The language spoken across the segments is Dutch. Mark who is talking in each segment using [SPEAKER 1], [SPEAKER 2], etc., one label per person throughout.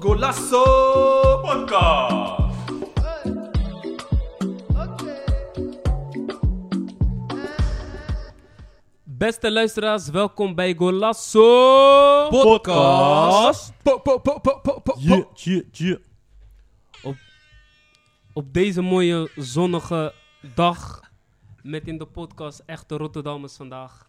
[SPEAKER 1] Golasso Podcast.
[SPEAKER 2] Beste luisteraars, welkom bij Golasso Podcast.
[SPEAKER 3] Je, je, je.
[SPEAKER 2] Op deze mooie zonnige dag met in de podcast echte Rotterdammers vandaag.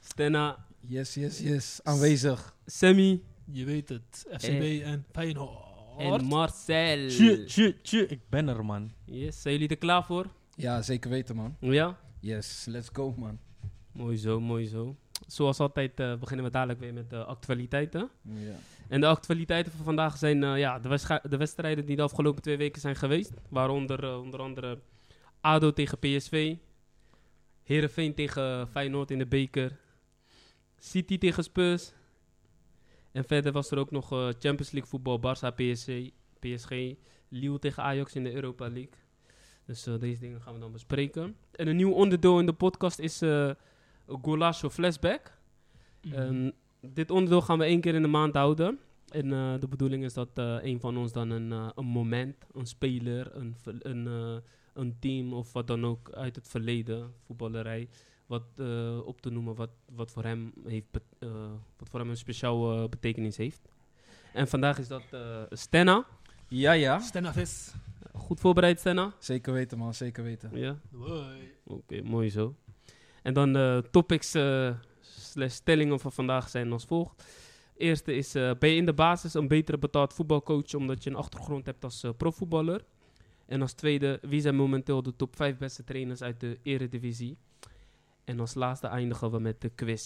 [SPEAKER 2] Stenna,
[SPEAKER 3] Yes, yes, yes. Aanwezig.
[SPEAKER 2] Sammy
[SPEAKER 4] Je weet het. FCB
[SPEAKER 2] Eh.
[SPEAKER 4] en Feyenoord.
[SPEAKER 2] en Marcel.
[SPEAKER 3] Je, je, je. Ik ben er, man.
[SPEAKER 2] Yes, zijn jullie er klaar voor?
[SPEAKER 3] Ja, zeker weten, man.
[SPEAKER 2] Ja?
[SPEAKER 3] Yes, let's go, man.
[SPEAKER 2] Mooi zo, mooi zo. Zoals altijd eh, beginnen we dadelijk weer met de actualiteiten.
[SPEAKER 3] Ja.
[SPEAKER 2] En de actualiteiten van vandaag zijn eh, ja, de, wedstrij- de wedstrijden die de afgelopen twee weken zijn geweest. Waaronder eh, onder andere ADO tegen PSV. Heerenveen tegen Feyenoord in de beker. City tegen Spurs. En verder was er ook nog eh, Champions League voetbal. Barça, PSC, PSG. Lille tegen Ajax in de Europa League. Dus eh, deze dingen gaan we dan bespreken. En een nieuw onderdeel in de podcast is eh Golasso Flashback. Ehm, dit onderdeel gaan we één keer in de maand houden. En eh, de bedoeling is dat eh, een van ons dan een, eh, een moment, een speler, een, ver- een, eh, een team of wat dan ook uit het verleden, voetballerij, wat eh, op te noemen wat, wat, voor hem heeft bet- eh, wat voor hem een speciaal eh, betekenis heeft. En vandaag is dat eh, Stenna.
[SPEAKER 3] ja, ja.
[SPEAKER 4] Stennavis.
[SPEAKER 2] Goed voorbereid, Stenna.
[SPEAKER 3] Zeker weten, man. Zeker weten.
[SPEAKER 2] Ja,
[SPEAKER 4] Doei.
[SPEAKER 2] oké, mooi zo. En dan de topics eh, slash stellingen van vandaag zijn als volgt. Eerste is, eh, ben je in de basis een betere betaald voetbalcoach omdat je een achtergrond hebt als eh, profvoetballer? En als tweede, wie zijn momenteel de top 5 beste trainers uit de eredivisie? En als laatste eindigen we met de quiz.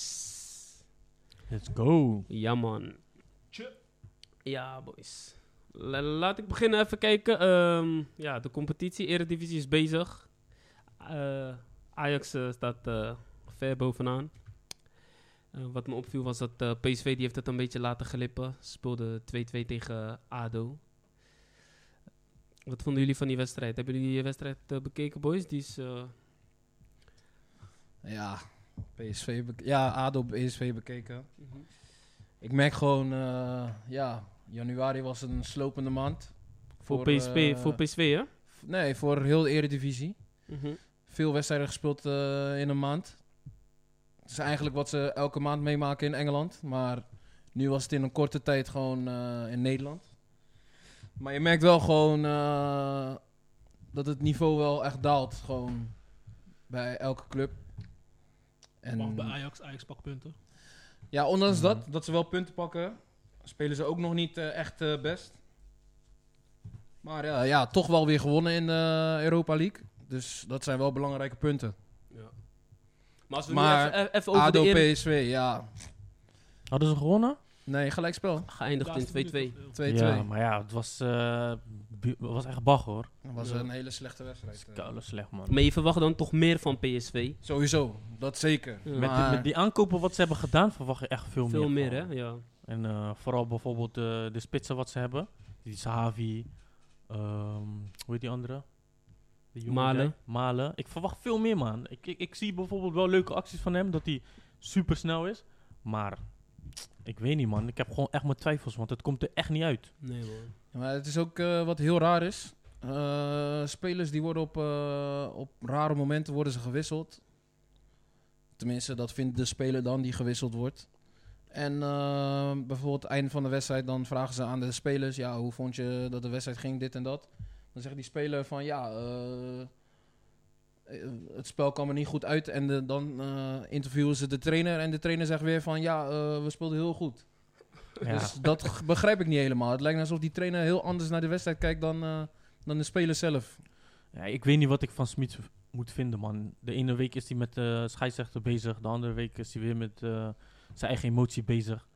[SPEAKER 3] Let's go.
[SPEAKER 2] Ja man. Ja boys. La- laat ik beginnen even kijken. Ehm, ja, de competitie, Eredivisie is bezig. Eh, Ajax eh, staat eh, ver bovenaan. Eh, wat me opviel was dat eh, PSV die heeft het een beetje laten glippen. Ze Speelde 2-2 tegen ADO. Wat vonden jullie van die wedstrijd? Hebben jullie die wedstrijd eh, bekeken, boys? Die is... eh,
[SPEAKER 3] Ja. PSV bek- ja, ADO PSV bekeken. Ik merk gewoon, eh, ja, januari was een slopende maand.
[SPEAKER 2] voor,
[SPEAKER 3] eh,
[SPEAKER 2] PSV, voor PSV, hè?
[SPEAKER 3] f- nee, voor heel de Eredivisie.
[SPEAKER 2] Mhm.
[SPEAKER 3] Veel wedstrijden gespeeld eh, in een maand. Het is eigenlijk wat ze elke maand meemaken in Engeland. Maar nu was het in een korte tijd gewoon eh, in Nederland. Maar je merkt wel gewoon eh, dat het niveau wel echt daalt. Gewoon bij elke club.
[SPEAKER 4] Mag bij
[SPEAKER 3] En,
[SPEAKER 4] Ajax. Ajax pak punten.
[SPEAKER 3] ja, ondanks dat, dat ze wel punten pakken, spelen ze ook nog niet eh, echt eh, best. Maar ja, ja, toch wel weer gewonnen in de Europa League. Dus dat zijn wel belangrijke punten.
[SPEAKER 2] Maar als we
[SPEAKER 3] Maar
[SPEAKER 2] nu even, even over
[SPEAKER 3] ADO,
[SPEAKER 2] de Eredivisie...
[SPEAKER 3] PSV, ja.
[SPEAKER 5] Hadden ze gewonnen?
[SPEAKER 3] Nee, gelijkspel. 2-2.
[SPEAKER 2] Geëindigd in 2-2.
[SPEAKER 4] 2-2.
[SPEAKER 3] 2
[SPEAKER 5] Ja, maar ja, het was, eh, bu- het was echt bag hoor.
[SPEAKER 3] Dat was
[SPEAKER 2] Ja.
[SPEAKER 3] een hele slechte wedstrijd. eh.
[SPEAKER 5] Koude slecht man.
[SPEAKER 2] Maar je verwacht dan toch meer van PSV?
[SPEAKER 3] Sowieso, dat zeker.
[SPEAKER 2] Ja.
[SPEAKER 5] Met, die-
[SPEAKER 3] maar-
[SPEAKER 5] met die aankopen wat ze hebben gedaan verwacht je echt veel,
[SPEAKER 2] Veel meer,
[SPEAKER 5] van.
[SPEAKER 2] hè? Ja.
[SPEAKER 5] En eh, vooral bijvoorbeeld eh, de spitsen wat ze hebben. Die Sahavi, ehm, hoe heet die andere? De jonge
[SPEAKER 2] Malen.
[SPEAKER 5] guy. Malen. Ik verwacht veel meer man. Ik, ik, ik zie bijvoorbeeld wel leuke acties van hem, dat hij super snel is. Maar ik weet niet man, ik heb gewoon echt mijn twijfels, want het komt er echt niet uit.
[SPEAKER 2] Nee, man.
[SPEAKER 3] Maar het is ook eh, wat heel raar is. Eh, spelers die worden op, eh, op rare momenten worden ze gewisseld. Tenminste, dat vindt de speler dan die gewisseld wordt. En eh, bijvoorbeeld het einde van de wedstrijd, dan vragen ze aan de spelers... ja, hoe vond je dat de wedstrijd ging, dit en dat. Dan zegt die speler van, ja, eh, eh, het spel kwam er niet goed uit. En de- dan eh, interviewen ze de trainer en de trainer zegt weer van... ja, eh, we speelden heel goed.
[SPEAKER 5] Ja.
[SPEAKER 3] Dus dat g- begrijp ik niet helemaal. Het lijkt alsof die trainer heel anders naar de wedstrijd kijkt dan, eh, dan de speler zelf.
[SPEAKER 5] Ja, ik weet niet wat ik van Smit moet vinden, man. De ene week is hij met de scheidsrechter bezig. De andere week is hij weer met eh, zijn eigen emotie bezig.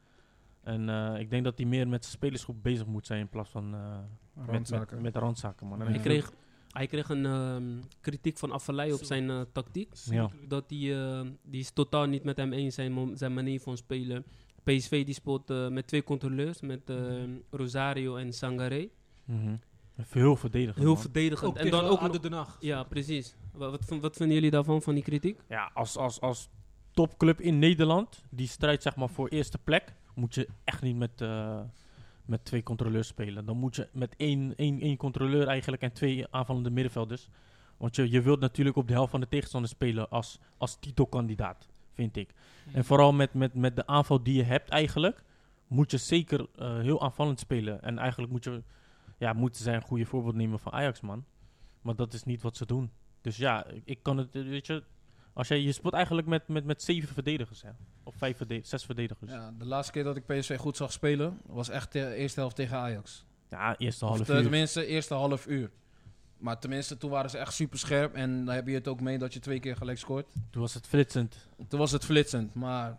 [SPEAKER 5] En eh, ik denk dat hij meer met zijn spelersgroep bezig moet zijn in plaats van eh, met, met, met randzaken, man. En
[SPEAKER 3] Ja.
[SPEAKER 2] Hij, kreeg, hij kreeg een ehm, kritiek van Affelay op zijn eh, tactiek.
[SPEAKER 5] Ja.
[SPEAKER 2] Dat die, eh, die is totaal niet met hem eens zijn, mo- zijn manier van spelen. PSV die speelt eh, met twee controleurs, met ehm, Rosario en Sangaré.
[SPEAKER 5] Mhm. Heel verdedigend,
[SPEAKER 2] Heel
[SPEAKER 5] man.
[SPEAKER 2] verdedigend.
[SPEAKER 4] Ook
[SPEAKER 2] en dan ook nog-
[SPEAKER 4] Oh, de nacht.
[SPEAKER 2] Ja, precies. Wa- Wat, vond- wat vinden jullie daarvan, van die kritiek?
[SPEAKER 5] Ja, als, als, als topclub in Nederland, die strijdt zeg maar voor eerste plek, moet je echt niet met, eh, met twee controleurs spelen. Dan moet je met één, één, één controleur eigenlijk en twee aanvallende middenvelders. Want je, je wilt natuurlijk op de helft van de tegenstander spelen als, als titelkandidaat, vind ik. En vooral met, met, met de aanval die je hebt eigenlijk, moet je zeker eh, heel aanvallend spelen. En eigenlijk moet je, ja, moeten zij een goede voorbeeld nemen van Ajax, man. Maar dat is niet wat ze doen. Dus ja, ik- ik kan het, eh, weet je, als jij, je speelt eigenlijk met, met, met zeven verdedigers, hè? Of vijf verdedigers, zes verdedigers. Ja,
[SPEAKER 3] Ja, de laatste keer dat ik PSV goed zag spelen was echt de eerste helft tegen Ajax.
[SPEAKER 5] eerste
[SPEAKER 3] Of
[SPEAKER 5] half
[SPEAKER 3] te-
[SPEAKER 5] uur.
[SPEAKER 3] tenminste, eerste half uur. Maar tenminste, toen waren ze echt super scherp. En dan heb je het ook mee dat je twee keer gelijk scoort.
[SPEAKER 5] Toen was het flitsend.
[SPEAKER 3] Toen was het flitsend, maar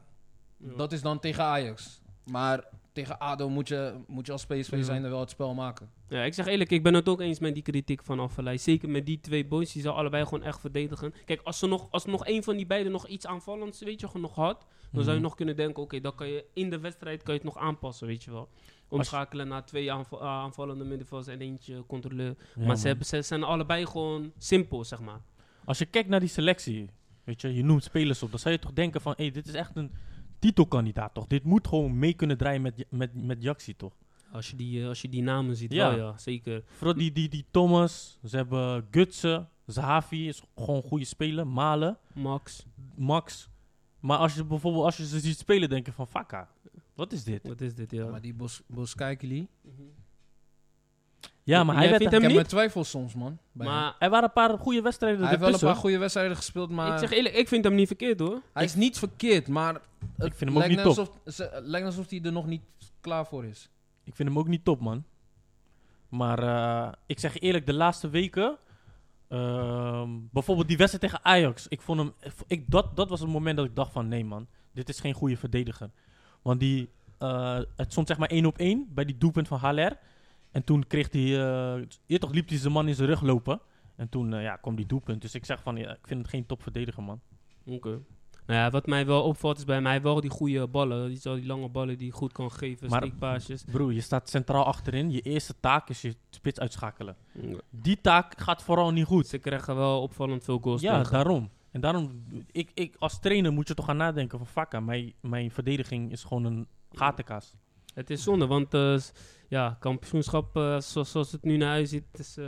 [SPEAKER 2] Ja.
[SPEAKER 3] dat is dan tegen Ajax. Maar tegen ADO moet je, moet je als PSV
[SPEAKER 2] Ja.
[SPEAKER 3] zijn er wel het spel maken.
[SPEAKER 2] Ja, ik zeg eerlijk, ik ben het ook eens met die kritiek van Affelay. Zeker met die twee boys, die ze allebei gewoon echt verdedigen. Kijk, als, ze nog, als nog een van die beiden nog iets aanvallends, weet je, nog had, dan zou je
[SPEAKER 5] Mhm.
[SPEAKER 2] nog kunnen denken, oké, dan kan je in de wedstrijd kan je het nog aanpassen, weet je wel. Omschakelen naar twee aanva- eh, aanvallende middenvelders en eentje controleur.
[SPEAKER 5] Ja,
[SPEAKER 2] maar ze,
[SPEAKER 5] man.
[SPEAKER 2] hebben, ze zijn allebei gewoon simpel, zeg maar.
[SPEAKER 5] Als je kijkt naar die selectie, weet je, je noemt spelers op, dan zou je toch denken van, hé, dit is echt een titelkandidaat, toch? Dit moet gewoon mee kunnen draaien met, met, met Jaxi, toch?
[SPEAKER 2] Als je die, eh, als je die namen ziet,
[SPEAKER 5] Ja.
[SPEAKER 2] wel ja, zeker.
[SPEAKER 5] Vooral die, die, die Thomas, ze hebben Gutsen, Zahavi is gewoon een goede speler, Malen,
[SPEAKER 2] Max,
[SPEAKER 5] Max. Maar als je bijvoorbeeld als je ze ziet spelen, denk je van, Fakka, wat is dit?
[SPEAKER 2] wat is dit, ja. Mhm.
[SPEAKER 3] Maar die Bos, Boskijkeli,
[SPEAKER 5] Ja, maar hij,
[SPEAKER 2] Jij
[SPEAKER 5] werd,
[SPEAKER 2] vindt hem
[SPEAKER 3] ik heb
[SPEAKER 2] niet?
[SPEAKER 3] mijn twijfels soms, man. bij hem.
[SPEAKER 2] Maar
[SPEAKER 5] er waren een paar goede wedstrijden
[SPEAKER 3] hij heeft wel een
[SPEAKER 5] ertussen.
[SPEAKER 3] paar goede wedstrijden gespeeld, maar
[SPEAKER 2] ik zeg eerlijk, ik vind hem niet verkeerd, hoor.
[SPEAKER 3] hij is niet verkeerd. Maar het
[SPEAKER 5] hem ook
[SPEAKER 3] lijkt
[SPEAKER 5] niet
[SPEAKER 3] net
[SPEAKER 5] top.
[SPEAKER 3] Alsof, ze- het lijkt alsof hij er nog niet klaar voor is.
[SPEAKER 5] Ik vind hem ook niet top, man. Maar eh, ik zeg eerlijk, de laatste weken... ehm, bijvoorbeeld die wedstrijd tegen Ajax. Ik vond hem, ik, dat, dat was het moment dat ik dacht van... Nee, man. Dit is geen goede verdediger. Want die, eh, het stond zeg maar één op één bij die doelpunt van Haller. En toen kreeg hij... eh, eer toch liep hij zijn man in zijn rug lopen. En toen eh, ja, kwam die doelpunt. Dus ik zeg van... Ja, ik vind het geen topverdediger, man.
[SPEAKER 2] Oké. Nou ja, wat mij wel opvalt is bij mij wel die goede ballen. Die, zo die lange ballen die je goed kan geven,
[SPEAKER 5] Maar-
[SPEAKER 2] steekpaasjes.
[SPEAKER 5] Broer, je staat centraal achterin. Je eerste taak is je spits uitschakelen. Die taak gaat vooral niet goed.
[SPEAKER 2] Ze krijgen wel opvallend veel goals
[SPEAKER 5] Ja,
[SPEAKER 2] tegen.
[SPEAKER 5] daarom. En daarom, ik, ik, als trainer moet je toch gaan nadenken van... Fakka, mijn, mijn verdediging is gewoon een gatenkaas.
[SPEAKER 2] Het is zonde, want eh, s- ja, kampioenschap eh, zoals, zoals het nu naar huis ziet, is... eh,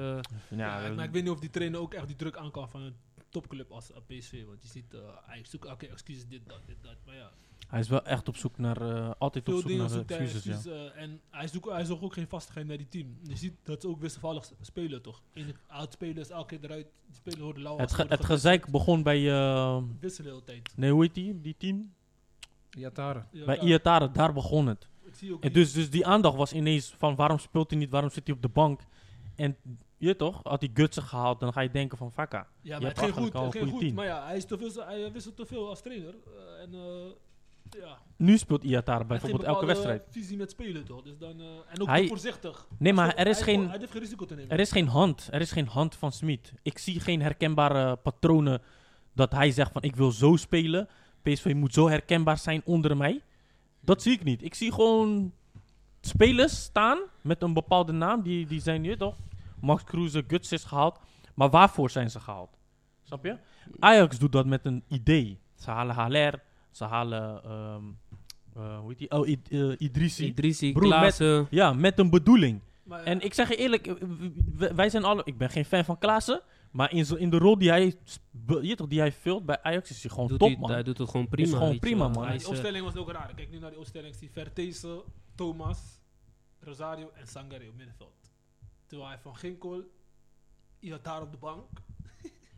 [SPEAKER 5] Ja,
[SPEAKER 4] maar ik
[SPEAKER 5] dat-
[SPEAKER 4] weet niet of die trainer ook echt die druk aan kan van een topclub als eh, PSV. Want je ziet, eh hij zoekt elke excuses, dit, dat, dit, dat. Maar ja,
[SPEAKER 5] hij is wel echt op zoek naar... eh, altijd op
[SPEAKER 4] veel
[SPEAKER 5] zoek
[SPEAKER 4] dingen
[SPEAKER 5] naar eh,
[SPEAKER 4] zoekt hij
[SPEAKER 5] excuses, ja.
[SPEAKER 4] excuses. eh, en hij zoekt, hij zoekt ook geen vastigheid bij die team. Je ziet dat ze ook wisselvallig s- spelen, toch? In het oud-spelers elke keer eruit. Die spelen horen lauw.
[SPEAKER 5] Het, ge- het gezeik begon bij... eh,
[SPEAKER 4] Wisselen de hele tijd.
[SPEAKER 5] nee, hoe heet die, die team?
[SPEAKER 3] Yatara.
[SPEAKER 4] Ja,
[SPEAKER 5] Bij
[SPEAKER 4] ja,
[SPEAKER 5] Iatare, daar begon het.
[SPEAKER 4] ik zie ook
[SPEAKER 5] En
[SPEAKER 4] niet-
[SPEAKER 5] dus, dus die aandacht was ineens van waarom speelt hij niet, waarom zit hij op de bank? En je weet toch, had hij gutsen gehaald, dan ga je denken van ah, Fakka.
[SPEAKER 4] Ja,
[SPEAKER 5] Je
[SPEAKER 4] maar
[SPEAKER 5] hebt
[SPEAKER 4] het ging goed.
[SPEAKER 5] eigenlijk al
[SPEAKER 4] Het
[SPEAKER 5] een
[SPEAKER 4] ging
[SPEAKER 5] goede team.
[SPEAKER 4] goed. Maar ja, hij, is te veel, hij wisselt te veel als trainer. eh, en eh ja,
[SPEAKER 5] Nu speelt Iatare
[SPEAKER 4] Hij heeft geen
[SPEAKER 5] bijvoorbeeld elke
[SPEAKER 4] bepaalde
[SPEAKER 5] wedstrijd.
[SPEAKER 4] visie met spelen toch? Dus dan, eh, en ook
[SPEAKER 5] Hij-
[SPEAKER 4] te voorzichtig.
[SPEAKER 5] Nee, maar
[SPEAKER 4] Hij-
[SPEAKER 5] er is
[SPEAKER 4] hij-
[SPEAKER 5] geen-
[SPEAKER 4] Hij heeft geen risico te nemen.
[SPEAKER 5] Er is geen hand. Er is geen hand van Smit. Ik zie geen herkenbare patronen dat hij zegt van ik wil zo spelen. PSV moet zo herkenbaar zijn onder mij. Dat zie ik niet. Ik zie gewoon spelers staan met een bepaalde naam. Die, die zijn nu toch? Max Kruse, Guts is gehaald. Maar waarvoor zijn ze gehaald? Snap je? Ajax doet dat met een idee. Ze halen Haller. Ze halen... ehm, eh, hoe heet die? Oh, Id- eh, Idrissi.
[SPEAKER 2] Idrissi,
[SPEAKER 5] Broer, met-
[SPEAKER 2] Klaassen.
[SPEAKER 5] Ja, met een bedoeling.
[SPEAKER 4] Maar,
[SPEAKER 5] En ik zeg je eerlijk, eh, w- w- wij zijn alle. Ik ben geen fan van Klaassen. Maar in, zo- in de rol die hij, sp- je toch, die hij vult bij Ajax is hij gewoon
[SPEAKER 2] Doet
[SPEAKER 5] top,
[SPEAKER 2] hij,
[SPEAKER 5] man.
[SPEAKER 2] hij doet het gewoon prima.
[SPEAKER 5] gewoon
[SPEAKER 2] weet je
[SPEAKER 5] prima,
[SPEAKER 2] wel.
[SPEAKER 5] man.
[SPEAKER 2] Hij
[SPEAKER 4] maar
[SPEAKER 2] is,
[SPEAKER 4] die
[SPEAKER 2] eh,
[SPEAKER 4] opstelling was ook raar. Kijk nu naar die opstelling. Ik zie Vertese, Thomas, Rosario en Sangare op middenveld. Terwijl hij van Ginkel, iemand daar op de bank,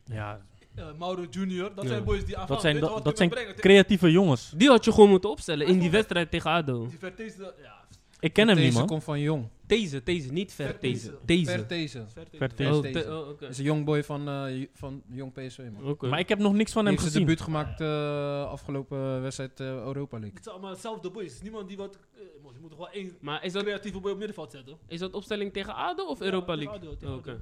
[SPEAKER 5] ja,
[SPEAKER 4] eh, Mauro Junior. Dat
[SPEAKER 5] Ja.
[SPEAKER 4] zijn boys die aanvallen.
[SPEAKER 5] dat zijn,
[SPEAKER 4] Weet je
[SPEAKER 5] dat,
[SPEAKER 4] wat
[SPEAKER 5] dat
[SPEAKER 4] kunnen
[SPEAKER 5] zijn
[SPEAKER 4] brengen? Tegen
[SPEAKER 5] creatieve jongens.
[SPEAKER 2] eh, die had je gewoon moeten opstellen in die
[SPEAKER 4] Hij-
[SPEAKER 2] wedstrijd tegen ADO.
[SPEAKER 4] Die Vertese, ja.
[SPEAKER 5] Ik ken hem
[SPEAKER 3] Deze
[SPEAKER 5] niet, man.
[SPEAKER 3] komt van Jong.
[SPEAKER 2] Deze, deze, niet ver, deze.
[SPEAKER 4] Verteze.
[SPEAKER 2] Deze.
[SPEAKER 3] Per Deze.
[SPEAKER 5] Verteze.
[SPEAKER 2] Oh,
[SPEAKER 3] Deze.
[SPEAKER 2] te- oh, oké.
[SPEAKER 3] is een jong boy van, eh, J- van Jong PSV, man. Die
[SPEAKER 2] Oké.
[SPEAKER 5] Maar ik heb nog niks van hem
[SPEAKER 3] heeft zijn
[SPEAKER 5] gezien.
[SPEAKER 3] debuut gemaakt eh, afgelopen wedstrijd eh, Europa League.
[SPEAKER 4] Het zijn allemaal hetzelfde boys. Niemand die wat... eh, man, je moet toch wel één
[SPEAKER 2] Maar is dat,
[SPEAKER 4] creatieve boy op middenveld zetten?
[SPEAKER 2] is dat opstelling tegen ADO of Europa
[SPEAKER 4] tegen
[SPEAKER 2] League?
[SPEAKER 4] ADO, tegen
[SPEAKER 2] Oké.
[SPEAKER 4] ADO.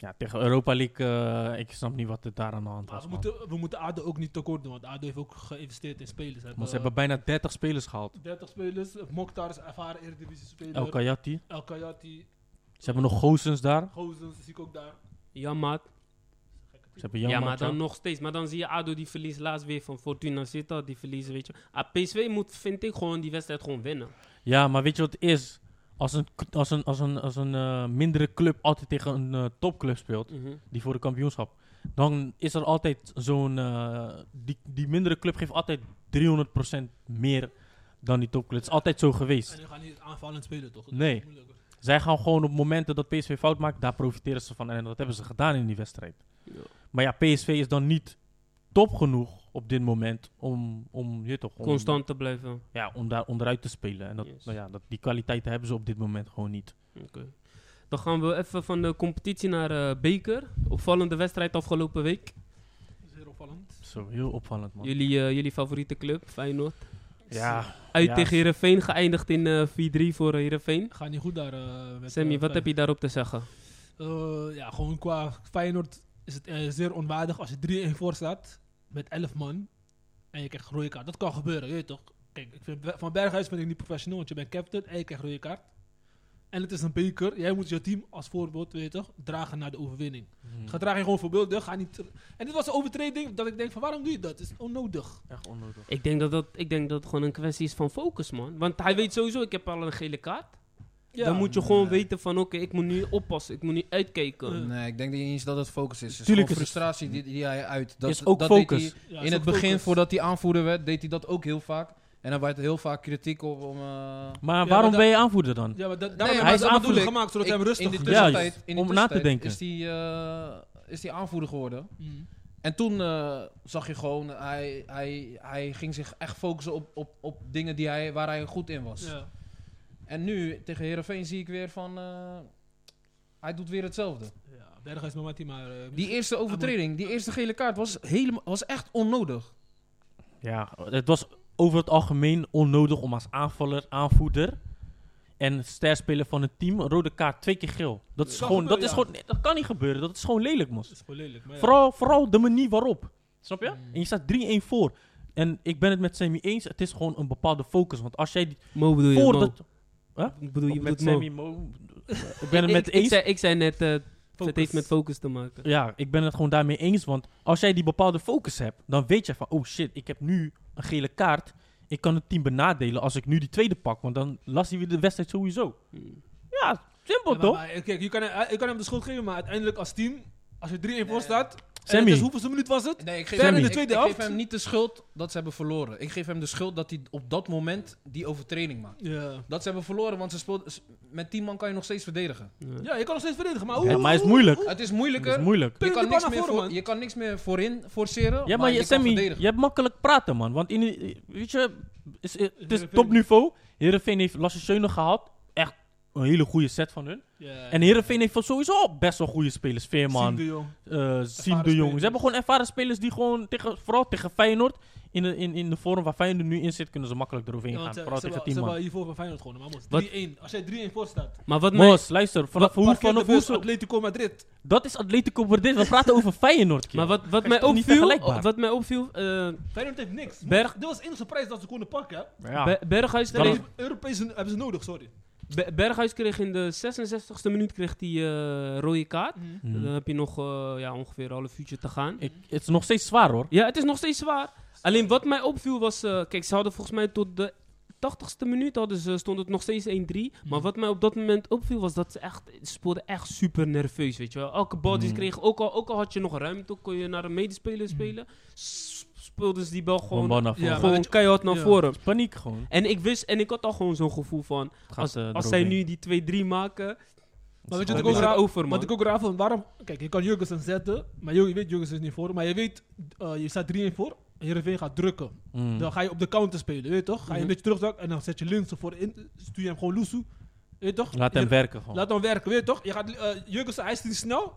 [SPEAKER 5] Ja, tegen Europa League, eh, ik snap niet wat er daar aan de hand
[SPEAKER 4] Maar
[SPEAKER 5] was.
[SPEAKER 4] we
[SPEAKER 5] man.
[SPEAKER 4] moeten, we moeten ADO ook niet tekort doen, want ADO heeft ook geïnvesteerd in spelers. Ze hebben,
[SPEAKER 5] Maar ze hebben bijna 30 spelers gehaald.
[SPEAKER 4] eh, 30 spelers, eh, Mokhtar is ervaren Eredivisie speler,
[SPEAKER 5] El Kayati.
[SPEAKER 4] El Kayati,
[SPEAKER 5] Ze hebben nog Gozens daar.
[SPEAKER 4] Gozens zie ik ook daar.
[SPEAKER 2] Ja, maat.
[SPEAKER 4] Gekke
[SPEAKER 5] Ze hebben
[SPEAKER 2] Ja,
[SPEAKER 5] Jan
[SPEAKER 2] maar
[SPEAKER 5] Maarten.
[SPEAKER 2] dan nog steeds. Maar dan zie je ADO die verliest laatst weer van Fortuna Sittard. Die verliezen, weet je. Ah, PSV moet, vind ik, gewoon die wedstrijd gewoon winnen.
[SPEAKER 5] Ja, maar weet je wat het is? Als een, k- als een, als een, als een eh, mindere club altijd tegen een eh, topclub speelt, die voor de kampioenschap, dan is er altijd zo'n... eh, die, die mindere club geeft altijd 300% meer dan die topclub. Het is altijd zo geweest.
[SPEAKER 4] En die gaan niet aanvallend spelen, toch? Dat is
[SPEAKER 5] Nee.
[SPEAKER 4] moeilijker.
[SPEAKER 5] Zij gaan gewoon op momenten dat PSV fout maakt, daar profiteren ze van. En dat hebben ze gedaan in die wedstrijd.
[SPEAKER 2] Ja.
[SPEAKER 5] Maar ja, PSV is dan niet top genoeg op dit moment om, om, je toch, om,
[SPEAKER 2] Constant te blijven.
[SPEAKER 5] ja, om daar onderuit te spelen. En dat,
[SPEAKER 2] Yes.
[SPEAKER 5] nou ja, dat, die kwaliteiten hebben ze op dit moment gewoon niet.
[SPEAKER 2] Oké. Dan gaan we even van de competitie naar eh, Beker. Opvallende wedstrijd afgelopen week.
[SPEAKER 4] Dat is heel opvallend.
[SPEAKER 5] Zo, heel opvallend man.
[SPEAKER 2] Jullie, eh, jullie favoriete club, Feyenoord.
[SPEAKER 5] Ja,
[SPEAKER 2] Uit
[SPEAKER 5] Ja,
[SPEAKER 2] tegen
[SPEAKER 5] s-
[SPEAKER 2] Heerenveen, geëindigd in eh 4-3 voor eh, Heerenveen.
[SPEAKER 4] Gaat niet goed daar. eh met,
[SPEAKER 2] Sammy,
[SPEAKER 4] eh,
[SPEAKER 2] wat heb je daarop te zeggen?
[SPEAKER 4] Eh, ja, gewoon qua Feyenoord is het eh, zeer onwaardig als je 3-1 voor staat met 11 man en je krijgt een rode kaart. Dat kan gebeuren, je weet toch? Kijk, ik vind, van Berghuis ben ik niet professioneel, want je bent captain en je krijgt rode kaart. En het is een beker. Jij moet je team als voorbeeld, weet je toch, dragen naar de overwinning.
[SPEAKER 3] Hmm.
[SPEAKER 4] Ga draag je gewoon voorbeeldig, ga niet... En dit was een overtreding dat ik denk van waarom doe je dat? Het is onnodig.
[SPEAKER 5] Hm. echt onnodig.
[SPEAKER 2] Ik denk dat, dat, ik denk dat het gewoon een kwestie is van focus, man. Want hij weet sowieso, ik heb al een gele kaart. Dan moet je gewoon
[SPEAKER 3] Nee.
[SPEAKER 2] weten van, oké, ik moet nu oppassen. Ik moet nu uitkijken.
[SPEAKER 4] Ja.
[SPEAKER 3] Nee, ik denk niet eens dat het focus is. Het is
[SPEAKER 5] Tuurlijk
[SPEAKER 3] gewoon
[SPEAKER 5] is het-
[SPEAKER 3] frustratie die, die hij uit. Dat,
[SPEAKER 5] Is ook
[SPEAKER 3] dat deed
[SPEAKER 5] focus.
[SPEAKER 3] hij
[SPEAKER 4] Ja,
[SPEAKER 3] in
[SPEAKER 4] is
[SPEAKER 3] het
[SPEAKER 4] ook
[SPEAKER 3] begin,
[SPEAKER 4] focus.
[SPEAKER 3] voordat hij aanvoerder werd, deed hij dat ook heel vaak. En er werd heel vaak kritiek op om... eh,
[SPEAKER 5] Maar
[SPEAKER 4] Ja,
[SPEAKER 5] waarom
[SPEAKER 4] maar
[SPEAKER 5] ben je aanvoerder dan?
[SPEAKER 4] Ja, maar dat, daarom
[SPEAKER 5] maar dat
[SPEAKER 4] hij is
[SPEAKER 5] bedoel
[SPEAKER 4] aanvoerder
[SPEAKER 3] ik.
[SPEAKER 4] gemaakt, zodat
[SPEAKER 3] ik-
[SPEAKER 4] hij hem rustig
[SPEAKER 3] in de
[SPEAKER 5] Ja,
[SPEAKER 3] tussentijd,
[SPEAKER 5] juist.
[SPEAKER 3] in de
[SPEAKER 5] Om na te
[SPEAKER 3] tussentijd
[SPEAKER 5] denken.
[SPEAKER 3] Is die, eh, is die aanvoerder geworden.
[SPEAKER 4] Mm.
[SPEAKER 3] En toen eh, zag je gewoon, hij, hij, hij ging zich echt focussen op, op, op dingen die hij, waar hij goed in was.
[SPEAKER 4] Ja.
[SPEAKER 3] En nu tegen Herenveen zie ik weer van, eh, hij doet weer hetzelfde.
[SPEAKER 4] Ja, Berghuis Mamati, maar... eh,
[SPEAKER 3] Die eerste overtreding, die eerste gele kaart was, helemaal, was echt onnodig.
[SPEAKER 5] Ja, het was over het algemeen onnodig om als aanvaller, aanvoeder en sterspeler van het team een rode kaart twee keer geel. Dat is
[SPEAKER 4] kan
[SPEAKER 5] gewoon, dat
[SPEAKER 4] gebeuren,
[SPEAKER 5] is
[SPEAKER 4] ja.
[SPEAKER 5] gewoon, nee, dat kan niet gebeuren. Dat is gewoon lelijk, mos.
[SPEAKER 4] Dat is gewoon lelijk. Maar ja.
[SPEAKER 5] Vooral, vooral de manier waarop. Snap je?
[SPEAKER 3] Mm.
[SPEAKER 5] En je staat 3-1 voor. En ik ben het met Sammy eens. Het is gewoon een bepaalde focus. Want als jij die
[SPEAKER 2] Mo bedoel je,
[SPEAKER 5] voor
[SPEAKER 2] Mo.
[SPEAKER 5] dat.
[SPEAKER 2] Ik bedoel, je
[SPEAKER 5] met
[SPEAKER 2] bedoelt Mo.
[SPEAKER 5] Sammy Mo. Ik ben het
[SPEAKER 2] Ik-
[SPEAKER 5] met
[SPEAKER 2] ik,
[SPEAKER 5] eens.
[SPEAKER 2] zei, ik zei net, eh, het heeft
[SPEAKER 5] Focus.
[SPEAKER 2] met focus te maken.
[SPEAKER 5] Ja, ik ben het gewoon daarmee eens. Want als jij die bepaalde focus hebt, dan weet je van, oh shit, ik heb nu een gele kaart. Ik kan het team benadelen als ik nu die tweede pak. Want dan las hij weer de wedstrijd sowieso. Ja, simpel
[SPEAKER 4] Ja, maar-
[SPEAKER 5] toch?
[SPEAKER 4] maar eh, kijk, je kan, hem- je kan hem de schuld geven, maar uiteindelijk als team, als je 3-1 voor
[SPEAKER 3] Nee.
[SPEAKER 4] staat... En
[SPEAKER 5] Sammy.
[SPEAKER 4] het is, hoeveelste minuut was het?
[SPEAKER 3] Nee, ik geef,
[SPEAKER 4] Ver
[SPEAKER 5] in de
[SPEAKER 3] ik-
[SPEAKER 4] tweede
[SPEAKER 3] ik
[SPEAKER 4] helft.
[SPEAKER 3] geef hem niet de schuld dat ze hebben verloren. Ik geef hem de schuld dat hij op dat moment die overtreding maakt.
[SPEAKER 4] Ja.
[SPEAKER 3] Dat ze hebben verloren, want ze speelden- s- met 10 man kan je nog steeds verdedigen.
[SPEAKER 4] ja, je kan nog steeds verdedigen, maar hoe?
[SPEAKER 5] Ja, maar het is moeilijk.
[SPEAKER 3] Het is
[SPEAKER 5] Het is
[SPEAKER 3] moeilijker.
[SPEAKER 5] moeilijk.
[SPEAKER 4] Pin
[SPEAKER 3] Je
[SPEAKER 4] de
[SPEAKER 3] kan,
[SPEAKER 4] bal
[SPEAKER 3] niks
[SPEAKER 4] naar
[SPEAKER 3] meer
[SPEAKER 4] voren,
[SPEAKER 3] voor,
[SPEAKER 4] man.
[SPEAKER 3] je kan niks meer voorin forceren.
[SPEAKER 5] Ja, maar
[SPEAKER 3] maar
[SPEAKER 5] je,
[SPEAKER 3] kan
[SPEAKER 5] Sammy,
[SPEAKER 3] verdedigen.
[SPEAKER 5] je hebt makkelijk praten, man. Want in, die- weet je, is, het is
[SPEAKER 4] Heerenveen-
[SPEAKER 5] topniveau. Heerenveen heeft Lasse Schöne gehad. Echt een hele goede set van hun.
[SPEAKER 4] Ja.
[SPEAKER 5] En Heerenveen heeft sowieso al best wel goede spelers.
[SPEAKER 4] Siem
[SPEAKER 5] Veerman,
[SPEAKER 4] de Jong.
[SPEAKER 5] eh Siem de
[SPEAKER 4] spelers.
[SPEAKER 5] Jong. Ze hebben gewoon ervaren spelers die gewoon, tegen, vooral tegen Feyenoord, in de, in, in de vorm waar Feyenoord nu in zit, kunnen ze makkelijk eroverheen
[SPEAKER 4] Ja, want,
[SPEAKER 5] gaan.
[SPEAKER 4] eh,
[SPEAKER 5] Vooral
[SPEAKER 4] ze
[SPEAKER 5] tegen
[SPEAKER 4] hebben- Ze
[SPEAKER 5] team man.
[SPEAKER 4] hebben hiervoor van Feyenoord gewonnen, maar
[SPEAKER 5] Wat?
[SPEAKER 4] moet 3-1. Als jij 3-1 voor staat,
[SPEAKER 2] Maar wat mij,
[SPEAKER 5] Mos, luister, vanaf hoe,
[SPEAKER 4] parkeer de
[SPEAKER 5] vanaf hoe
[SPEAKER 4] bus
[SPEAKER 5] zo,
[SPEAKER 4] Atletico Madrid.
[SPEAKER 5] dat is Atletico Madrid. We praten over Feyenoord, kid.
[SPEAKER 2] maar wat, wat
[SPEAKER 5] is
[SPEAKER 2] mij
[SPEAKER 5] toch niet
[SPEAKER 2] opviel,
[SPEAKER 5] vergelijkbaar?
[SPEAKER 2] wat mij opviel eh,
[SPEAKER 4] Feyenoord heeft niks.
[SPEAKER 2] Berg-
[SPEAKER 4] Dit was de enige prijs dat ze konden pakken.
[SPEAKER 5] Ja.
[SPEAKER 2] Be- Berghuis,
[SPEAKER 5] Dan-
[SPEAKER 2] kreeg,
[SPEAKER 4] Europees hebben ze nodig, sorry.
[SPEAKER 2] Be- Berghuis kreeg in de 66ste minuut kreeg die, eh, rode kaart.
[SPEAKER 5] Hmm.
[SPEAKER 2] Dan heb je nog eh, ja, ongeveer een half uurtje te gaan.
[SPEAKER 5] Ik, het is nog steeds zwaar, hoor.
[SPEAKER 2] Ja, het is nog steeds zwaar. Alleen wat mij opviel was... eh, kijk, ze hadden volgens mij tot de 80ste minuut hadden ze, stond het nog steeds 1-3. Maar wat mij op dat moment opviel was dat ze echt... Ze speelden echt super nerveus, weet je wel. Elke bal die ze
[SPEAKER 5] Mm.
[SPEAKER 2] kregen, ook al, ook al had je nog ruimte... kon je naar een medespeler spelen. s- Speelden ze die bal
[SPEAKER 5] Gewoon
[SPEAKER 2] gewoon,
[SPEAKER 5] bal naar
[SPEAKER 4] Ja,
[SPEAKER 5] voren.
[SPEAKER 2] gewoon
[SPEAKER 4] weet je-
[SPEAKER 2] keihard naar
[SPEAKER 4] ja.
[SPEAKER 2] voren.
[SPEAKER 5] Paniek gewoon.
[SPEAKER 2] En ik wist, en ik had al gewoon zo'n gevoel van...
[SPEAKER 5] Het gaat,
[SPEAKER 2] Als,
[SPEAKER 5] eh,
[SPEAKER 2] als zij
[SPEAKER 5] eroverheen.
[SPEAKER 2] nu die 2-3 maken,
[SPEAKER 4] Maar weet je
[SPEAKER 2] dan
[SPEAKER 4] wat ik
[SPEAKER 2] is
[SPEAKER 4] ook
[SPEAKER 2] het
[SPEAKER 4] raar
[SPEAKER 2] over, man.
[SPEAKER 4] Wat ik ook raar vond, waarom... Kijk, je kan Jurgensen zetten, maar je je weet Jurgensen is niet voor. Maar je weet, eh, je staat 3-1 voor, Heerenveen gaat drukken.
[SPEAKER 5] Mm.
[SPEAKER 4] Dan ga je op de counter spelen, weet je toch? Ga je
[SPEAKER 2] Mhm.
[SPEAKER 4] een beetje terugzakken en dan zet je links ervoor in. Stuur je hem gewoon loesoe, weet je toch?
[SPEAKER 5] Laat hem
[SPEAKER 4] Je-
[SPEAKER 5] werken gewoon.
[SPEAKER 4] Laat hem werken, weet je toch? Je gaat, eh Jurgensen, hij is niet snel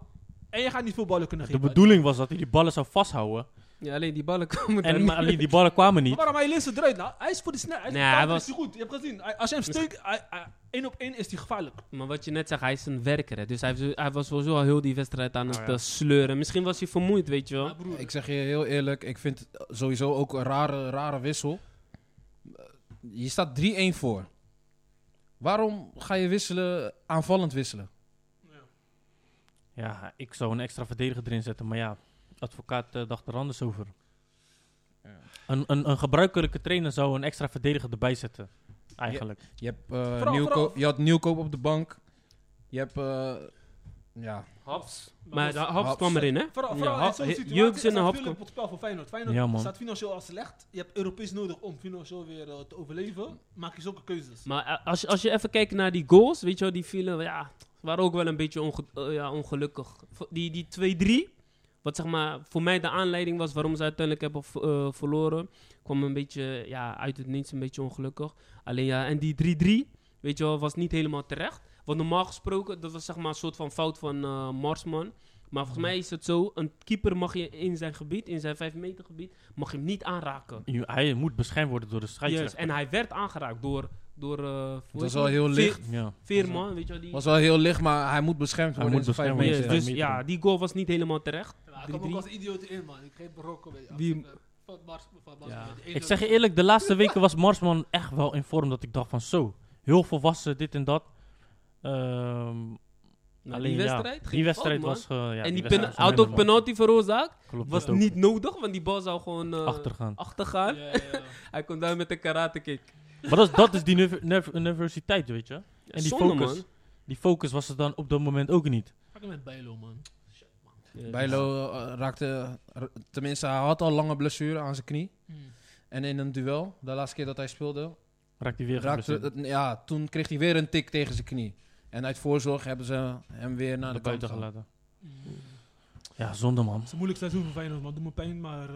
[SPEAKER 4] en je gaat niet veel ballen kunnen
[SPEAKER 5] De
[SPEAKER 4] geven.
[SPEAKER 5] bedoeling was dat hij die ballen zou vasthouden.
[SPEAKER 2] Ja, alleen die ballen komen daar
[SPEAKER 5] En,
[SPEAKER 2] niet
[SPEAKER 5] maar alleen die ballen kwamen
[SPEAKER 4] Maar
[SPEAKER 5] niet.
[SPEAKER 4] waarom hij links eruit? Nou, hij is voor de snelheid.
[SPEAKER 2] Nee,
[SPEAKER 4] Hij is,
[SPEAKER 2] hij
[SPEAKER 4] hij
[SPEAKER 2] was-
[SPEAKER 4] is hij goed. Je hebt gezien, hij- als je hem steekt, hij- hij- één op één is hij gevaarlijk.
[SPEAKER 2] Maar wat je net zegt, hij is een werker. Hè? Dus hij, heeft- hij was sowieso al heel die wedstrijd aan het
[SPEAKER 5] Oh ja.
[SPEAKER 2] eh, sleuren. Misschien was hij vermoeid, weet je wel.
[SPEAKER 4] Maar broer,
[SPEAKER 3] Ik zeg je heel eerlijk, ik vind het sowieso ook een rare, rare wissel. Eh, Je staat 3-1 voor. Waarom ga je wisselen, aanvallend wisselen?
[SPEAKER 5] Ja, ik zou een extra verdediger erin zetten. Maar ja, advocaat eh, dacht er anders over.
[SPEAKER 3] Ja.
[SPEAKER 5] Een, een, een gebruikelijke trainer zou een extra verdediger erbij zetten. Eigenlijk.
[SPEAKER 3] Je, hebt, eh, Nieuwko-
[SPEAKER 4] vooral-
[SPEAKER 3] je had Nieuwkoop op de bank. Je hebt... eh, ja,
[SPEAKER 2] Haps.
[SPEAKER 4] Dat
[SPEAKER 2] Maar
[SPEAKER 4] was-
[SPEAKER 2] de Haps
[SPEAKER 3] Haps.
[SPEAKER 2] kwam erin, hè?
[SPEAKER 4] Vooral,
[SPEAKER 2] Ja,
[SPEAKER 4] vooral in
[SPEAKER 2] Haps-
[SPEAKER 4] zo'n
[SPEAKER 2] He-
[SPEAKER 4] situatie
[SPEAKER 2] Jurgensen
[SPEAKER 4] is dat
[SPEAKER 2] en Haps
[SPEAKER 4] Philip op het spel voor Feyenoord. Feyenoord
[SPEAKER 5] Ja, man.
[SPEAKER 4] staat financieel al slecht. Je hebt Europees nodig om financieel weer eh, te overleven. Maak je zulke keuzes.
[SPEAKER 2] Maar eh, als, je- als je even kijkt naar die goals, weet je wel, die vielen, ja, waren ook wel een beetje onge- eh, ja, ongelukkig. Vo- Die, die 2-3, wat zeg maar voor mij de aanleiding was waarom ze uiteindelijk hebben v- eh, verloren, kwam een beetje, ja, uit het niets een beetje ongelukkig. Alleen ja, en die 3-3, weet je wel, was niet helemaal terecht. Want normaal gesproken, dat was zeg maar een soort van fout van eh, Marsman. Maar volgens mij is het zo, een keeper mag je in zijn gebied, in zijn 5 meter gebied, mag je hem niet aanraken.
[SPEAKER 5] Je- Hij moet beschermd worden door de
[SPEAKER 2] Juist,
[SPEAKER 5] scheidsrechter.
[SPEAKER 2] en hij werd aangeraakt door... door eh, hoe heet
[SPEAKER 3] het was
[SPEAKER 2] hij?
[SPEAKER 3] wel heel
[SPEAKER 2] Veer-
[SPEAKER 3] licht.
[SPEAKER 5] Ja.
[SPEAKER 2] Veerman, weet je wel, die...
[SPEAKER 3] was wel heel licht, maar hij moet beschermd
[SPEAKER 5] Hij
[SPEAKER 3] worden.
[SPEAKER 5] moet
[SPEAKER 3] in zijn vijf
[SPEAKER 5] beschermd
[SPEAKER 2] Ja,
[SPEAKER 5] worden.
[SPEAKER 3] meter.
[SPEAKER 2] dus
[SPEAKER 5] meter.
[SPEAKER 2] ja, die goal was niet helemaal terecht.
[SPEAKER 4] Ja, ik
[SPEAKER 2] Drie,
[SPEAKER 4] kom
[SPEAKER 2] drie.
[SPEAKER 4] ook als idioot in, man. Ik geef Marokko weer.
[SPEAKER 2] Wie-
[SPEAKER 4] Wie... Van Mars, van Mars,
[SPEAKER 2] Ja.
[SPEAKER 4] die ene-
[SPEAKER 5] Ik zeg je eerlijk, de laatste weken was Marsman echt wel in vorm. Dat ik dacht van zo, heel volwassen, dit en dat. Ehm,
[SPEAKER 2] Nou,
[SPEAKER 5] alleen
[SPEAKER 2] die
[SPEAKER 5] ja,
[SPEAKER 2] wedstrijd,
[SPEAKER 5] die
[SPEAKER 2] ging
[SPEAKER 5] wedstrijd
[SPEAKER 2] fout, man.
[SPEAKER 5] was... ge- ja,
[SPEAKER 2] en die
[SPEAKER 5] wedstrijd
[SPEAKER 2] pena-
[SPEAKER 5] was
[SPEAKER 2] had
[SPEAKER 5] minder,
[SPEAKER 2] ook
[SPEAKER 5] man.
[SPEAKER 2] penalty veroorzaakt.
[SPEAKER 5] Klopt,
[SPEAKER 2] Was
[SPEAKER 5] dat ook.
[SPEAKER 2] niet nodig, want die bal zou gewoon eh,
[SPEAKER 5] achtergaan.
[SPEAKER 2] achtergaan.
[SPEAKER 4] Ja, ja, ja.
[SPEAKER 2] Hij komt daar met een karate kick.
[SPEAKER 5] Maar dat is, dat is die nerv- nerv- nervositeit, weet je. En die
[SPEAKER 2] Zonde,
[SPEAKER 5] focus.
[SPEAKER 2] man.
[SPEAKER 5] Die focus was er dan op dat moment ook niet.
[SPEAKER 4] Pak hem met Bijlo, man.
[SPEAKER 3] Bijlo eh, raakte... ra- Tenminste, hij had al lange blessure aan zijn knie.
[SPEAKER 4] Hmm.
[SPEAKER 3] En in een duel, de laatste keer dat hij speelde,
[SPEAKER 5] Raakt hij weer
[SPEAKER 3] raakte,
[SPEAKER 5] geblesseerd.
[SPEAKER 3] het- ja, toen kreeg hij weer een tik tegen zijn knie. En uit voorzorg hebben ze hem weer naar de,
[SPEAKER 5] de
[SPEAKER 3] kant
[SPEAKER 5] buiten
[SPEAKER 3] gelaten.
[SPEAKER 5] gelaten.
[SPEAKER 4] Hmm.
[SPEAKER 5] Ja, zonde man.
[SPEAKER 4] Het is een moeilijk seizoen voor Feyenoord, man. Doe me pijn, maar eh,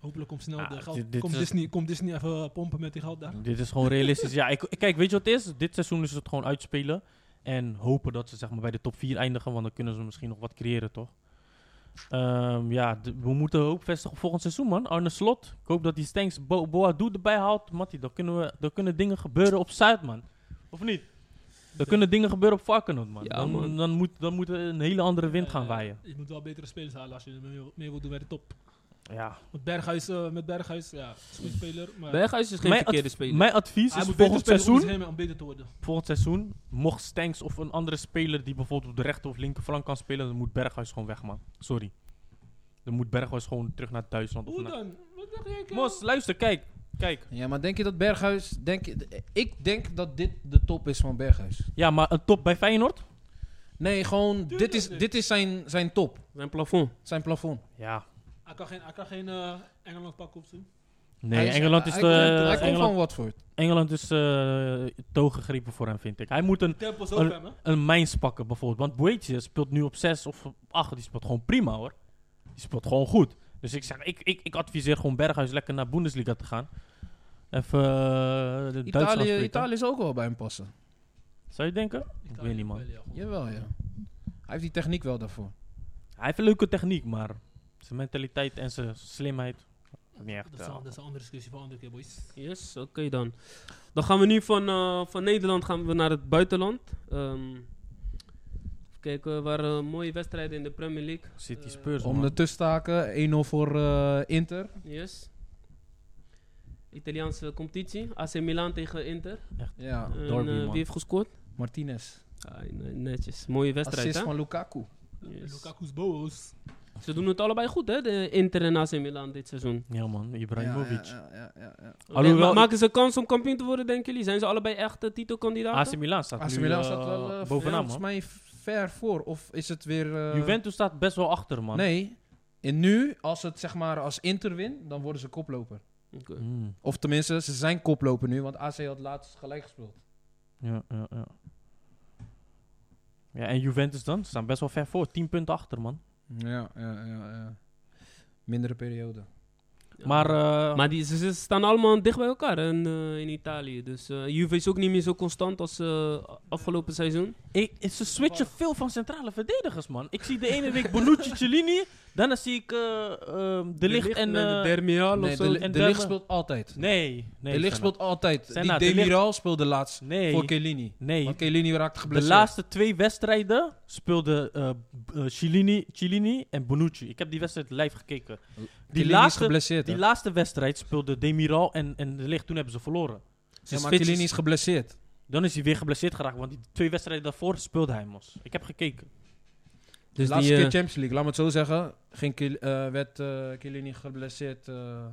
[SPEAKER 4] hopelijk komt snel
[SPEAKER 5] Ah,
[SPEAKER 4] de
[SPEAKER 5] dit-
[SPEAKER 4] geld.
[SPEAKER 5] dit
[SPEAKER 4] Komt
[SPEAKER 5] is-
[SPEAKER 4] Disney, komt Disney even eh, pompen met die geld daar?
[SPEAKER 5] Dit is gewoon realistisch. Ja, ik, kijk, weet je wat het is? Dit seizoen is het gewoon uitspelen. En hopen dat ze zeg maar, bij de top 4 eindigen. Want dan kunnen ze misschien nog wat creëren, toch? Ehm, ja, d- we moeten hoop vestigen op volgend seizoen, man. Arne Slot. Ik hoop dat die Stanks Bo Boadu erbij haalt. Matty, dan kunnen, we, dan kunnen dingen gebeuren op Zuid, man. Of niet? Dan kunnen dingen gebeuren op Varkenoord, man.
[SPEAKER 2] Ja,
[SPEAKER 5] dan,
[SPEAKER 2] man.
[SPEAKER 5] Dan, moet, dan moet er een hele andere wind gaan
[SPEAKER 4] Eh,
[SPEAKER 5] waaien.
[SPEAKER 4] Je moet wel betere spelers halen als je mee wil- mee wil doen bij de top.
[SPEAKER 5] Ja.
[SPEAKER 4] Met Berghuis, eh, met Berghuis ja, is een goede speler. Maar
[SPEAKER 2] Berghuis is geen
[SPEAKER 5] Mijn
[SPEAKER 2] verkeerde
[SPEAKER 5] adv-
[SPEAKER 2] speler.
[SPEAKER 5] Mijn advies
[SPEAKER 4] hij
[SPEAKER 5] is
[SPEAKER 4] moet
[SPEAKER 5] volgend
[SPEAKER 4] beter spelen om
[SPEAKER 5] seizoen...
[SPEAKER 4] zich heen om beter te worden.
[SPEAKER 5] volgend seizoen, mocht Stanks of een andere speler die bijvoorbeeld op de rechter of linkerflank kan spelen, dan moet Berghuis gewoon weg, man. Sorry. Dan moet Berghuis gewoon terug naar Duitsland. Of
[SPEAKER 4] Hoe
[SPEAKER 5] naar-
[SPEAKER 4] dan? Wat dacht jij? kerel?
[SPEAKER 5] Mos, luister, kijk. Kijk.
[SPEAKER 3] Ja, maar denk je dat Berghuis... Denk, je- ik denk dat dit de top is van Berghuis.
[SPEAKER 5] Ja, maar een top bij Feyenoord?
[SPEAKER 3] Nee, gewoon... Dit is,
[SPEAKER 4] niet.
[SPEAKER 3] dit is zijn, zijn top.
[SPEAKER 2] Zijn plafond.
[SPEAKER 3] Zijn plafond.
[SPEAKER 5] Ja.
[SPEAKER 4] Hij kan geen, hij kan geen eh, Engeland pakken of zo.
[SPEAKER 5] Nee,
[SPEAKER 3] Hij is-
[SPEAKER 5] Engeland is,
[SPEAKER 3] hij
[SPEAKER 5] de,
[SPEAKER 3] komt- Hij komt
[SPEAKER 5] Engeland,
[SPEAKER 3] van Watford.
[SPEAKER 5] Engeland is eh toegegrepen voor hem, vind ik. Hij moet een,
[SPEAKER 4] Tempo is
[SPEAKER 5] Oh,
[SPEAKER 4] ook bij me.
[SPEAKER 5] een mijns pakken, bijvoorbeeld. Want Boetje speelt nu op 6 of op 8. Die speelt gewoon prima, hoor. Die speelt gewoon goed. Dus ik zeg, ik, ik, ik adviseer gewoon Berghuis lekker naar Bundesliga te gaan. Even eh, de Duitsland
[SPEAKER 3] Italië,
[SPEAKER 5] spelen.
[SPEAKER 3] Italië zou ook wel bij hem passen.
[SPEAKER 5] Zou je denken?
[SPEAKER 4] Ik
[SPEAKER 5] weet niet, man.
[SPEAKER 3] Jawel, ja. Hij heeft die techniek wel daarvoor.
[SPEAKER 5] Hij heeft een leuke techniek, maar zijn mentaliteit en zijn slimheid. Niet echt.
[SPEAKER 4] Dat is,
[SPEAKER 5] eh,
[SPEAKER 4] een- dat is een andere discussie voor een andere keer, boys.
[SPEAKER 2] Yes, oké dan. Dan gaan we nu van, eh, van Nederland gaan we naar het buitenland. Ehm even kijken, waar waren mooie wedstrijden in de Premier League.
[SPEAKER 5] City
[SPEAKER 2] Eh,
[SPEAKER 5] Spurs.
[SPEAKER 3] Om
[SPEAKER 5] man.
[SPEAKER 3] de tussen 1-0 voor eh, Inter.
[SPEAKER 2] Yes. Italiaanse competitie. AC Milan tegen Inter.
[SPEAKER 3] Ja,
[SPEAKER 2] En,
[SPEAKER 5] Ah, Derby,
[SPEAKER 2] eh,
[SPEAKER 5] man.
[SPEAKER 2] wie heeft gescoord?
[SPEAKER 3] Martinez.
[SPEAKER 2] Ah, ne- netjes. Mooie wedstrijd,
[SPEAKER 3] Assist
[SPEAKER 2] hè?
[SPEAKER 3] van Lukaku.
[SPEAKER 2] Yes.
[SPEAKER 4] Lukaku's boos.
[SPEAKER 2] Ze doen het allebei goed, hè? De Inter en AC Milan dit seizoen.
[SPEAKER 5] Ja man, Ibrahimovic.
[SPEAKER 3] Ja, ja, ja, ja, ja.
[SPEAKER 5] Alhoewel-
[SPEAKER 2] Denk- ma- maken ze kans om kampioen te worden, denken jullie? Zijn ze allebei echte titelkandidaten?
[SPEAKER 5] AC Milan staat
[SPEAKER 3] AC
[SPEAKER 5] nu,
[SPEAKER 3] Milan
[SPEAKER 5] eh,
[SPEAKER 3] staat wel eh,
[SPEAKER 5] bovenaan
[SPEAKER 3] volgens
[SPEAKER 5] man.
[SPEAKER 3] mij ver voor. Of is het weer... eh,
[SPEAKER 5] Juventus staat best wel achter man.
[SPEAKER 3] Nee. En nu, als het zeg maar als Inter wint, dan worden ze koploper.
[SPEAKER 2] Oké.
[SPEAKER 5] Mm,
[SPEAKER 3] Of tenminste, ze zijn koploper nu, want AC had laatst gelijk gespeeld.
[SPEAKER 5] ja, ja, ja. Ja, en Juventus dan? Ze staan best wel ver voor. 10 punten achter man.
[SPEAKER 3] Ja, ja, ja. ja. Mindere periode.
[SPEAKER 2] Ja.
[SPEAKER 5] Maar, eh,
[SPEAKER 2] Maar die, ze, ze staan allemaal dicht bij elkaar hè, in, eh, in Italië. Dus eh, Juve is ook niet meer zo constant als eh, afgelopen seizoen.
[SPEAKER 5] ik, ze switchen veel van centrale verdedigers man. Ik zie de ene week Bonucci, Cellini. Daarna zie ik eh, ehm, De Ligt en... eh,
[SPEAKER 2] Dermial
[SPEAKER 3] Nee, de,
[SPEAKER 5] en
[SPEAKER 3] de
[SPEAKER 5] Demme.
[SPEAKER 3] Ligt speelt altijd.
[SPEAKER 5] nee, nee.
[SPEAKER 3] de Ligt
[SPEAKER 5] Senna.
[SPEAKER 3] speelt altijd.
[SPEAKER 5] Senna,
[SPEAKER 3] Die
[SPEAKER 5] De
[SPEAKER 3] De
[SPEAKER 5] Ligt-
[SPEAKER 3] Miral speelde laatst
[SPEAKER 5] Nee.
[SPEAKER 3] voor Kelini.
[SPEAKER 5] Nee,
[SPEAKER 3] Want Kelini raakte
[SPEAKER 5] De
[SPEAKER 3] geblesseerd.
[SPEAKER 5] laatste twee wedstrijden speelden eh, b- eh, Cellini, Cellini en Bonucci. Ik heb die wedstrijd live gekeken.
[SPEAKER 3] Chiellini is
[SPEAKER 5] laatste-
[SPEAKER 3] geblesseerd,
[SPEAKER 5] Die
[SPEAKER 3] hè?
[SPEAKER 5] laatste wedstrijd speelde Demiral en, en De Ligt. Toen hebben ze verloren.
[SPEAKER 2] Ze
[SPEAKER 3] Ja, maar
[SPEAKER 2] switchen-
[SPEAKER 3] Kelini is geblesseerd.
[SPEAKER 5] Dan is hij weer geblesseerd geraakt, want die twee wedstrijden daarvoor speelde hij mos. Ik heb gekeken.
[SPEAKER 2] Dus
[SPEAKER 3] laatste
[SPEAKER 2] die,
[SPEAKER 3] keer
[SPEAKER 2] eh,
[SPEAKER 3] Champions League, laat me het zo zeggen. Ging Kil- eh, werd eh Chiellini geblesseerd. eh,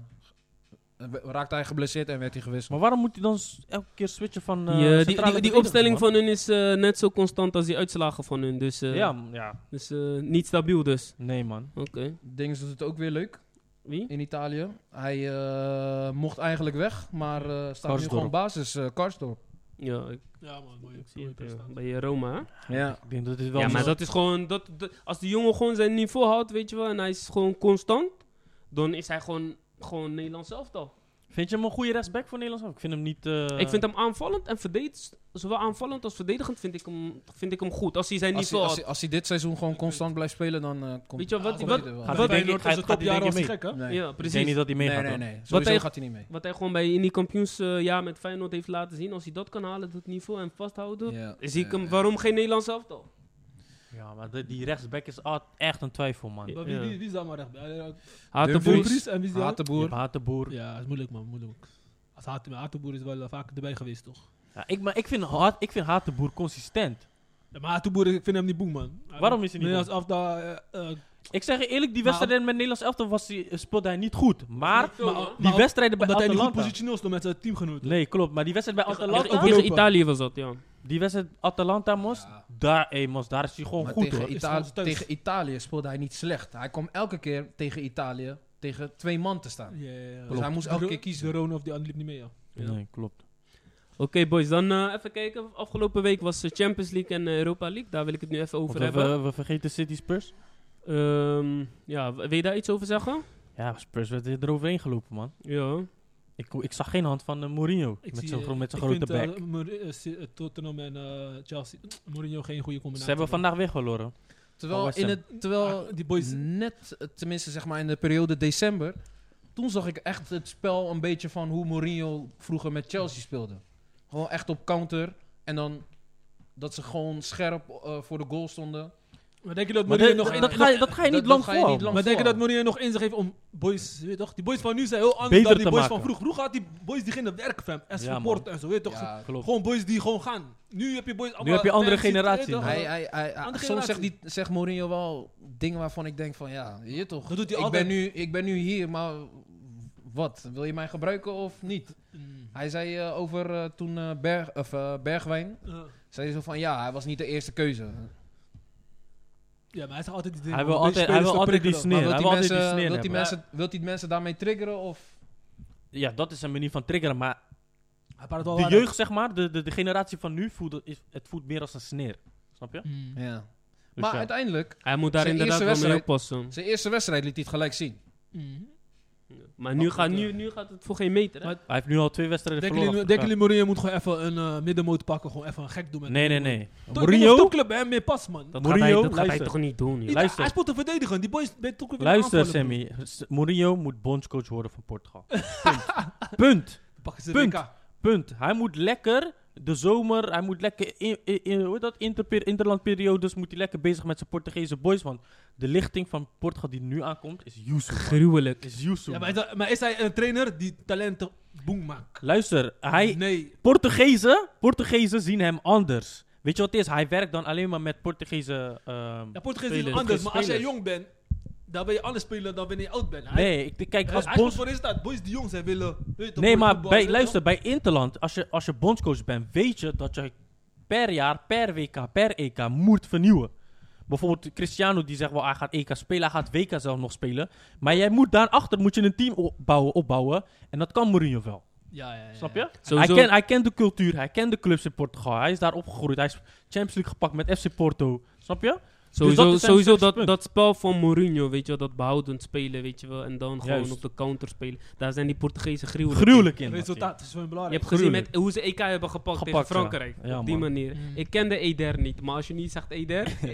[SPEAKER 3] eh, we- raakte hij geblesseerd en werd hij
[SPEAKER 5] Maar
[SPEAKER 3] gewisseld.
[SPEAKER 5] waarom moet hij dan s- elke keer switchen van... eh,
[SPEAKER 2] die, eh, die, die,
[SPEAKER 5] centrale
[SPEAKER 2] die
[SPEAKER 5] verdediger, man?
[SPEAKER 2] opstelling van hun is eh, net zo constant als die uitslagen van hun. Dus, eh,
[SPEAKER 5] Ja, m- ja,
[SPEAKER 2] dus eh, niet stabiel dus.
[SPEAKER 5] nee man.
[SPEAKER 2] Oké.
[SPEAKER 3] Dings doet het ook weer leuk
[SPEAKER 2] Wie?
[SPEAKER 3] in Italië. Hij eh, mocht eigenlijk weg, maar eh, staat nu
[SPEAKER 5] Karsdorp.
[SPEAKER 3] gewoon basis. eh Karsdorp.
[SPEAKER 2] Ja, ik,
[SPEAKER 4] Ja, man, mooie,
[SPEAKER 2] ik zie het.
[SPEAKER 4] mooie
[SPEAKER 2] ja.
[SPEAKER 4] prestatie.
[SPEAKER 2] Bij eh, Roma, hè?
[SPEAKER 3] Ja.
[SPEAKER 5] Ik denk dat dit wel...
[SPEAKER 2] ja, maar
[SPEAKER 5] zo-
[SPEAKER 2] dat is gewoon... Dat, dat- als die jongen gewoon zijn niveau houdt, weet je wel, en hij is gewoon constant, dan is hij gewoon, gewoon Nederlands elftal.
[SPEAKER 5] Vind je hem een goede rechtsback voor Nederlands? Ik vind hem niet... eh,
[SPEAKER 2] ik vind hem aanvallend en verdedigend, zowel aanvallend als verdedigend vind ik hem, vind ik hem goed. Als hij zijn
[SPEAKER 3] Als, hij,
[SPEAKER 2] niveau
[SPEAKER 3] als,
[SPEAKER 2] houdt.
[SPEAKER 3] hij, als hij dit seizoen gewoon constant blijft spelen, dan eh, komt
[SPEAKER 2] Weet je wat-
[SPEAKER 3] komt
[SPEAKER 2] wat-
[SPEAKER 3] hij er wel.
[SPEAKER 5] Gaat
[SPEAKER 4] Bij
[SPEAKER 5] hij denk
[SPEAKER 4] Feyenoord
[SPEAKER 5] ik- hij-
[SPEAKER 4] is het
[SPEAKER 5] gaat hij
[SPEAKER 4] topjaar
[SPEAKER 5] denk ik
[SPEAKER 4] was
[SPEAKER 5] mee?
[SPEAKER 4] gek, hè?
[SPEAKER 3] Nee.
[SPEAKER 2] Ja,
[SPEAKER 5] Ik
[SPEAKER 2] precies.
[SPEAKER 5] denk niet dat hij
[SPEAKER 3] nee,
[SPEAKER 5] meegaat.
[SPEAKER 3] nee,
[SPEAKER 5] hoor.
[SPEAKER 3] nee. Sowieso
[SPEAKER 2] hij-
[SPEAKER 3] gaat hij niet mee.
[SPEAKER 2] Wat hij gewoon bij in die kampioensjaar met Feyenoord heeft laten zien. Als hij dat kan halen, dat niveau en vasthouden.
[SPEAKER 3] Ja. eh,
[SPEAKER 2] Zie ik
[SPEAKER 3] Ja,
[SPEAKER 2] hem,
[SPEAKER 3] ja.
[SPEAKER 2] waarom geen Nederlands elftal?
[SPEAKER 5] Ja, maar de- die rechtsback is al- echt een twijfel, man.
[SPEAKER 2] Ja.
[SPEAKER 5] Je
[SPEAKER 4] Maar wie, wie, wie is daar maar recht bij? Allee,
[SPEAKER 3] Dumfries.
[SPEAKER 2] Hatenboer.
[SPEAKER 4] Dumfries en wie is die
[SPEAKER 3] Haat de
[SPEAKER 5] hebt
[SPEAKER 3] boer.
[SPEAKER 5] Hatenboer.
[SPEAKER 4] andere? Ja, dat is moeilijk, man, moeilijk. Als Haat- maar Hatenboer is wel eh, vaker erbij geweest, toch?
[SPEAKER 5] Ja, ik, maar ik vind, Haat- ik vind Hatenboer consistent.
[SPEAKER 4] Ja, maar Hatenboer, ik vind hem niet boem, man.
[SPEAKER 5] Waarom is hij niet
[SPEAKER 4] Nederlands afdaal... eh, eh,
[SPEAKER 5] Ik zeg je eerlijk, die
[SPEAKER 4] Maar-
[SPEAKER 5] wedstrijd met Nederlands elftal was, die- speelde hij niet goed. Maar
[SPEAKER 2] Zo, hè?
[SPEAKER 4] maar-
[SPEAKER 5] Oh, die
[SPEAKER 4] maar-
[SPEAKER 5] wedstrijden bij
[SPEAKER 4] Omdat hij niet goed
[SPEAKER 5] Atalanta...
[SPEAKER 4] positioneel stond met zijn teamgenoten.
[SPEAKER 5] Nee, klopt. Maar die wedstrijd bij
[SPEAKER 2] Tegen-
[SPEAKER 5] Atalanta...
[SPEAKER 2] Tegen
[SPEAKER 4] Europa.
[SPEAKER 2] Italië was dat, ja.
[SPEAKER 5] Die wedstrijd Atalanta, Mos.
[SPEAKER 3] Ja.
[SPEAKER 5] Daar, hé, Mos, daar is hij gewoon
[SPEAKER 3] Maar
[SPEAKER 5] goed,
[SPEAKER 3] tegen,
[SPEAKER 5] hoor.
[SPEAKER 4] Is
[SPEAKER 3] Ita-
[SPEAKER 4] gewoon thuis.
[SPEAKER 3] tegen Italië speelde hij niet slecht. Hij kwam elke keer tegen Italië tegen twee man te staan.
[SPEAKER 4] Ja, ja, ja.
[SPEAKER 3] Dus hij moest
[SPEAKER 4] De Ro-
[SPEAKER 3] elke keer kiezen.
[SPEAKER 4] De Rona of die andere liep niet mee, ja.
[SPEAKER 2] Ja.
[SPEAKER 5] Nee, klopt.
[SPEAKER 2] Oké boys, dan eh, even kijken. Afgelopen week was de Champions League en eh, Europa League. Daar wil ik het nu even over
[SPEAKER 5] Want we,
[SPEAKER 2] hebben.
[SPEAKER 5] we, we vergeten City Spurs.
[SPEAKER 2] Ehm, ja, w- wil je daar iets over zeggen?
[SPEAKER 5] Ja, Spurs werd er eroverheen gelopen, man.
[SPEAKER 2] Ja.
[SPEAKER 5] Ik, ik zag geen hand van eh, Mourinho.
[SPEAKER 4] Ik
[SPEAKER 5] met
[SPEAKER 4] zie,
[SPEAKER 5] zo'n gro-
[SPEAKER 4] eh,
[SPEAKER 5] met zo'n
[SPEAKER 4] ik
[SPEAKER 5] grote
[SPEAKER 4] vind, eh,
[SPEAKER 5] bek.
[SPEAKER 4] Mour- eh, Si- eh, Tottenham en eh, Chelsea. Mourinho geen goede combinatie.
[SPEAKER 5] Ze hebben vandaag weer verloren. Oh,
[SPEAKER 3] Terwijl,
[SPEAKER 5] West
[SPEAKER 3] in
[SPEAKER 5] Ham.
[SPEAKER 3] het, terwijl
[SPEAKER 4] Ah, die boys-
[SPEAKER 3] net, eh, tenminste zeg maar in de periode december, toen zag ik echt het spel een beetje van hoe Mourinho vroeger met Chelsea speelde. Gewoon echt op counter en dan dat ze gewoon scherp eh, voor de goal stonden.
[SPEAKER 4] Maar denk je dat
[SPEAKER 5] Maar
[SPEAKER 4] Mourinho
[SPEAKER 5] dat-
[SPEAKER 4] nog
[SPEAKER 5] dat,
[SPEAKER 4] in-
[SPEAKER 5] dat ga je, dat ga je
[SPEAKER 3] dat-
[SPEAKER 5] niet
[SPEAKER 3] dat
[SPEAKER 5] lang
[SPEAKER 3] ga je niet
[SPEAKER 5] voor.
[SPEAKER 3] lang-
[SPEAKER 4] Maar denk je
[SPEAKER 3] voor.
[SPEAKER 4] dat Mourinho nog inzicht heeft om boys, weet je toch? Die boys van nu zijn heel anders
[SPEAKER 5] Beter
[SPEAKER 4] dan die
[SPEAKER 5] te
[SPEAKER 4] boys
[SPEAKER 5] maken.
[SPEAKER 4] van vroeg. Vroeger had die boys die gingen werken van hem en
[SPEAKER 5] Ja,
[SPEAKER 4] support en zo, weet je toch?
[SPEAKER 3] Ja,
[SPEAKER 5] Klopt.
[SPEAKER 4] Gewoon boys die gewoon gaan. Nu heb je boys allemaal...
[SPEAKER 5] heb je andere
[SPEAKER 4] fans,
[SPEAKER 5] generatie,
[SPEAKER 4] weet je toch?
[SPEAKER 5] man.
[SPEAKER 3] hij, hij, hij, hij-
[SPEAKER 4] Andere
[SPEAKER 3] soms zegt,
[SPEAKER 4] generatie.
[SPEAKER 3] die, zegt Mourinho wel dingen waarvan ik denk van ja, je toch.
[SPEAKER 4] Dat doet hij
[SPEAKER 3] ik,
[SPEAKER 4] altijd.
[SPEAKER 3] ben nu, ik ben nu hier, maar wat? Wil je mij gebruiken of niet?
[SPEAKER 4] Mm.
[SPEAKER 3] Hij zei eh, over eh, toen eh, Berg, of, eh, Bergwijn,
[SPEAKER 4] Eh,
[SPEAKER 3] zei zo van ja, hij was niet de eerste keuze.
[SPEAKER 4] ja, maar hij zegt altijd die dingen.
[SPEAKER 5] Hij wil
[SPEAKER 4] om deze
[SPEAKER 5] altijd- hij wil
[SPEAKER 4] spelers te
[SPEAKER 5] altijd die
[SPEAKER 4] prikkelen.
[SPEAKER 5] sneer.
[SPEAKER 3] Maar wilt
[SPEAKER 5] hij
[SPEAKER 3] die
[SPEAKER 5] wil altijd
[SPEAKER 3] mensen,
[SPEAKER 5] die sneer
[SPEAKER 3] wilt die
[SPEAKER 5] hebben.
[SPEAKER 3] mensen, wilt die mensen daarmee triggeren? Of?
[SPEAKER 5] Ja, dat is een manier van triggeren. Maar
[SPEAKER 4] Hij praat wel
[SPEAKER 5] de
[SPEAKER 4] waar.
[SPEAKER 5] jeugd, zeg maar, de, de, de generatie van nu, voelt, het- is, het voelt meer als een sneer. Snap je?
[SPEAKER 4] Mm.
[SPEAKER 3] Ja.
[SPEAKER 5] Dus
[SPEAKER 3] Maar
[SPEAKER 5] ja.
[SPEAKER 3] uiteindelijk,
[SPEAKER 2] Hij moet daar
[SPEAKER 3] Zijn
[SPEAKER 2] inderdaad
[SPEAKER 3] eerste
[SPEAKER 2] wel mee
[SPEAKER 3] wedstrijd-
[SPEAKER 2] oppassen.
[SPEAKER 3] zijn eerste wedstrijd liet hij het gelijk zien.
[SPEAKER 4] Mm.
[SPEAKER 2] Maar nu, gaat, nu, nu gaat het voor geen meter, hè?
[SPEAKER 4] Maar-
[SPEAKER 5] Hij heeft nu al twee wedstrijden
[SPEAKER 4] Denken
[SPEAKER 5] verloren.
[SPEAKER 4] jullie,
[SPEAKER 5] achter
[SPEAKER 4] denken jullie Mourinho moet gewoon even een eh, middenmoot pakken, gewoon even een gek doen met
[SPEAKER 5] elkaar. Nee, nee, nee.
[SPEAKER 4] Toch, ik denk dat
[SPEAKER 5] Mourinho,
[SPEAKER 4] topclub bij hem meer past, man.
[SPEAKER 5] dat gaat
[SPEAKER 2] Mourinho,
[SPEAKER 5] hij,
[SPEAKER 2] dat
[SPEAKER 5] dat
[SPEAKER 2] gaat
[SPEAKER 5] gaat
[SPEAKER 2] hij toch niet doen, joh?
[SPEAKER 4] Niet-
[SPEAKER 5] luister.
[SPEAKER 4] Hij speelt te verdedigen. Die boys bij Tokyo kunnen
[SPEAKER 5] Luister,
[SPEAKER 4] aanvallen, broer.
[SPEAKER 5] Sammy. S- Mourinho moet bondscoach worden van Portugal. Punt. Punt.
[SPEAKER 4] Pakken ze
[SPEAKER 5] Punt.
[SPEAKER 4] WK.
[SPEAKER 5] Punt. Hij moet lekker de zomer, hij moet lekker in, in, in- hoe heet dat interper, interlandperiodes moet hij lekker bezig met zijn Portugese boys, want de lichting van Portugal die nu aankomt is Yusuf. man.
[SPEAKER 2] Gruwelijk.
[SPEAKER 5] Is Yusuf.
[SPEAKER 4] Ja, maar,
[SPEAKER 5] man.
[SPEAKER 4] is dat- maar is hij een trainer die talenten boem maakt?
[SPEAKER 5] Luister, hij
[SPEAKER 4] Nee.
[SPEAKER 5] Portugezen, Portugezen zien hem anders. Weet je wat het is? Hij werkt dan alleen maar met Portugese. ehm,
[SPEAKER 4] Ja, Portugees is
[SPEAKER 5] Spelers.
[SPEAKER 4] anders, maar als jij
[SPEAKER 5] Spelers.
[SPEAKER 4] jong bent, dan ben je anders spelen dan wanneer je oud bent. Hij-
[SPEAKER 5] nee, ik ik kijk
[SPEAKER 4] hij-
[SPEAKER 5] als
[SPEAKER 4] hij
[SPEAKER 5] bonds.
[SPEAKER 4] komt voor de staat. Boys die jong zijn willen. Weet eh, je, toch,
[SPEAKER 5] Nee,
[SPEAKER 4] mooi
[SPEAKER 5] maar
[SPEAKER 4] voetbal,
[SPEAKER 5] bij,
[SPEAKER 4] weet je
[SPEAKER 5] luister, bij Interland, als je, als je bondscoach bent, weet je dat je per jaar, per WK, per EK moet vernieuwen. Bijvoorbeeld Cristiano die zegt wel, hij gaat EK spelen, hij gaat WK zelf nog spelen. Maar jij moet daarachter moet je een team opbouwen, opbouwen. En dat kan Mourinho wel.
[SPEAKER 4] toch? Ja, ja, ja, ja.
[SPEAKER 5] Snap je?
[SPEAKER 2] Sowieso-
[SPEAKER 5] Hij, kent- hij kent de cultuur, hij kent de clubs in Portugal. Hij is daar opgegroeid. Hij is Champions League gepakt met FC Porto. Snap je?
[SPEAKER 2] Sowieso,
[SPEAKER 5] dus dat is zijn
[SPEAKER 2] sowieso
[SPEAKER 5] sterkste punt.
[SPEAKER 2] dat, dat spel van Mourinho, weet je wel, dat behoudend spelen, weet je wel, en dan gewoon
[SPEAKER 5] Juist.
[SPEAKER 2] op de counter spelen. Daar zijn die Portugezen gruwelijk. in.
[SPEAKER 5] Gruwelijk in.
[SPEAKER 4] Resultaat is wel
[SPEAKER 2] Je
[SPEAKER 4] belangrijk.
[SPEAKER 2] hebt gezien
[SPEAKER 5] gruwelijk.
[SPEAKER 2] met hoe ze EK hebben gepakt,
[SPEAKER 5] Gepakt,
[SPEAKER 2] tegen Frankrijk.
[SPEAKER 5] ja. Ja,
[SPEAKER 2] op die
[SPEAKER 5] man.
[SPEAKER 2] manier.
[SPEAKER 4] Mm.
[SPEAKER 2] Ik kende Eder niet, maar als je niet zegt Eder,
[SPEAKER 5] Hij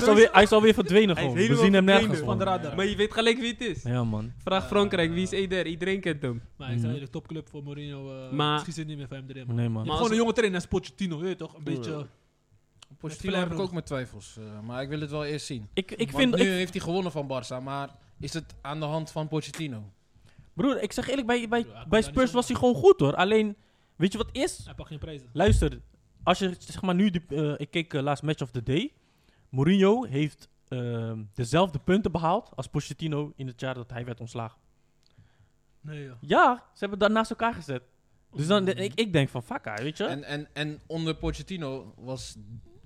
[SPEAKER 5] is, alweer, hij is alweer verdwenen
[SPEAKER 2] Hij is
[SPEAKER 5] gewoon. We
[SPEAKER 2] helemaal
[SPEAKER 5] zien hem nergens.
[SPEAKER 2] verdwenen.
[SPEAKER 4] Van de
[SPEAKER 5] man.
[SPEAKER 4] radar.
[SPEAKER 2] maar je weet gelijk wie het is.
[SPEAKER 5] Ja man.
[SPEAKER 2] Vraag
[SPEAKER 4] Ja.
[SPEAKER 2] Frankrijk, wie is Eder? Iedereen kent hem.
[SPEAKER 4] Maar ik zei
[SPEAKER 5] Mhm.
[SPEAKER 4] eerlijk, topclub voor Mourinho. eh
[SPEAKER 2] Maar-
[SPEAKER 4] Misschien zit niet meer van hem erin. man.
[SPEAKER 5] Nee man.
[SPEAKER 2] Maar
[SPEAKER 4] Gewoon
[SPEAKER 2] als-
[SPEAKER 4] een jonge trainer als Pochettino, weet je toch? Een beetje...
[SPEAKER 3] Pochettino
[SPEAKER 4] Met
[SPEAKER 3] heb ik
[SPEAKER 4] Flair
[SPEAKER 3] ook mijn twijfels. eh, maar ik wil het wel eerst zien.
[SPEAKER 5] Ik, ik
[SPEAKER 3] Want
[SPEAKER 5] vind,
[SPEAKER 3] nu
[SPEAKER 5] ik-
[SPEAKER 3] heeft hij gewonnen van Barça, maar is het aan de hand van Pochettino?
[SPEAKER 5] Broer, ik zeg eerlijk, bij, bij,
[SPEAKER 4] Broer, hij komt daar
[SPEAKER 5] bij
[SPEAKER 4] niet
[SPEAKER 5] Spurs
[SPEAKER 4] zomaar.
[SPEAKER 5] was hij gewoon goed hoor. Alleen, weet je wat is?
[SPEAKER 4] Hij pakt geen prijzen.
[SPEAKER 5] eh, Luister, als je zeg maar nu, die, eh, ik keek eh, laatst Match of the Day. Mourinho heeft ehm, dezelfde punten behaald als Pochettino in het jaar dat hij werd ontslagen.
[SPEAKER 4] Nee, joh.
[SPEAKER 5] Ja, ze hebben dat naast elkaar gezet. Dus dan,
[SPEAKER 4] Mhm.
[SPEAKER 5] ik, ik denk van, fuck, haar, weet je?
[SPEAKER 3] En, en, en onder Pochettino was...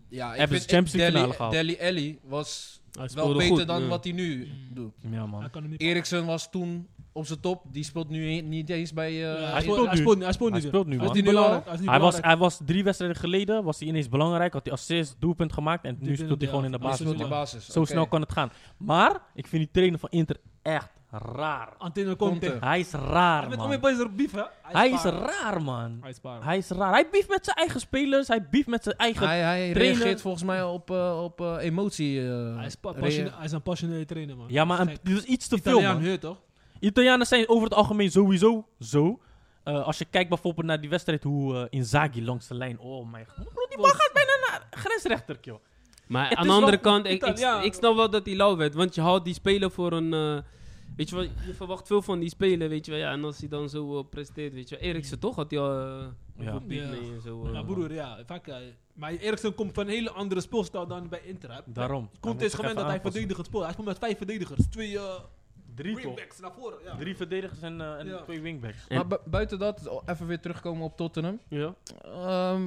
[SPEAKER 3] Ja, ik
[SPEAKER 5] Hebben
[SPEAKER 3] vind-
[SPEAKER 5] ze Champions League finale
[SPEAKER 3] Dele-
[SPEAKER 5] gehaald.
[SPEAKER 3] Dele Alli was
[SPEAKER 2] Hij
[SPEAKER 3] wel
[SPEAKER 2] speelde
[SPEAKER 3] beter
[SPEAKER 2] goed,
[SPEAKER 3] dan
[SPEAKER 2] ja.
[SPEAKER 3] wat hij nu
[SPEAKER 4] Mm.
[SPEAKER 3] doet.
[SPEAKER 5] ja, man.
[SPEAKER 4] Hij kan hem niet.
[SPEAKER 3] Eriksen was toen op zijn top. Die speelt nu niet eens bij... eh,
[SPEAKER 4] Ja,
[SPEAKER 5] hij
[SPEAKER 4] hij,
[SPEAKER 5] speelt
[SPEAKER 4] speelt, hij
[SPEAKER 5] nu.
[SPEAKER 4] speelt niet. Hij speelt
[SPEAKER 5] Hij
[SPEAKER 4] niet.
[SPEAKER 5] speelt nu,
[SPEAKER 4] Hij is
[SPEAKER 5] man.
[SPEAKER 4] niet
[SPEAKER 3] Hij
[SPEAKER 4] belangrijk. Hij is niet
[SPEAKER 5] Hij was,
[SPEAKER 4] belangrijk.
[SPEAKER 5] hij was drie wedstrijden geleden, was hij ineens belangrijk, had hij assist, doelpunt gemaakt en
[SPEAKER 4] Dit
[SPEAKER 5] nu
[SPEAKER 4] in
[SPEAKER 5] speelt
[SPEAKER 4] de-
[SPEAKER 5] hij gewoon in de
[SPEAKER 4] ja,
[SPEAKER 3] hij
[SPEAKER 5] basis.
[SPEAKER 3] speelt in de
[SPEAKER 5] man.
[SPEAKER 3] basis.
[SPEAKER 5] Zo
[SPEAKER 3] Oké.
[SPEAKER 5] snel kan het gaan. Maar, ik vind die trainer van Inter echt raar.
[SPEAKER 4] Antonio Conte.
[SPEAKER 3] Conte.
[SPEAKER 5] Hij is
[SPEAKER 4] Hij
[SPEAKER 5] raar,
[SPEAKER 4] met
[SPEAKER 5] man.
[SPEAKER 4] Omid Boys er beef, hè?
[SPEAKER 5] Hij is
[SPEAKER 4] spaar.
[SPEAKER 5] raar, man.
[SPEAKER 4] Hij is spaar.
[SPEAKER 5] Hij is raar. Hij beeft met zijn eigen spelers, hij beeft met zijn eigen...
[SPEAKER 3] Hij, hij
[SPEAKER 5] trainen.
[SPEAKER 3] reageert volgens mij op, eh, op eh, emotie. eh,
[SPEAKER 4] Hij is, pa-
[SPEAKER 3] rea-
[SPEAKER 4] passione- hij is een passionele trainer, man.
[SPEAKER 5] Ja, maar een-
[SPEAKER 4] Gek.
[SPEAKER 5] dit is iets te veel,
[SPEAKER 4] Italiaan,
[SPEAKER 5] man.
[SPEAKER 4] heurt toch?
[SPEAKER 5] Italianen zijn over het algemeen sowieso zo. Eh, als je kijkt bijvoorbeeld naar die wedstrijd, hoe eh, Inzaghi langs de lijn... Oh mijn god, Bro, die bal gaat bijna naar grensrechter, joh.
[SPEAKER 2] Maar
[SPEAKER 5] Het
[SPEAKER 2] aan
[SPEAKER 5] is
[SPEAKER 2] de andere
[SPEAKER 5] wel
[SPEAKER 2] kant, ik, ik,
[SPEAKER 4] Italiaan.
[SPEAKER 2] ik snap wel dat hij lauw werd. Want je houdt die speler voor een... eh, weet je wel, je verwacht veel van die speler, weet je wel. Ja, en als hij dan zo eh, presteert, weet je wel. Eriksen toch had hij al eh,
[SPEAKER 5] Ja.
[SPEAKER 2] veel beat
[SPEAKER 4] Ja.
[SPEAKER 2] mee en zo. eh.
[SPEAKER 4] Ja, broer, ja. Vaak, ja. Maar Eriksen komt van een hele andere speelstijl dan bij Inter. hè.
[SPEAKER 5] Daarom. Dan moet
[SPEAKER 4] Conte is
[SPEAKER 5] ik
[SPEAKER 4] gewend
[SPEAKER 5] even
[SPEAKER 4] dat hij
[SPEAKER 5] aanpassen.
[SPEAKER 4] verdedigend speelt. Hij speelt met vijf verdedigers. Twee eh
[SPEAKER 5] Drie toch?
[SPEAKER 4] wingbacks naar voren. Ja.
[SPEAKER 5] Drie verdedigers en, eh, en
[SPEAKER 4] Ja.
[SPEAKER 5] twee wingbacks.
[SPEAKER 2] En-
[SPEAKER 3] Maar bu- buiten dat, oh, even weer terugkomen op Tottenham.
[SPEAKER 2] Ja.
[SPEAKER 3] Ehm,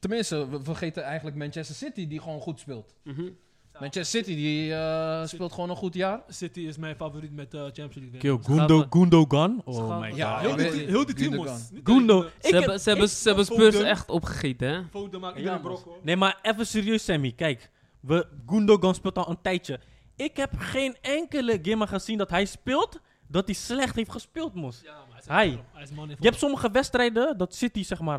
[SPEAKER 3] tenminste, we vergeten eigenlijk Manchester City die gewoon goed speelt.
[SPEAKER 2] Mhm.
[SPEAKER 3] Manchester City die eh, speelt gewoon een goed jaar.
[SPEAKER 4] City is mijn favoriet met eh, Champions League. winnen.
[SPEAKER 5] Kyo,
[SPEAKER 2] Gundo-
[SPEAKER 5] Gundogan.
[SPEAKER 2] Oh my god.
[SPEAKER 3] Ja,
[SPEAKER 4] Heel
[SPEAKER 3] ik
[SPEAKER 4] die,
[SPEAKER 3] weet-
[SPEAKER 4] team- heel die team,
[SPEAKER 3] Gundogan.
[SPEAKER 4] was. Niet
[SPEAKER 5] Gundo.
[SPEAKER 4] alleen, eh,
[SPEAKER 2] Ze hebben, ze hebben, ze hebben Spurs
[SPEAKER 4] Foden.
[SPEAKER 2] echt opgegeten, hè?
[SPEAKER 4] Foden maakt
[SPEAKER 5] Ja,
[SPEAKER 4] iedereen
[SPEAKER 5] man.
[SPEAKER 4] brok, hoor.
[SPEAKER 5] Nee, maar even serieus, Sammy. Kijk, we, Gundogan speelt al een tijdje. Ik heb geen enkele gamer gezien dat hij speelt, dat hij slecht heeft gespeeld, mos.
[SPEAKER 4] Ja, maar hij is
[SPEAKER 5] Hij.
[SPEAKER 4] man voor- Hij is man
[SPEAKER 5] Je hebt sommige wedstrijden dat City, zeg maar,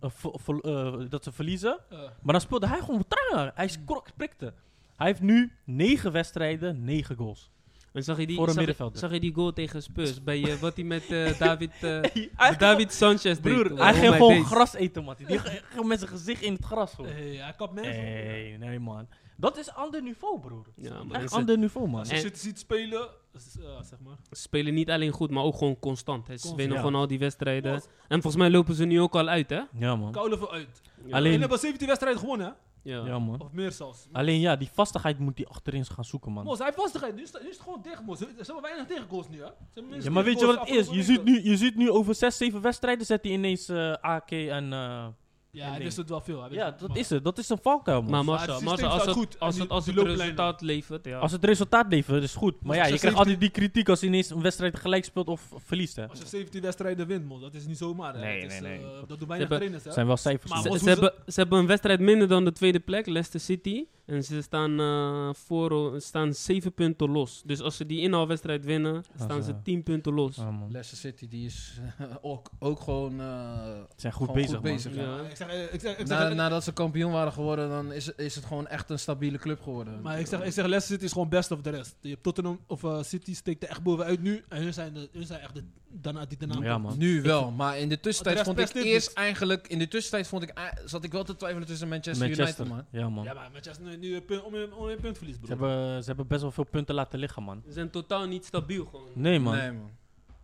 [SPEAKER 5] eh, vo- vo- eh, dat ze verliezen. Maar dan speelde hij gewoon trager. Hij skrok- prikte. Hij heeft nu negen wedstrijden, negen goals.
[SPEAKER 2] En zag je die,
[SPEAKER 5] Voor een
[SPEAKER 2] zag je,
[SPEAKER 5] middenvelder.
[SPEAKER 2] zag je die goal tegen Spurs? Bij eh, wat hij met eh, David, eh,
[SPEAKER 5] Hij
[SPEAKER 2] David Sanchez deed.
[SPEAKER 5] Broer,
[SPEAKER 2] Oh
[SPEAKER 5] hij ging
[SPEAKER 2] my
[SPEAKER 5] gewoon
[SPEAKER 2] days.
[SPEAKER 5] gras eten, man. Die ging gewoon met zijn gezicht in het gras. Gewoon.
[SPEAKER 4] eh, Hij kapt mensen.
[SPEAKER 5] Nee, nee, man. Dat is ander niveau, broer.
[SPEAKER 2] Ja, maar
[SPEAKER 5] Echt
[SPEAKER 2] ze
[SPEAKER 5] ander niveau, man.
[SPEAKER 4] Als je
[SPEAKER 2] En-
[SPEAKER 4] City ziet spelen, dat is, eh, zeg maar.
[SPEAKER 2] ze spelen niet alleen goed, maar ook gewoon constant. hè. Ze
[SPEAKER 4] Constant.
[SPEAKER 2] winnen
[SPEAKER 5] Ja.
[SPEAKER 2] gewoon al die wedstrijden. En volgens mij lopen ze nu ook al uit, hè?
[SPEAKER 5] Ja, man.
[SPEAKER 4] Koude voor uit. En
[SPEAKER 5] Alleen,
[SPEAKER 4] hebben 17 wedstrijden gewonnen, hè?
[SPEAKER 2] Ja.
[SPEAKER 5] ja, man.
[SPEAKER 4] Of meer zelfs.
[SPEAKER 5] Alleen ja, die vastigheid moet hij achterin gaan zoeken, man.
[SPEAKER 4] Mos, hij heeft vastigheid. Nu is, nu is het gewoon dicht, Mos. Ze ze hebben weinig tegengoals nu, hè? Ze hebben minstens
[SPEAKER 5] Ja, maar weet je wat
[SPEAKER 4] tegengoals
[SPEAKER 5] het is? Je
[SPEAKER 4] afgelopen
[SPEAKER 5] ziet nu,
[SPEAKER 4] weken.
[SPEAKER 5] je ziet nu over 6, 7 wedstrijden zet hij ineens eh, AK en... eh,
[SPEAKER 4] Ja, hij
[SPEAKER 5] Nee.
[SPEAKER 4] wist het wel veel. hij wist
[SPEAKER 5] ja,
[SPEAKER 4] het,
[SPEAKER 5] dat
[SPEAKER 4] maar-
[SPEAKER 5] is het. Dat is een valkuil, man.
[SPEAKER 2] Maar
[SPEAKER 4] Maar
[SPEAKER 2] Marcel,
[SPEAKER 4] het
[SPEAKER 2] Marcel,
[SPEAKER 4] systeem
[SPEAKER 2] als het,
[SPEAKER 4] staat
[SPEAKER 2] goed,
[SPEAKER 4] goed
[SPEAKER 2] als
[SPEAKER 4] en
[SPEAKER 2] het,
[SPEAKER 4] die-
[SPEAKER 2] als
[SPEAKER 4] die
[SPEAKER 2] het
[SPEAKER 4] looplijnen.
[SPEAKER 2] resultaat levert, ja.
[SPEAKER 5] Als het resultaat levert, is goed. Maar
[SPEAKER 4] Als
[SPEAKER 5] ja,
[SPEAKER 4] je
[SPEAKER 5] je krijgt
[SPEAKER 4] 17
[SPEAKER 5] altijd die kritiek als hij ineens een wedstrijd gelijk speelt of of verliest, hè.
[SPEAKER 4] Als je 17 wedstrijden wint, man, dat is niet zomaar. Hè.
[SPEAKER 5] Nee,
[SPEAKER 4] dat is,
[SPEAKER 5] nee,
[SPEAKER 4] eh,
[SPEAKER 5] nee.
[SPEAKER 4] dat doen weinig
[SPEAKER 2] hebben-
[SPEAKER 4] trainers, hè?
[SPEAKER 5] zijn wel cijfers. man.
[SPEAKER 4] Maar
[SPEAKER 2] ze,
[SPEAKER 4] hoe
[SPEAKER 2] ze
[SPEAKER 4] ze-
[SPEAKER 2] hebben, ze hebben een wedstrijd minder dan de tweede plek, Leicester City. En ze staan, eh, voor, eh, staan zeven punten los. Dus als ze die inhaalwedstrijd winnen, staan
[SPEAKER 5] ze-
[SPEAKER 2] ze tien punten los.
[SPEAKER 5] Ja, man.
[SPEAKER 3] Leicester City die is eh, ook, ook gewoon... eh,
[SPEAKER 5] Ze zijn goed
[SPEAKER 3] Gewoon
[SPEAKER 5] bezig,
[SPEAKER 3] goed
[SPEAKER 5] man.
[SPEAKER 3] bezig.
[SPEAKER 2] Ja.
[SPEAKER 4] Ik zeg, eh, ik zeg, ik zeg,
[SPEAKER 3] na, nadat ze kampioen waren geworden, dan is, is het gewoon echt een stabiele club geworden.
[SPEAKER 4] maar ik zeg, ik zeg, Leicester City is gewoon best of de rest. Je hebt Tottenham of eh, City steekt er echt bovenuit nu. En hun zijn, de, hun zijn echt de, daarna, die daarna.
[SPEAKER 5] Ja, man.
[SPEAKER 3] Nu wel, maar in de tussentijd
[SPEAKER 4] Want de
[SPEAKER 3] vond
[SPEAKER 4] rest
[SPEAKER 3] ik
[SPEAKER 4] presteert
[SPEAKER 3] eerst eigenlijk... In de tussentijd vond ik, ei- zat ik wel te twijfelen tussen Manchester,
[SPEAKER 5] Manchester.
[SPEAKER 3] United, man.
[SPEAKER 5] Ja, man.
[SPEAKER 4] Ja, maar Manchester nu, nu een punt- om een, om een punt verlies,
[SPEAKER 5] Ze
[SPEAKER 4] broer.
[SPEAKER 5] hebben, ze hebben best wel veel punten laten liggen, man.
[SPEAKER 2] Ze zijn totaal niet stabiel gewoon.
[SPEAKER 5] Nee, man.
[SPEAKER 3] Nee, man.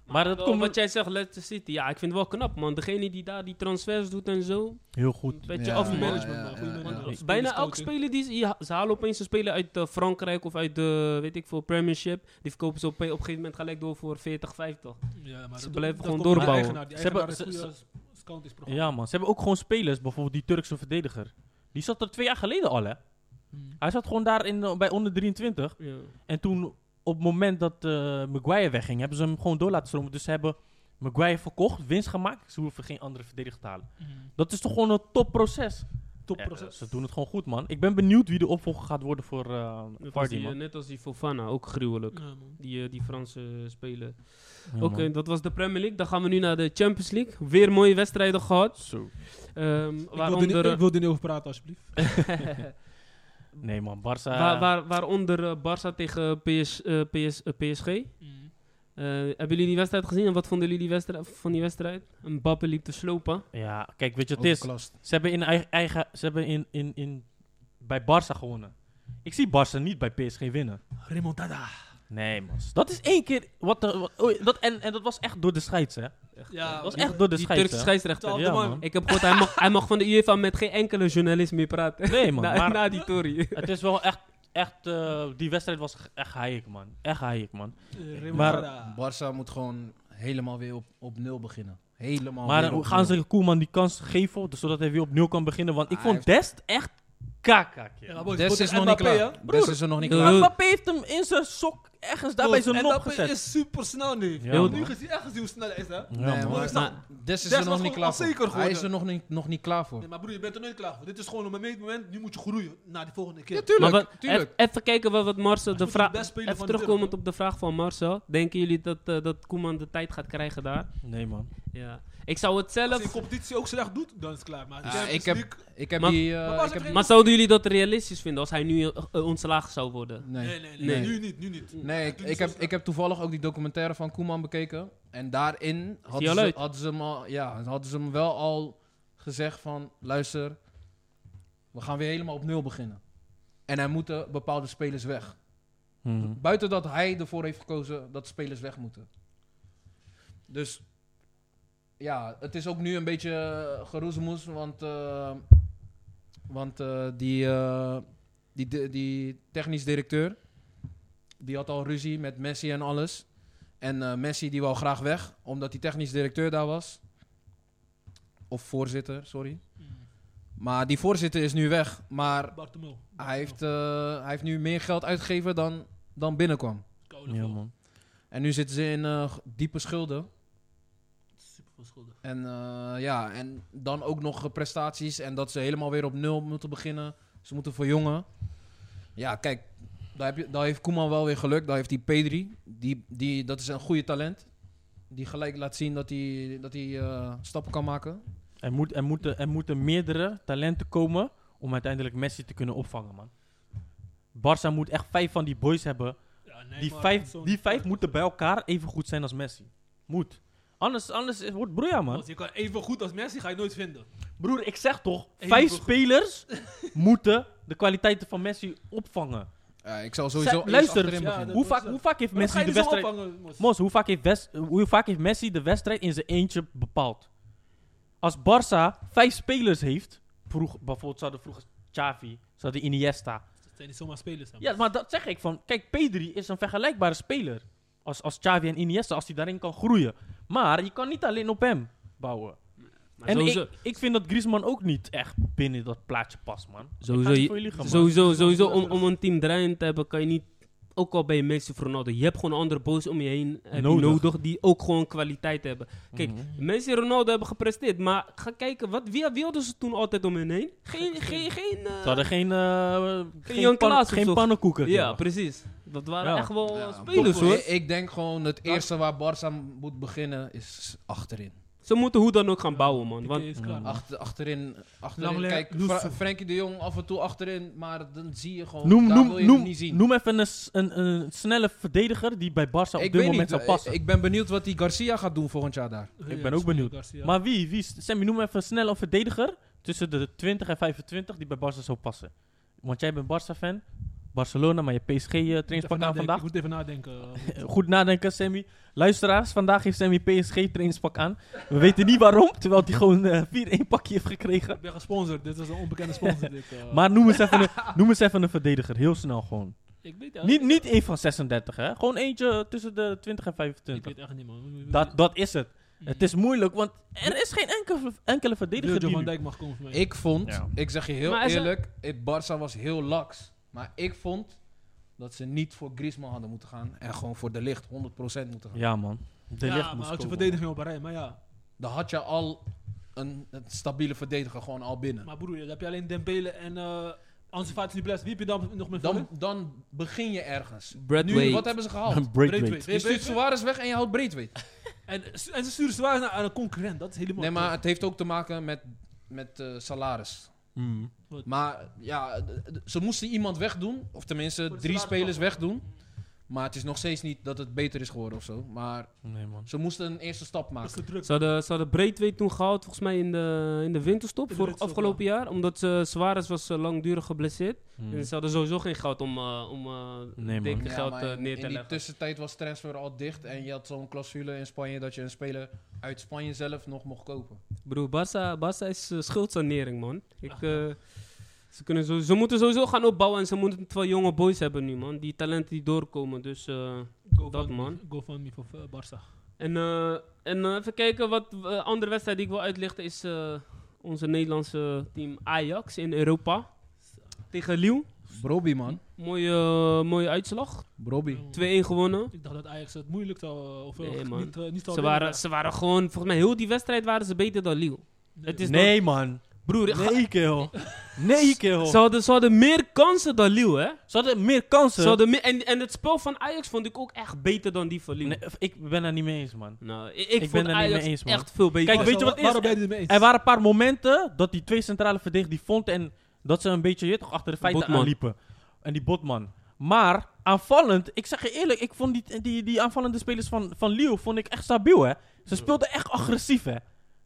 [SPEAKER 5] Maar dat
[SPEAKER 2] Wel,
[SPEAKER 5] komt
[SPEAKER 2] Wat jij zegt, Leicester City. Ja, ik vind het wel knap, man. Degene die daar die transfers doet en zo.
[SPEAKER 5] heel goed.
[SPEAKER 2] Een beetje
[SPEAKER 3] Ja,
[SPEAKER 2] af, man.
[SPEAKER 3] ja,
[SPEAKER 4] management, man.
[SPEAKER 3] ja,
[SPEAKER 4] Goeie management.
[SPEAKER 5] ja.
[SPEAKER 4] Spelers
[SPEAKER 2] Bijna elke
[SPEAKER 4] coaching.
[SPEAKER 2] speler die ze, ja, ze halen opeens een speler uit eh, Frankrijk of uit de, weet ik veel, Premiership. Die verkopen ze op, op een gegeven moment gelijk door voor 40, 50.
[SPEAKER 4] Ja, maar
[SPEAKER 2] Ze
[SPEAKER 4] dat-
[SPEAKER 2] blijven
[SPEAKER 4] dat
[SPEAKER 2] gewoon
[SPEAKER 4] komt door de
[SPEAKER 2] doorbouwen.
[SPEAKER 4] eigenaar. Die
[SPEAKER 5] Ze hebben-
[SPEAKER 4] eigenaar
[SPEAKER 5] ze-
[SPEAKER 4] is goede s- scoutingsprogramma.
[SPEAKER 5] Ja, man. Ze hebben ook gewoon spelers. Bijvoorbeeld die Turkse verdediger. Die zat er twee jaar geleden al, hè.
[SPEAKER 4] Hmm.
[SPEAKER 5] Hij zat gewoon daar in, de- bij onder 23.
[SPEAKER 2] Ja.
[SPEAKER 5] En toen, op het moment dat eh, Maguire wegging, hebben ze hem gewoon door laten stromen. Dus ze hebben Maguire verkocht, winst gemaakt. Ze hoeven geen andere verdediger te halen.
[SPEAKER 4] Mhm.
[SPEAKER 5] Dat is toch gewoon een topproces. Ja, eh,
[SPEAKER 4] Topproces.
[SPEAKER 5] ze doen het gewoon goed, man. Ik ben benieuwd wie de opvolger gaat worden voor eh
[SPEAKER 2] Net, als
[SPEAKER 5] Vardy,
[SPEAKER 2] die, eh,
[SPEAKER 5] man.
[SPEAKER 2] net als die Fofana, ook gruwelijk.
[SPEAKER 4] Ja, man.
[SPEAKER 2] Die, eh, die Franse speler.
[SPEAKER 5] Ja,
[SPEAKER 2] Oké,
[SPEAKER 5] man.
[SPEAKER 2] dat was de Premier League. Dan gaan we nu naar de Champions League. Weer mooie wedstrijden gehad.
[SPEAKER 5] Zo.
[SPEAKER 2] Ehm,
[SPEAKER 4] Ik wil er niet-
[SPEAKER 2] waaronder, eh,
[SPEAKER 4] Ik wil er niet over praten, alsjeblieft.
[SPEAKER 5] Nee, man. Barca...
[SPEAKER 2] waar, waar, waaronder eh, Barça tegen PS, eh, PS, eh, PSG.
[SPEAKER 5] Mm.
[SPEAKER 4] Mhm.
[SPEAKER 2] Eh, hebben jullie die wedstrijd gezien en wat vonden jullie die wedstrijd, van die wedstrijd? Een bappe liep te slopen.
[SPEAKER 5] Ja, kijk, weet je wat het is?
[SPEAKER 3] Overklast.
[SPEAKER 5] Ze hebben, in eigen, eigen, ze hebben in, in, in, bij Barça gewonnen. Ik zie Barça niet bij PSG winnen.
[SPEAKER 4] Remontada.
[SPEAKER 5] Nee, man. Dat is één keer... Wat de- wat- oei, dat, en, en dat was echt door de scheids, hè?
[SPEAKER 4] Ja,
[SPEAKER 5] Dat was
[SPEAKER 4] die-
[SPEAKER 5] echt door de
[SPEAKER 2] die
[SPEAKER 5] scheids,
[SPEAKER 2] Turkse
[SPEAKER 5] hè?
[SPEAKER 2] scheidsrechter.
[SPEAKER 5] Ja,
[SPEAKER 4] man.
[SPEAKER 5] man.
[SPEAKER 2] Ik heb gehoord, hij mag, hij mag van de UEFA met geen enkele journalist meer praten.
[SPEAKER 5] Nee, man.
[SPEAKER 2] na,
[SPEAKER 5] Maar
[SPEAKER 2] na die tory.
[SPEAKER 5] het is wel echt echt, eh, die wedstrijd was echt haaiek, man. Echt haaiek, man.
[SPEAKER 4] Maar,
[SPEAKER 3] Barça moet gewoon helemaal weer op, op nul beginnen. Helemaal
[SPEAKER 5] maar
[SPEAKER 3] weer
[SPEAKER 5] eh, hoe
[SPEAKER 3] op
[SPEAKER 5] gaan
[SPEAKER 3] nul.
[SPEAKER 5] ze Koeman die kans geven, dus zodat hij weer opnieuw kan beginnen? Want ik
[SPEAKER 3] Ah,
[SPEAKER 5] vond Dest echt kaka, kerel.
[SPEAKER 4] ja, maar boys,
[SPEAKER 3] Des
[SPEAKER 4] Foden
[SPEAKER 3] is
[SPEAKER 5] eh,
[SPEAKER 4] en
[SPEAKER 3] nog niet
[SPEAKER 4] Mbappé,
[SPEAKER 3] klaar.
[SPEAKER 4] hè?
[SPEAKER 3] Des is er nog niet
[SPEAKER 2] Doe.
[SPEAKER 3] klaar.
[SPEAKER 2] Doe.
[SPEAKER 5] Mbappé heeft hem in zijn sok ergens daar bij
[SPEAKER 4] Boys,
[SPEAKER 5] zijn
[SPEAKER 4] en
[SPEAKER 5] lop
[SPEAKER 4] Mbappé
[SPEAKER 5] gezet.
[SPEAKER 4] is super snel nu.
[SPEAKER 5] Ja,
[SPEAKER 4] Heel
[SPEAKER 5] man.
[SPEAKER 4] nu gezien, echt gezien hoe snel hij is, hè?
[SPEAKER 5] Ja,
[SPEAKER 3] Nee,
[SPEAKER 5] man.
[SPEAKER 3] maar,
[SPEAKER 4] Maar-
[SPEAKER 3] maar Des is
[SPEAKER 4] Des
[SPEAKER 3] er nog
[SPEAKER 4] was
[SPEAKER 3] niet
[SPEAKER 4] gewoon
[SPEAKER 3] klaar voor.
[SPEAKER 4] onzeker
[SPEAKER 3] Hij is
[SPEAKER 4] geworden.
[SPEAKER 3] er nog niet, nog niet klaar voor.
[SPEAKER 4] Nee, maar broer, je bent er nooit klaar voor. Dit is gewoon op een moment, nu moet je groeien naar de volgende keer.
[SPEAKER 2] Maar
[SPEAKER 3] tuurlijk,
[SPEAKER 2] wat, ef- even kijken wat, wat Marcel, de
[SPEAKER 4] moet de
[SPEAKER 2] vraag.
[SPEAKER 4] best speler
[SPEAKER 2] Even
[SPEAKER 4] van de
[SPEAKER 2] terugkomend
[SPEAKER 4] wereld,
[SPEAKER 2] op de vraag van Marcel. Denken jullie dat, eh, dat Koeman de tijd gaat krijgen daar?
[SPEAKER 5] Nee, man.
[SPEAKER 2] Ja. Ik zou het
[SPEAKER 4] Als hij de
[SPEAKER 2] zelf.
[SPEAKER 4] competitie ook slecht doet, dan is het klaar. Maar
[SPEAKER 3] Ah,
[SPEAKER 4] Champions
[SPEAKER 3] ik heb-
[SPEAKER 4] League-
[SPEAKER 3] Ik heb
[SPEAKER 2] Maar-
[SPEAKER 3] die... eh,
[SPEAKER 4] Maar Barca
[SPEAKER 3] ik heb-
[SPEAKER 4] traint-
[SPEAKER 2] Maar zouden jullie dat realistisch vinden als hij nu eh, eh, ontslagen zou worden?
[SPEAKER 4] Nee,
[SPEAKER 3] Nee,
[SPEAKER 4] nee, nee,
[SPEAKER 3] Nee.
[SPEAKER 4] nu niet, nu niet.
[SPEAKER 3] nee ik,
[SPEAKER 4] Doe niet
[SPEAKER 3] ik,
[SPEAKER 4] zo
[SPEAKER 3] heb,
[SPEAKER 4] snel.
[SPEAKER 3] ik heb toevallig ook die documentaire van Koeman bekeken. En daarin
[SPEAKER 2] die
[SPEAKER 3] hadden
[SPEAKER 2] al
[SPEAKER 3] ze,
[SPEAKER 2] uit?
[SPEAKER 3] hadden, ze hem al, ja, hadden ze hem wel al gezegd van... Luister, we gaan weer helemaal op nul beginnen. En er moeten bepaalde spelers weg.
[SPEAKER 5] Mhm.
[SPEAKER 3] Buiten dat hij ervoor heeft gekozen dat spelers weg moeten. Dus ja, het is ook nu een beetje eh, geroezemoes, want, eh, want eh, die, eh, die, di- die technisch directeur, die had al ruzie met Messi en alles. En eh, Messi die wou graag weg, omdat die technisch directeur daar was. Of voorzitter, sorry. Maar die voorzitter is nu weg, maar
[SPEAKER 4] Mm. Bartomeu.
[SPEAKER 3] hij heeft, eh, hij heeft nu meer geld uitgegeven dan, dan binnenkwam.
[SPEAKER 4] Koude
[SPEAKER 5] Ja,
[SPEAKER 4] val.
[SPEAKER 5] man.
[SPEAKER 3] En nu zitten ze in eh, g- diepe schulden.
[SPEAKER 4] Super veel schulden.
[SPEAKER 3] En eh, ja, en dan ook nog eh, prestaties. En dat ze helemaal weer op nul moeten beginnen. Ze moeten verjongen. Ja, kijk, daar, heb je, daar heeft Koeman wel weer geluk. Daar heeft hij Pedri. Die, die, dat is een goede talent. Die gelijk laat zien dat hij, dat hij eh, stappen kan maken.
[SPEAKER 5] Er, moet, er, moeten, er moeten meerdere talenten komen om uiteindelijk Messi te kunnen opvangen, man. Barça moet echt vijf van die boys hebben.
[SPEAKER 4] Ja, nee,
[SPEAKER 5] Die
[SPEAKER 4] maar
[SPEAKER 5] vijf,
[SPEAKER 4] zo'n-
[SPEAKER 5] die vijf moeten bij elkaar even goed zijn als Messi. Moet. Anders, anders is- wordt broeia, man.
[SPEAKER 4] Want je kan even goed als Messi ga je nooit vinden.
[SPEAKER 5] Broer, ik zeg toch,
[SPEAKER 4] Even
[SPEAKER 5] vijf
[SPEAKER 4] goed.
[SPEAKER 5] spelers moeten de kwaliteiten van Messi opvangen.
[SPEAKER 3] Ja, ik zal sowieso
[SPEAKER 5] Zij-
[SPEAKER 3] eerst
[SPEAKER 5] luister,
[SPEAKER 3] achterin
[SPEAKER 4] ja,
[SPEAKER 3] beginnen.
[SPEAKER 4] dat-
[SPEAKER 5] Hoe
[SPEAKER 4] moet
[SPEAKER 5] vaak,
[SPEAKER 4] zo.
[SPEAKER 5] hoe vaak heeft
[SPEAKER 4] Maar dat ga
[SPEAKER 5] Messi
[SPEAKER 4] je dus
[SPEAKER 5] de
[SPEAKER 4] niet zo
[SPEAKER 5] wedstrijd...
[SPEAKER 4] opvangen, Mos.
[SPEAKER 5] Mos, hoe vaak, heeft West, hoe vaak heeft Messi de wedstrijd in zijn eentje bepaald? Als Barça vijf spelers heeft, vroeg, bijvoorbeeld zouden vroeger Xavi, zouden Iniesta.
[SPEAKER 4] Het zijn niet zomaar spelers. hè, man.
[SPEAKER 5] Ja, maar dat zeg ik van, kijk, Pedri is een vergelijkbare speler als, als Xavi en Iniesta, als hij daarin kan groeien. Maar je kan niet alleen op hem bouwen.
[SPEAKER 2] Maar
[SPEAKER 5] en
[SPEAKER 2] sowieso,
[SPEAKER 5] ik, ik vind dat Griezmann ook niet echt binnen dat plaatje past, man.
[SPEAKER 2] sowieso,
[SPEAKER 5] Gaat
[SPEAKER 2] je-
[SPEAKER 5] niet voor je lichaam, man.
[SPEAKER 2] sowieso,
[SPEAKER 4] Het is wel
[SPEAKER 2] sowieso
[SPEAKER 4] goed,
[SPEAKER 2] om, om een team draaiend te hebben, kan je niet. Ook al bij Messi of Ronaldo. Je hebt gewoon andere boys om je heen heb je
[SPEAKER 5] Nodig.
[SPEAKER 2] nodig. die ook gewoon kwaliteit hebben. Kijk,
[SPEAKER 5] Mhm.
[SPEAKER 2] Messi en Ronaldo hebben gepresteerd. Maar ga kijken, wat, wie wilden ze toen altijd om hen heen? Geen. geen, geen eh,
[SPEAKER 5] Ze hadden geen, eh,
[SPEAKER 2] Jan
[SPEAKER 5] geen,
[SPEAKER 2] Klaas
[SPEAKER 5] pan,
[SPEAKER 2] of
[SPEAKER 5] geen
[SPEAKER 2] zo.
[SPEAKER 5] pannenkoeken.
[SPEAKER 2] ja,
[SPEAKER 5] kerel.
[SPEAKER 2] precies. Dat waren
[SPEAKER 5] Ja.
[SPEAKER 2] echt wel eh,
[SPEAKER 3] Ja,
[SPEAKER 2] spelers
[SPEAKER 3] toch,
[SPEAKER 2] hoor.
[SPEAKER 3] Ik, ik denk gewoon het eerste waar Barça moet beginnen is achterin.
[SPEAKER 2] Ze moeten hoe dan ook gaan bouwen, man.
[SPEAKER 4] Piqué
[SPEAKER 2] Want
[SPEAKER 4] is klaar. Ah,
[SPEAKER 5] Ja.
[SPEAKER 3] Achter, achterin, achterin.
[SPEAKER 4] Langley,
[SPEAKER 3] kijk,
[SPEAKER 4] Loes-
[SPEAKER 3] Fra- Frenkie de Jong af en toe achterin, maar dan zie je gewoon,
[SPEAKER 5] Noem,
[SPEAKER 3] daar wil
[SPEAKER 5] noem,
[SPEAKER 3] je hem
[SPEAKER 5] noem,
[SPEAKER 3] niet zien.
[SPEAKER 5] noem even een, s- een, een snelle verdediger die bij Barça op dit moment zou
[SPEAKER 3] eh,
[SPEAKER 5] passen.
[SPEAKER 3] Ik ben benieuwd wat die Garcia gaat doen volgend jaar daar.
[SPEAKER 4] Ja,
[SPEAKER 5] ben
[SPEAKER 4] ja,
[SPEAKER 5] ook
[SPEAKER 4] Spinner,
[SPEAKER 5] benieuwd.
[SPEAKER 4] eh, Garcia.
[SPEAKER 5] Maar wie, wie? Sammy, noem even snel een verdediger tussen de 20 en 25 die bij Barça zou passen. Want jij bent Barça-fan, Barcelona, maar je PSG eh
[SPEAKER 4] Even
[SPEAKER 5] trainingspak aan
[SPEAKER 4] nadenken,
[SPEAKER 5] vandaag.
[SPEAKER 4] Ik moet even nadenken.
[SPEAKER 5] Eh, Goed nadenken, Sammy. Luisteraars, vandaag heeft Sammy PSG trainingspak aan. We weten niet waarom, terwijl hij gewoon eh 4-1 pakje heeft gekregen.
[SPEAKER 4] ik ben gesponsord. Dit is een onbekende sponsor. dit, eh.
[SPEAKER 5] Maar noem eens, even een, noem eens even een verdediger, heel snel gewoon.
[SPEAKER 4] ik weet echt-
[SPEAKER 5] Niet, niet één van 36, hè? Gewoon eentje tussen de 20 en
[SPEAKER 4] Ik
[SPEAKER 5] 25.
[SPEAKER 4] weet echt niet, man.
[SPEAKER 5] Dat, dat is het.
[SPEAKER 4] Mm.
[SPEAKER 5] Het is moeilijk, want er is geen enkele, enkele verdediger
[SPEAKER 4] Virgil
[SPEAKER 5] die
[SPEAKER 4] van
[SPEAKER 5] nu-
[SPEAKER 4] Dijk mag komen voor mij.
[SPEAKER 3] Ik vond,
[SPEAKER 5] Ja.
[SPEAKER 3] ik zeg je heel
[SPEAKER 2] Maar is er-
[SPEAKER 3] eerlijk, het Barça was heel laks. Maar ik vond dat ze niet voor Griezmann hadden moeten gaan en gewoon voor De Licht 100% moeten gaan.
[SPEAKER 5] Ja, man. De
[SPEAKER 4] ja,
[SPEAKER 5] licht
[SPEAKER 4] maar
[SPEAKER 5] moest
[SPEAKER 4] ook zijn
[SPEAKER 5] komen.
[SPEAKER 4] verdediging op een rij. Maar ja,
[SPEAKER 3] Dan had je al een, een stabiele verdediger gewoon al binnen.
[SPEAKER 4] maar broer, dan heb je alleen Dembele en eh Ansu Fati die blessed. Wie heb je dan nog meer
[SPEAKER 3] Dan,
[SPEAKER 4] vullen?
[SPEAKER 3] dan begin je ergens. Nu,
[SPEAKER 2] Bradway.
[SPEAKER 3] wat hebben ze gehaald?
[SPEAKER 5] Een breakweight.
[SPEAKER 4] Breakweight.
[SPEAKER 3] Je stuurt Suarez weg en je houdt Breedweight.
[SPEAKER 4] En, en ze sturen zwaar naar aan een concurrent. Dat is helemaal...
[SPEAKER 3] Nee, maar het heeft ook te maken met, met eh, salaris.
[SPEAKER 5] Mm.
[SPEAKER 3] Maar ja, d- d- ze moesten iemand wegdoen. Of tenminste,
[SPEAKER 4] Voor de
[SPEAKER 3] drie
[SPEAKER 4] salarisklappen.
[SPEAKER 3] spelers wegdoen. Maar het is nog steeds niet dat het beter is geworden of zo. Maar
[SPEAKER 5] Nee, man.
[SPEAKER 3] ze moesten een eerste stap
[SPEAKER 4] Dat is
[SPEAKER 3] maken.
[SPEAKER 4] te druk.
[SPEAKER 2] Ze hadden, ze hadden Breedway toen gehaald, volgens mij in de, in de winterstop,
[SPEAKER 4] In de
[SPEAKER 2] voor
[SPEAKER 4] winterstop,
[SPEAKER 2] afgelopen jaar. Omdat ze Suarez was eh, langdurig geblesseerd.
[SPEAKER 5] Mm.
[SPEAKER 2] En ze hadden sowieso geen geld om, eh, om eh,
[SPEAKER 5] Nee, man.
[SPEAKER 2] dikke
[SPEAKER 3] Ja,
[SPEAKER 2] geld
[SPEAKER 3] maar
[SPEAKER 2] eh,
[SPEAKER 3] in-
[SPEAKER 2] neer te
[SPEAKER 3] In die
[SPEAKER 2] leggen.
[SPEAKER 3] tussentijd was transfer al dicht. En je had zo'n clausule in Spanje dat je een speler uit Spanje zelf nog mocht kopen.
[SPEAKER 2] Broer, Barca, Barca is eh, schuldsanering, man. Ik, eh, Ze, kunnen zo, ze moeten sowieso gaan opbouwen en ze moeten het wel jonge boys hebben nu, man. Die talenten die doorkomen, dus... eh,
[SPEAKER 4] Go
[SPEAKER 2] Dat,
[SPEAKER 4] fund-
[SPEAKER 2] man.
[SPEAKER 4] Go fund me voor eh, Barca.
[SPEAKER 2] en eh, en eh, even kijken, wat eh, andere wedstrijd die ik wil uitlichten is... eh, onze Nederlandse team Ajax in Europa. Tegen Lille.
[SPEAKER 3] Broby, man.
[SPEAKER 2] Mooie, eh, mooie uitslag. 2-1
[SPEAKER 3] Broby.
[SPEAKER 2] gewonnen.
[SPEAKER 4] Ik dacht dat Ajax het moeilijk zou... eh, Of eh,
[SPEAKER 2] Nee, man.
[SPEAKER 4] niet, eh, niet zou
[SPEAKER 2] Ze
[SPEAKER 4] winnen,
[SPEAKER 2] waren,
[SPEAKER 4] maar-
[SPEAKER 2] ze waren gewoon... Volgens mij heel die wedstrijd waren ze beter dan Lille.
[SPEAKER 4] Nee.
[SPEAKER 2] Het is
[SPEAKER 5] nee, man.
[SPEAKER 2] nog- broer, ga-
[SPEAKER 5] Nee, kerel. Nee, kerel.
[SPEAKER 2] ze, hadden, ze hadden meer kansen dan Lille, hè?
[SPEAKER 5] Ze hadden meer
[SPEAKER 2] Ze
[SPEAKER 5] kansen.
[SPEAKER 2] hadden meer, en, en het spel van Ajax vond ik ook echt beter dan die van Lille.
[SPEAKER 5] Nee, ik ben daar niet mee eens, man.
[SPEAKER 2] Nou, ik, ik
[SPEAKER 5] ben
[SPEAKER 2] vond
[SPEAKER 5] daar niet
[SPEAKER 2] Ajax
[SPEAKER 5] mee eens, man.
[SPEAKER 2] echt veel beter.
[SPEAKER 5] Kijk,
[SPEAKER 4] Oh,
[SPEAKER 5] weet
[SPEAKER 4] zo,
[SPEAKER 5] je wat
[SPEAKER 4] wa-
[SPEAKER 5] is?
[SPEAKER 4] Waarom ben je het mee eens?
[SPEAKER 5] Er waren een paar momenten dat die twee centrale verdedigers die vond en dat ze een beetje je weet toch achter de feiten
[SPEAKER 2] Botman.
[SPEAKER 5] aanliepen. En die botman. Maar aanvallend, ik zeg je eerlijk, ik vond die, die, die aanvallende spelers van, van Leo vond ik echt stabiel, hè. Ze speelden echt agressief, hè.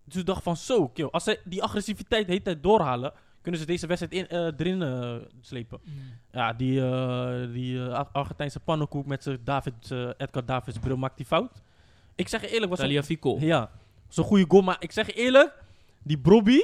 [SPEAKER 5] Dus ik dacht van zo, kill. Als ze die agressiviteit de hele tijd doorhalen, kunnen ze deze wedstrijd in, eh, erin eh, slepen.
[SPEAKER 4] Mm.
[SPEAKER 5] Ja, die, eh, die eh, Ar- Argentijnse pannenkoek met zijn David, eh, Edgar Davids bril maakt die fout. Ik zeg je eerlijk, was
[SPEAKER 2] Talia Fico.
[SPEAKER 5] ja, zo'n goede goal. Maar ik zeg je eerlijk, die Brobby...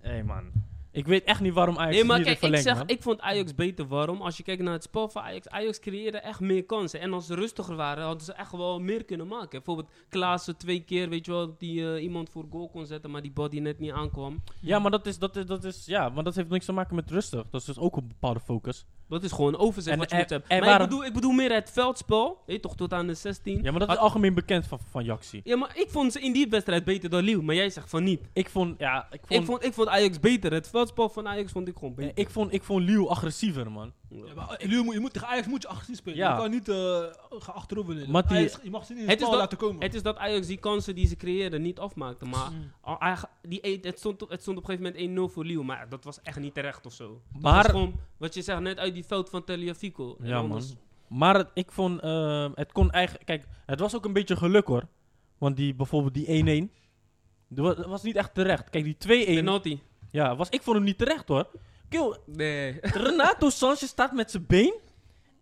[SPEAKER 5] Hé man, ik weet echt niet waarom Ajax
[SPEAKER 2] Nee, maar
[SPEAKER 5] hier
[SPEAKER 2] kijk, ik,
[SPEAKER 5] verlengt,
[SPEAKER 2] zeg,
[SPEAKER 5] man.
[SPEAKER 2] ik vond Ajax beter. Waarom? Als je kijkt naar het spel van Ajax, Ajax creëerde echt meer kansen. En als ze rustiger waren, hadden ze echt wel meer kunnen maken. Bijvoorbeeld Klaassen twee keer, weet je wel, die eh, iemand voor goal kon zetten, maar die bal die net niet aankwam.
[SPEAKER 5] Ja, maar dat, is, dat, is, dat, is, ja, want dat heeft niks te maken met rustig. Dat is dus ook een bepaalde focus.
[SPEAKER 2] Dat is gewoon overzicht
[SPEAKER 5] En
[SPEAKER 2] wat je
[SPEAKER 5] er-
[SPEAKER 2] moet hebben.
[SPEAKER 5] er
[SPEAKER 2] Maar
[SPEAKER 5] waren-
[SPEAKER 2] ik, bedoel, ik bedoel meer het veldspel, weet je, toch, tot aan de 16.
[SPEAKER 5] Ja, maar dat is algemeen bekend van, van Jaxi.
[SPEAKER 2] Ja, maar ik vond ze in die wedstrijd beter dan Lille, maar jij zegt van niet.
[SPEAKER 5] Ik vond, ja, ik vond...
[SPEAKER 2] Ik vond, ik vond Ajax beter. Het veldspel van Ajax vond ik gewoon
[SPEAKER 5] eh,
[SPEAKER 2] beter.
[SPEAKER 5] ik vond, ik vond Liu agressiever, man.
[SPEAKER 4] Ja, maar, eh, Lille moet- je moet, tegen Ajax moet je agressief spelen.
[SPEAKER 5] Ja.
[SPEAKER 4] Je kan niet eh gaan achterover leunen.
[SPEAKER 5] Mattie-
[SPEAKER 4] Ajax, je mag ze niet in
[SPEAKER 2] Het
[SPEAKER 4] het
[SPEAKER 2] is
[SPEAKER 4] spel
[SPEAKER 2] dat-
[SPEAKER 4] laten komen.
[SPEAKER 2] Het is dat Ajax die kansen die ze creëerden niet afmaakte. Maar
[SPEAKER 4] Mm.
[SPEAKER 2] al- Ajax- die, e- het, stond, op- het stond op een gegeven moment 1-0 voor Lille. Maar dat was echt niet terecht of zo. Dat
[SPEAKER 5] Maar-
[SPEAKER 2] was gewoon wat je zegt net uit die veld van Teliafico. En
[SPEAKER 5] Ja,
[SPEAKER 2] anders-
[SPEAKER 5] man. Maar het- ik vond, eh, het kon eigenlijk... Kijk, het was ook een beetje geluk, hoor. Want die, bijvoorbeeld die 1-1... Dat wa- dat was niet echt terecht. Kijk, die 2-1...
[SPEAKER 2] Penalty.
[SPEAKER 5] Ja, was, ik vond hem niet terecht, hoor. Kill,
[SPEAKER 2] Nee.
[SPEAKER 5] Renato Sanchez staat met zijn been.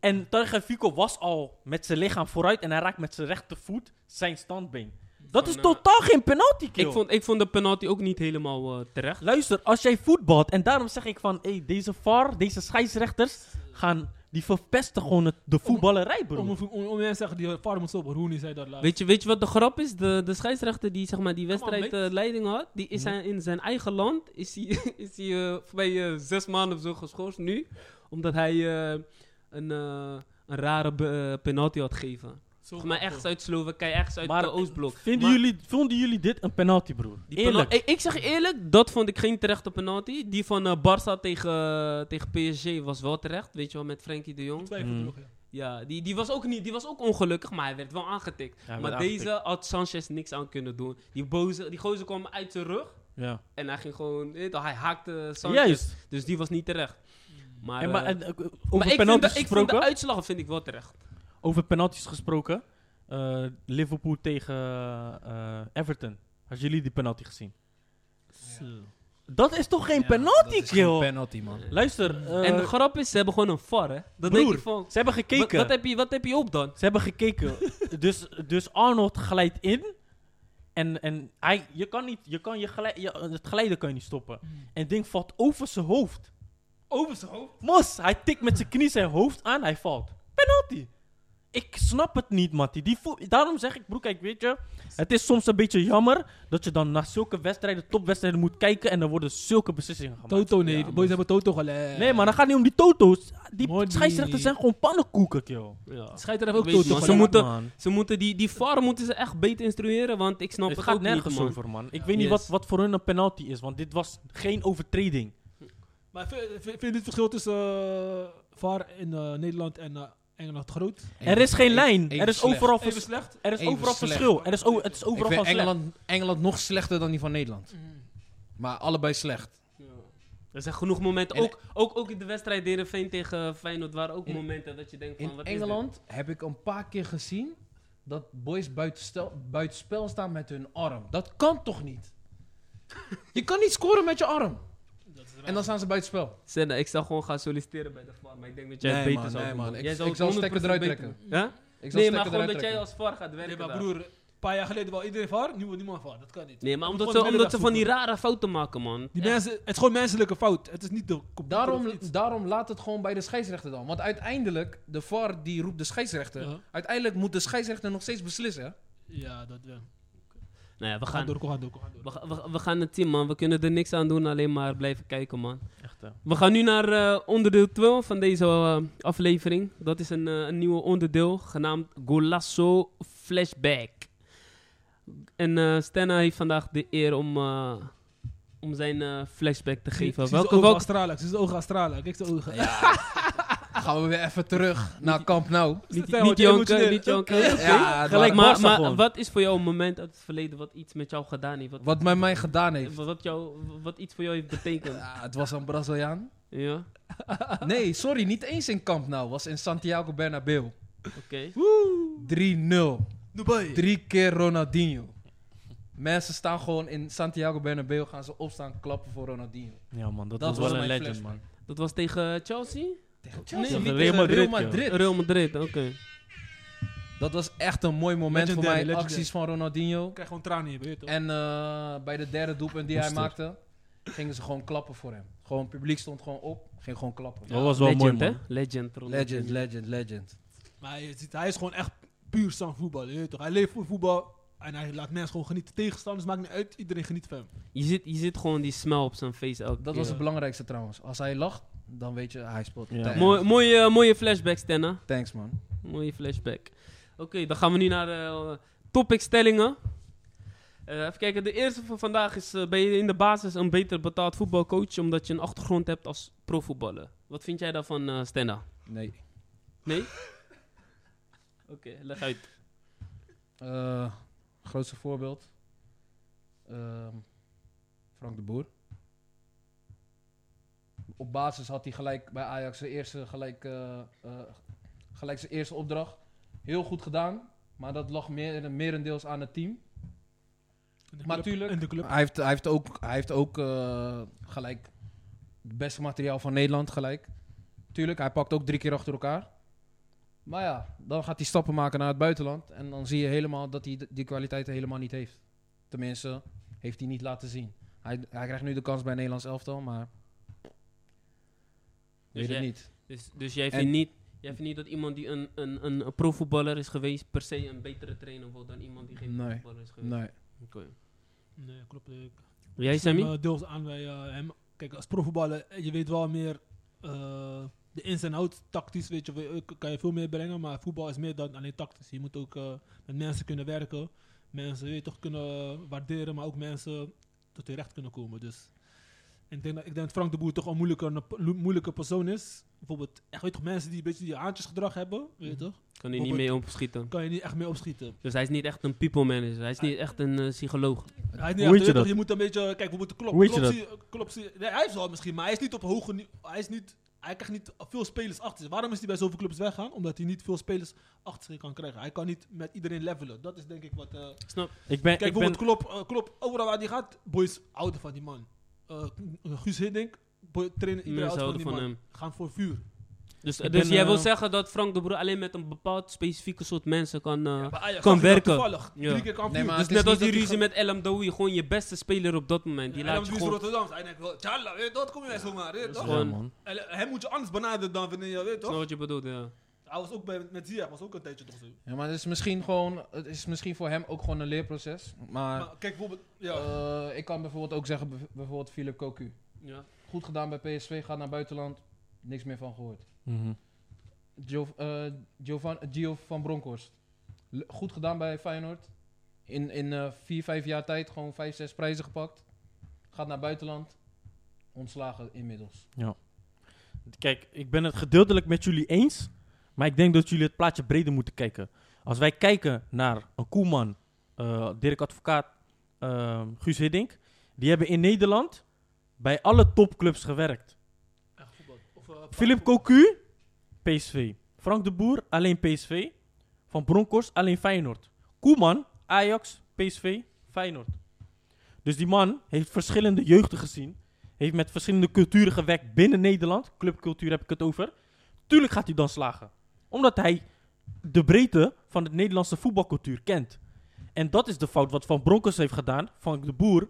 [SPEAKER 5] En Targa Fico was al met zijn lichaam vooruit. En hij raakt met zijn rechtervoet zijn standbeen. Dat is
[SPEAKER 2] Van, eh,
[SPEAKER 5] totaal geen penalty kill.
[SPEAKER 2] ik, vond, ik vond de penalty ook niet helemaal eh, terecht.
[SPEAKER 5] Luister, als jij voetbalt. En daarom zeg ik van. Hey, deze VAR, deze scheidsrechters. gaan. die verpesten gewoon het- de voetballerij,
[SPEAKER 4] Om,
[SPEAKER 5] bro.
[SPEAKER 4] om, om, om mensen te zeggen, die eh, VAR moet stoppen. Rooney zei dat laatst.
[SPEAKER 2] Weet je, weet je wat de grap is? De, de scheidsrechter die zeg maar, die wedstrijd
[SPEAKER 4] mate.
[SPEAKER 2] eh, leiding had, die is hij in zijn eigen land is hij, is hij eh, voor mij eh, zes maanden of zo geschorst nu. Omdat hij eh, een, eh, een rare be- eh, penalty had gegeven.
[SPEAKER 4] Zo
[SPEAKER 2] Volgens mij
[SPEAKER 4] grappig.
[SPEAKER 2] ergens uit Slowakije, ergens uit
[SPEAKER 5] Maar
[SPEAKER 2] de Oostblok.
[SPEAKER 5] Vinden
[SPEAKER 2] Maar
[SPEAKER 5] jullie, vonden jullie dit een penalty, broer?
[SPEAKER 2] die
[SPEAKER 5] Eerlijk.
[SPEAKER 2] penal- ik, ik zeg je eerlijk, dat vond ik geen terechte penalty. Die van eh, Barça tegen, eh, tegen PSG was wel terecht, weet je wel, met Frenkie de Jong.
[SPEAKER 4] Twijfel
[SPEAKER 5] Mm.
[SPEAKER 4] toch, ja.
[SPEAKER 2] Ja, die, die was ook niet, die was ook ongelukkig, maar hij werd wel aangetikt.
[SPEAKER 5] werd
[SPEAKER 2] maar
[SPEAKER 5] aangetikt.
[SPEAKER 2] deze had Sanchez niks aan kunnen doen. Die, boze, die gozer kwam uit zijn rug
[SPEAKER 5] ja.
[SPEAKER 2] en hij ging gewoon, je weet toch, hij haakte Sanchez.
[SPEAKER 5] Juist.
[SPEAKER 2] Dus die was niet terecht. Maar,
[SPEAKER 5] En maar,
[SPEAKER 2] eh,
[SPEAKER 5] en, eh,
[SPEAKER 2] maar
[SPEAKER 5] over
[SPEAKER 2] ik, vind de,
[SPEAKER 5] penalties
[SPEAKER 2] ik vind de
[SPEAKER 5] gesproken.
[SPEAKER 2] uitslag vind ik wel terecht.
[SPEAKER 5] Over penalties gesproken. eh, Liverpool tegen eh, Everton. Hadden jullie die penalty gezien? Dat is toch geen
[SPEAKER 3] Ja, dat
[SPEAKER 5] penalty,
[SPEAKER 3] is
[SPEAKER 5] kill?
[SPEAKER 3] geen penalty, man.
[SPEAKER 5] Luister, eh,
[SPEAKER 2] en de grap is, ze hebben gewoon een VAR, hè.
[SPEAKER 5] broer,
[SPEAKER 2] Dat denk ik van,
[SPEAKER 5] ze hebben
[SPEAKER 2] wat,
[SPEAKER 5] gekeken.
[SPEAKER 2] wat heb je, wat heb je op dan?
[SPEAKER 5] Ze hebben gekeken. dus, dus Arnold glijdt in. En, en hij, je kan niet, je kan je glij- je, het glijden kan je niet stoppen.
[SPEAKER 2] Hmm.
[SPEAKER 5] En het ding valt over zijn hoofd.
[SPEAKER 4] Over zijn hoofd.
[SPEAKER 5] Mos, hij tikt met zijn knie zijn hoofd aan, hij valt. Penalty. Ik snap het niet, Mattie. Die voet- Daarom zeg ik, broer, kijk, weet je, het is soms een beetje jammer dat je dan naar zulke wedstrijden, topwedstrijden moet kijken en dan worden zulke beslissingen gemaakt.
[SPEAKER 4] Toto, nee.
[SPEAKER 2] Ja,
[SPEAKER 4] de boys hebben Toto gelijk.
[SPEAKER 5] Nee, maar dan gaat het niet om die toto's. Die
[SPEAKER 4] Money.
[SPEAKER 5] scheidsrechters zijn gewoon pannenkoeken, joh.
[SPEAKER 2] Ja.
[SPEAKER 4] Scheidsrechter heeft ook
[SPEAKER 2] Ik weet
[SPEAKER 4] Toto
[SPEAKER 2] niet,
[SPEAKER 4] gelijk.
[SPEAKER 2] man. moeten-
[SPEAKER 5] Man.
[SPEAKER 2] Ze moeten die, die VAR moeten ze echt beter instrueren, want ik snap
[SPEAKER 5] Het
[SPEAKER 2] het
[SPEAKER 5] gaat
[SPEAKER 2] ook
[SPEAKER 5] nergens
[SPEAKER 2] niet, man.
[SPEAKER 5] over, man. Ik
[SPEAKER 4] Ja.
[SPEAKER 5] weet niet
[SPEAKER 2] Yes.
[SPEAKER 5] wat, wat voor hun een penalty is, want dit was geen overtreding.
[SPEAKER 4] Maar vind, vind- vind je dit verschil tussen eh, VAR in eh, Nederland en eh, Engeland groot?
[SPEAKER 5] er is geen
[SPEAKER 3] Even-
[SPEAKER 5] lijn.
[SPEAKER 3] even
[SPEAKER 5] Er is
[SPEAKER 3] slecht.
[SPEAKER 5] overal,
[SPEAKER 4] Even
[SPEAKER 5] vers-
[SPEAKER 4] slecht?
[SPEAKER 5] er is
[SPEAKER 3] Even
[SPEAKER 5] overal
[SPEAKER 3] slecht.
[SPEAKER 5] verschil. Er is o- het is
[SPEAKER 3] Ik
[SPEAKER 5] overal
[SPEAKER 3] vind
[SPEAKER 5] van slecht.
[SPEAKER 3] Engeland, Engeland nog slechter dan die van Nederland. Maar allebei slecht.
[SPEAKER 2] Er zijn genoeg momenten.
[SPEAKER 3] En-
[SPEAKER 2] Ook, ook, ook in de wedstrijd Heerenveen tegen Feyenoord waren ook
[SPEAKER 3] In-
[SPEAKER 2] momenten dat je denkt van...
[SPEAKER 3] In
[SPEAKER 2] wat is dit?
[SPEAKER 3] Engeland heb ik een paar keer gezien dat boys buitenstel- buitenspel staan met hun arm. Dat kan toch niet? Je kan niet scoren met je arm. En dan staan ze buitenspel.
[SPEAKER 2] Senna, ik zou gewoon gaan solliciteren bij de VAR, maar ik denk dat jij het
[SPEAKER 3] Nee,
[SPEAKER 2] beter
[SPEAKER 3] man,
[SPEAKER 2] zou
[SPEAKER 3] nee,
[SPEAKER 2] doen.
[SPEAKER 3] man. Ik-
[SPEAKER 2] Jij
[SPEAKER 3] ik
[SPEAKER 2] het
[SPEAKER 3] zal stekker
[SPEAKER 2] 100%
[SPEAKER 3] eruit
[SPEAKER 2] beter
[SPEAKER 3] trekken.
[SPEAKER 2] doen. Ja?
[SPEAKER 3] Ik zal
[SPEAKER 2] Nee,
[SPEAKER 3] stekker
[SPEAKER 2] maar gewoon
[SPEAKER 3] eruit
[SPEAKER 2] dat jij
[SPEAKER 3] trekken.
[SPEAKER 2] als VAR gaat werken
[SPEAKER 4] Nee, maar
[SPEAKER 2] daar.
[SPEAKER 4] broer, paar jaar geleden wel iedereen VAR, nu wil niemand VAR. Dat kan niet.
[SPEAKER 2] Nee, maar
[SPEAKER 4] Je moet
[SPEAKER 2] omdat
[SPEAKER 4] gewoon
[SPEAKER 2] ze,
[SPEAKER 4] de
[SPEAKER 2] omdat ze van die
[SPEAKER 4] middenweg
[SPEAKER 2] rare fouten maken, man.
[SPEAKER 4] zoeken. Die mensen, het is gewoon menselijke fout. Het is niet de computer of
[SPEAKER 3] Daarom,
[SPEAKER 4] iets.
[SPEAKER 3] daarom laat het gewoon bij de scheidsrechter dan. Want uiteindelijk, de VAR die roept de scheidsrechter.
[SPEAKER 4] Ja.
[SPEAKER 3] Uiteindelijk moet de scheidsrechter nog steeds beslissen.
[SPEAKER 4] Ja, dat wel.
[SPEAKER 2] Nou ja, we
[SPEAKER 4] We gaan
[SPEAKER 2] gaan,
[SPEAKER 4] door, we gaan door, we gaan door.
[SPEAKER 2] we, ga- we, ga- we gaan het zien, man. We kunnen er niks aan doen, alleen maar blijven kijken, man.
[SPEAKER 5] Echt, hè.
[SPEAKER 2] We gaan nu naar eh, onderdeel 12 van deze eh, aflevering. Dat is een, eh, een nieuw onderdeel genaamd Golasso Flashback. En eh Stenna heeft vandaag de eer om, eh, om zijn eh, flashback te geven. Welke,
[SPEAKER 4] ogen
[SPEAKER 2] welke,
[SPEAKER 4] Australië? Ze is de ogen Australië. Kijk zijn ogen.
[SPEAKER 3] Gaan we weer even terug naar Camp Nou.
[SPEAKER 2] niet,
[SPEAKER 4] Stel,
[SPEAKER 2] niet
[SPEAKER 4] wat jij
[SPEAKER 2] jonken,
[SPEAKER 4] moet
[SPEAKER 2] niet
[SPEAKER 4] doen.
[SPEAKER 2] jonken.
[SPEAKER 3] Ja,
[SPEAKER 2] Gelijk,
[SPEAKER 3] wat,
[SPEAKER 2] maar,
[SPEAKER 5] Barca
[SPEAKER 2] maar
[SPEAKER 5] gewoon.
[SPEAKER 2] wat is voor jou een moment uit het verleden wat iets met jou gedaan heeft? Wat,
[SPEAKER 3] wat mij, mij gedaan heeft.
[SPEAKER 2] wat, jou, wat iets voor jou heeft betekend?
[SPEAKER 3] Ja, het was een Braziliaan.
[SPEAKER 2] ja,
[SPEAKER 3] Nee, sorry, niet eens in Camp Nou. was in Santiago Bernabeu.
[SPEAKER 2] oké.
[SPEAKER 3] 3-0.
[SPEAKER 4] Dubai.
[SPEAKER 3] Drie keer Ronaldinho. Mensen staan gewoon in Santiago Bernabeu, gaan ze opstaan klappen voor Ronaldinho.
[SPEAKER 5] Ja, man, dat,
[SPEAKER 3] Dat
[SPEAKER 5] was,
[SPEAKER 3] was
[SPEAKER 5] wel een
[SPEAKER 3] mijn
[SPEAKER 5] legend,
[SPEAKER 3] flashback.
[SPEAKER 5] man.
[SPEAKER 2] Dat was tegen Chelsea?
[SPEAKER 3] Tegen
[SPEAKER 5] Tegen
[SPEAKER 3] Chelsea, niet
[SPEAKER 5] Real
[SPEAKER 3] tegen Real
[SPEAKER 5] Madrid,
[SPEAKER 3] Madrid.
[SPEAKER 2] Real Madrid, oké.
[SPEAKER 3] Dat was echt een mooi moment voor
[SPEAKER 4] Legendary,
[SPEAKER 3] mij.
[SPEAKER 4] legendary.
[SPEAKER 3] Acties van Ronaldinho.
[SPEAKER 4] Ik krijg gewoon tranen in, weet je toch?
[SPEAKER 3] En eh, bij de derde doelpunt die hij
[SPEAKER 5] Booster.
[SPEAKER 3] maakte, gingen ze gewoon klappen voor hem. Gewoon, het publiek stond gewoon op, ging gewoon klappen.
[SPEAKER 5] Dat was wel
[SPEAKER 2] Legend,
[SPEAKER 5] mooi,
[SPEAKER 2] hè?
[SPEAKER 5] man.
[SPEAKER 2] Legend. Ronaldinho.
[SPEAKER 3] Legend, legend, legend.
[SPEAKER 4] Maar je ziet, hij is gewoon echt puur zo'n voetbal, je weet toch? Hij leeft voor voetbal en hij laat mensen gewoon genieten. Tegenstanders maakt niet uit, iedereen geniet van hem.
[SPEAKER 2] Je zit, je zit gewoon die smel op zijn face elke
[SPEAKER 3] Dat
[SPEAKER 2] keer.
[SPEAKER 3] was het belangrijkste trouwens. Als hij lacht, dan weet je, hij speelt.
[SPEAKER 5] Ja.
[SPEAKER 3] Thanks.
[SPEAKER 2] Mooi, mooie, eh, mooie flashback, Stenna.
[SPEAKER 3] Thanks man.
[SPEAKER 2] Mooie flashback. Oké, dan gaan we nu naar de topicstellingen. Eh even kijken, de eerste van vandaag is, eh, ben je in de basis een beter betaald voetbalcoach omdat je een achtergrond hebt als profvoetballer? Wat vind jij daarvan, eh Stenna?
[SPEAKER 3] Nee.
[SPEAKER 2] Nee? Oké, leg uit.
[SPEAKER 3] Eh, grootste voorbeeld. Ehm, Frank de Boer. Op basis had hij gelijk bij Ajax zijn eerste, gelijk, eh, eh, gelijk zijn eerste opdracht. Heel goed gedaan. Maar dat lag meer, merendeels aan het team.
[SPEAKER 4] In de
[SPEAKER 3] Maar
[SPEAKER 4] club-
[SPEAKER 3] tuurlijk.
[SPEAKER 4] In de club.
[SPEAKER 3] Hij heeft, hij heeft ook, hij heeft ook eh, gelijk het beste materiaal van Nederland gelijk. Tuurlijk, hij pakt ook drie keer achter elkaar. Maar ja, dan gaat hij stappen maken naar het buitenland. En dan zie je helemaal dat hij d- die kwaliteiten helemaal niet heeft. Tenminste, heeft hij niet laten zien. Hij, hij krijgt nu de kans bij het Nederlands elftal, maar... Weet
[SPEAKER 2] jij-
[SPEAKER 3] het niet.
[SPEAKER 2] Dus, dus jij,
[SPEAKER 3] En-
[SPEAKER 2] vindt niet, jij vindt niet dat iemand die een, een, een, een profvoetballer is geweest per se een betere trainer wordt dan iemand die geen
[SPEAKER 3] Nee,
[SPEAKER 2] profvoetballer is geweest?
[SPEAKER 3] Nee.
[SPEAKER 2] Oké.
[SPEAKER 4] Nee, klopt. eh, Ik
[SPEAKER 2] Jij,
[SPEAKER 4] zie
[SPEAKER 2] Sammy?
[SPEAKER 4] hem, eh, deels aan bij eh, hem. Kijk, als profvoetballer, eh, je weet wel meer eh, de ins en outs. Tactisch weet je, eh, kan je veel meer brengen, maar voetbal is meer dan alleen tactisch. Je moet ook eh, met mensen kunnen werken, mensen weet je, toch kunnen waarderen, maar ook mensen tot hun recht kunnen komen. Dus ik denk dat, ik denk dat Frank de Boer toch een moeilijke, een po- moeilijke persoon is. Bijvoorbeeld, echt, weet je, toch, mensen die een beetje die haantjesgedrag hebben, weet je, toch,
[SPEAKER 2] Kan hij niet mee opschieten.
[SPEAKER 4] kan je niet echt mee opschieten.
[SPEAKER 2] Dus hij is niet echt een people manager. Hij is niet echt een eh, psycholoog.
[SPEAKER 4] Hij is
[SPEAKER 5] Hoe
[SPEAKER 4] niet echt-
[SPEAKER 5] weet je
[SPEAKER 4] toch,
[SPEAKER 5] dat?
[SPEAKER 4] moet een beetje... Kijk, we moeten kloppen.
[SPEAKER 5] Hoe weet je
[SPEAKER 4] klopt, zie- klopt, zie- nee, hij is wel misschien, maar hij is niet op hoge... ni- Hij is niet... Hij krijgt niet veel spelers achter zich. Waarom is hij bij zoveel clubs weggaan? Omdat hij niet veel spelers achter zich kan krijgen. Hij kan niet met iedereen levelen. Dat is denk ik wat... eh,
[SPEAKER 2] Snap?
[SPEAKER 5] Ik ben,
[SPEAKER 4] Kijk,
[SPEAKER 5] ik ben,
[SPEAKER 4] bijvoorbeeld Klop, eh, Klop, overal waar hij gaat, boys houden van die man. Eh, Guus Hiddink, boy, trainen iedereen
[SPEAKER 2] Mensen
[SPEAKER 4] houdt
[SPEAKER 2] houden
[SPEAKER 4] van die
[SPEAKER 2] van
[SPEAKER 4] man.
[SPEAKER 2] hem.
[SPEAKER 4] Gaan voor vuur.
[SPEAKER 2] Dus,
[SPEAKER 5] Ik
[SPEAKER 2] dus
[SPEAKER 5] ben,
[SPEAKER 2] jij
[SPEAKER 5] eh,
[SPEAKER 2] wil zeggen dat Frank de Boer alleen met een bepaald specifieke soort mensen kan... eh,
[SPEAKER 4] Bij Ajax
[SPEAKER 2] kan
[SPEAKER 4] zag je dat
[SPEAKER 2] werken.
[SPEAKER 4] Toevallig.
[SPEAKER 2] Ja.
[SPEAKER 4] Drie keer kampioen.
[SPEAKER 3] Nee, maar
[SPEAKER 2] dus
[SPEAKER 3] het is
[SPEAKER 2] net als
[SPEAKER 3] niet
[SPEAKER 2] die
[SPEAKER 3] dat hij
[SPEAKER 2] ruzie met Elam Dowie, gewoon je beste speler op dat moment. Die
[SPEAKER 4] en dan
[SPEAKER 2] laat je
[SPEAKER 4] doe je
[SPEAKER 2] gewoon...
[SPEAKER 4] Rotterdam. Hij denkt wel, tjalla, weet je, dat kom je zomaar. weet je toch?
[SPEAKER 2] gewoon-
[SPEAKER 5] Ja, man.
[SPEAKER 4] En, eh, Hem moet je anders benaderen dan wanneer je weet
[SPEAKER 2] Snap
[SPEAKER 4] toch?
[SPEAKER 2] wat je bedoelt, ja.
[SPEAKER 4] Hij was ook bij, met Ziyech was ook een tijdje toch zo.
[SPEAKER 3] Ja, maar het is, misschien gewoon, het is misschien voor hem ook gewoon een leerproces.
[SPEAKER 5] Ah.
[SPEAKER 3] Maar,
[SPEAKER 4] Maar kijk bijvoorbeeld, ja.
[SPEAKER 3] eh, ik kan bijvoorbeeld ook zeggen, bijv- bijvoorbeeld Philip Cocu.
[SPEAKER 2] ja.
[SPEAKER 3] Goed gedaan bij PSV, gaat naar buitenland. Niks meer van gehoord.
[SPEAKER 5] Mhm.
[SPEAKER 3] Gio, eh, Giovan, Gio van Bronckhorst. Le- goed gedaan bij Feyenoord. In, in eh vier, vijf jaar tijd gewoon vijf, zes prijzen gepakt. Gaat naar buitenland. Ontslagen inmiddels.
[SPEAKER 5] Kijk, ik ben het gedeeltelijk met jullie eens. Maar ik denk dat jullie het plaatje breder moeten kijken. Als wij kijken naar een Koeman, eh, Dirk Advocaat, eh, Guus Hiddink. Die hebben in Nederland bij alle topclubs gewerkt.
[SPEAKER 4] Echt voetbal. Of, eh,
[SPEAKER 5] Philip Cocu, PSV. Frank de Boer, alleen PSV. Van Bronckhorst, alleen Feyenoord. Koeman, Ajax, PSV, Feyenoord. Dus die man heeft verschillende jeugden gezien. Heeft met verschillende culturen gewerkt binnen Nederland. Clubcultuur heb ik het over. Tuurlijk gaat hij dan slagen. Omdat hij de breedte van het Nederlandse voetbalcultuur kent. En dat is de fout wat Van Bronckhorst heeft gedaan, Frank de Boer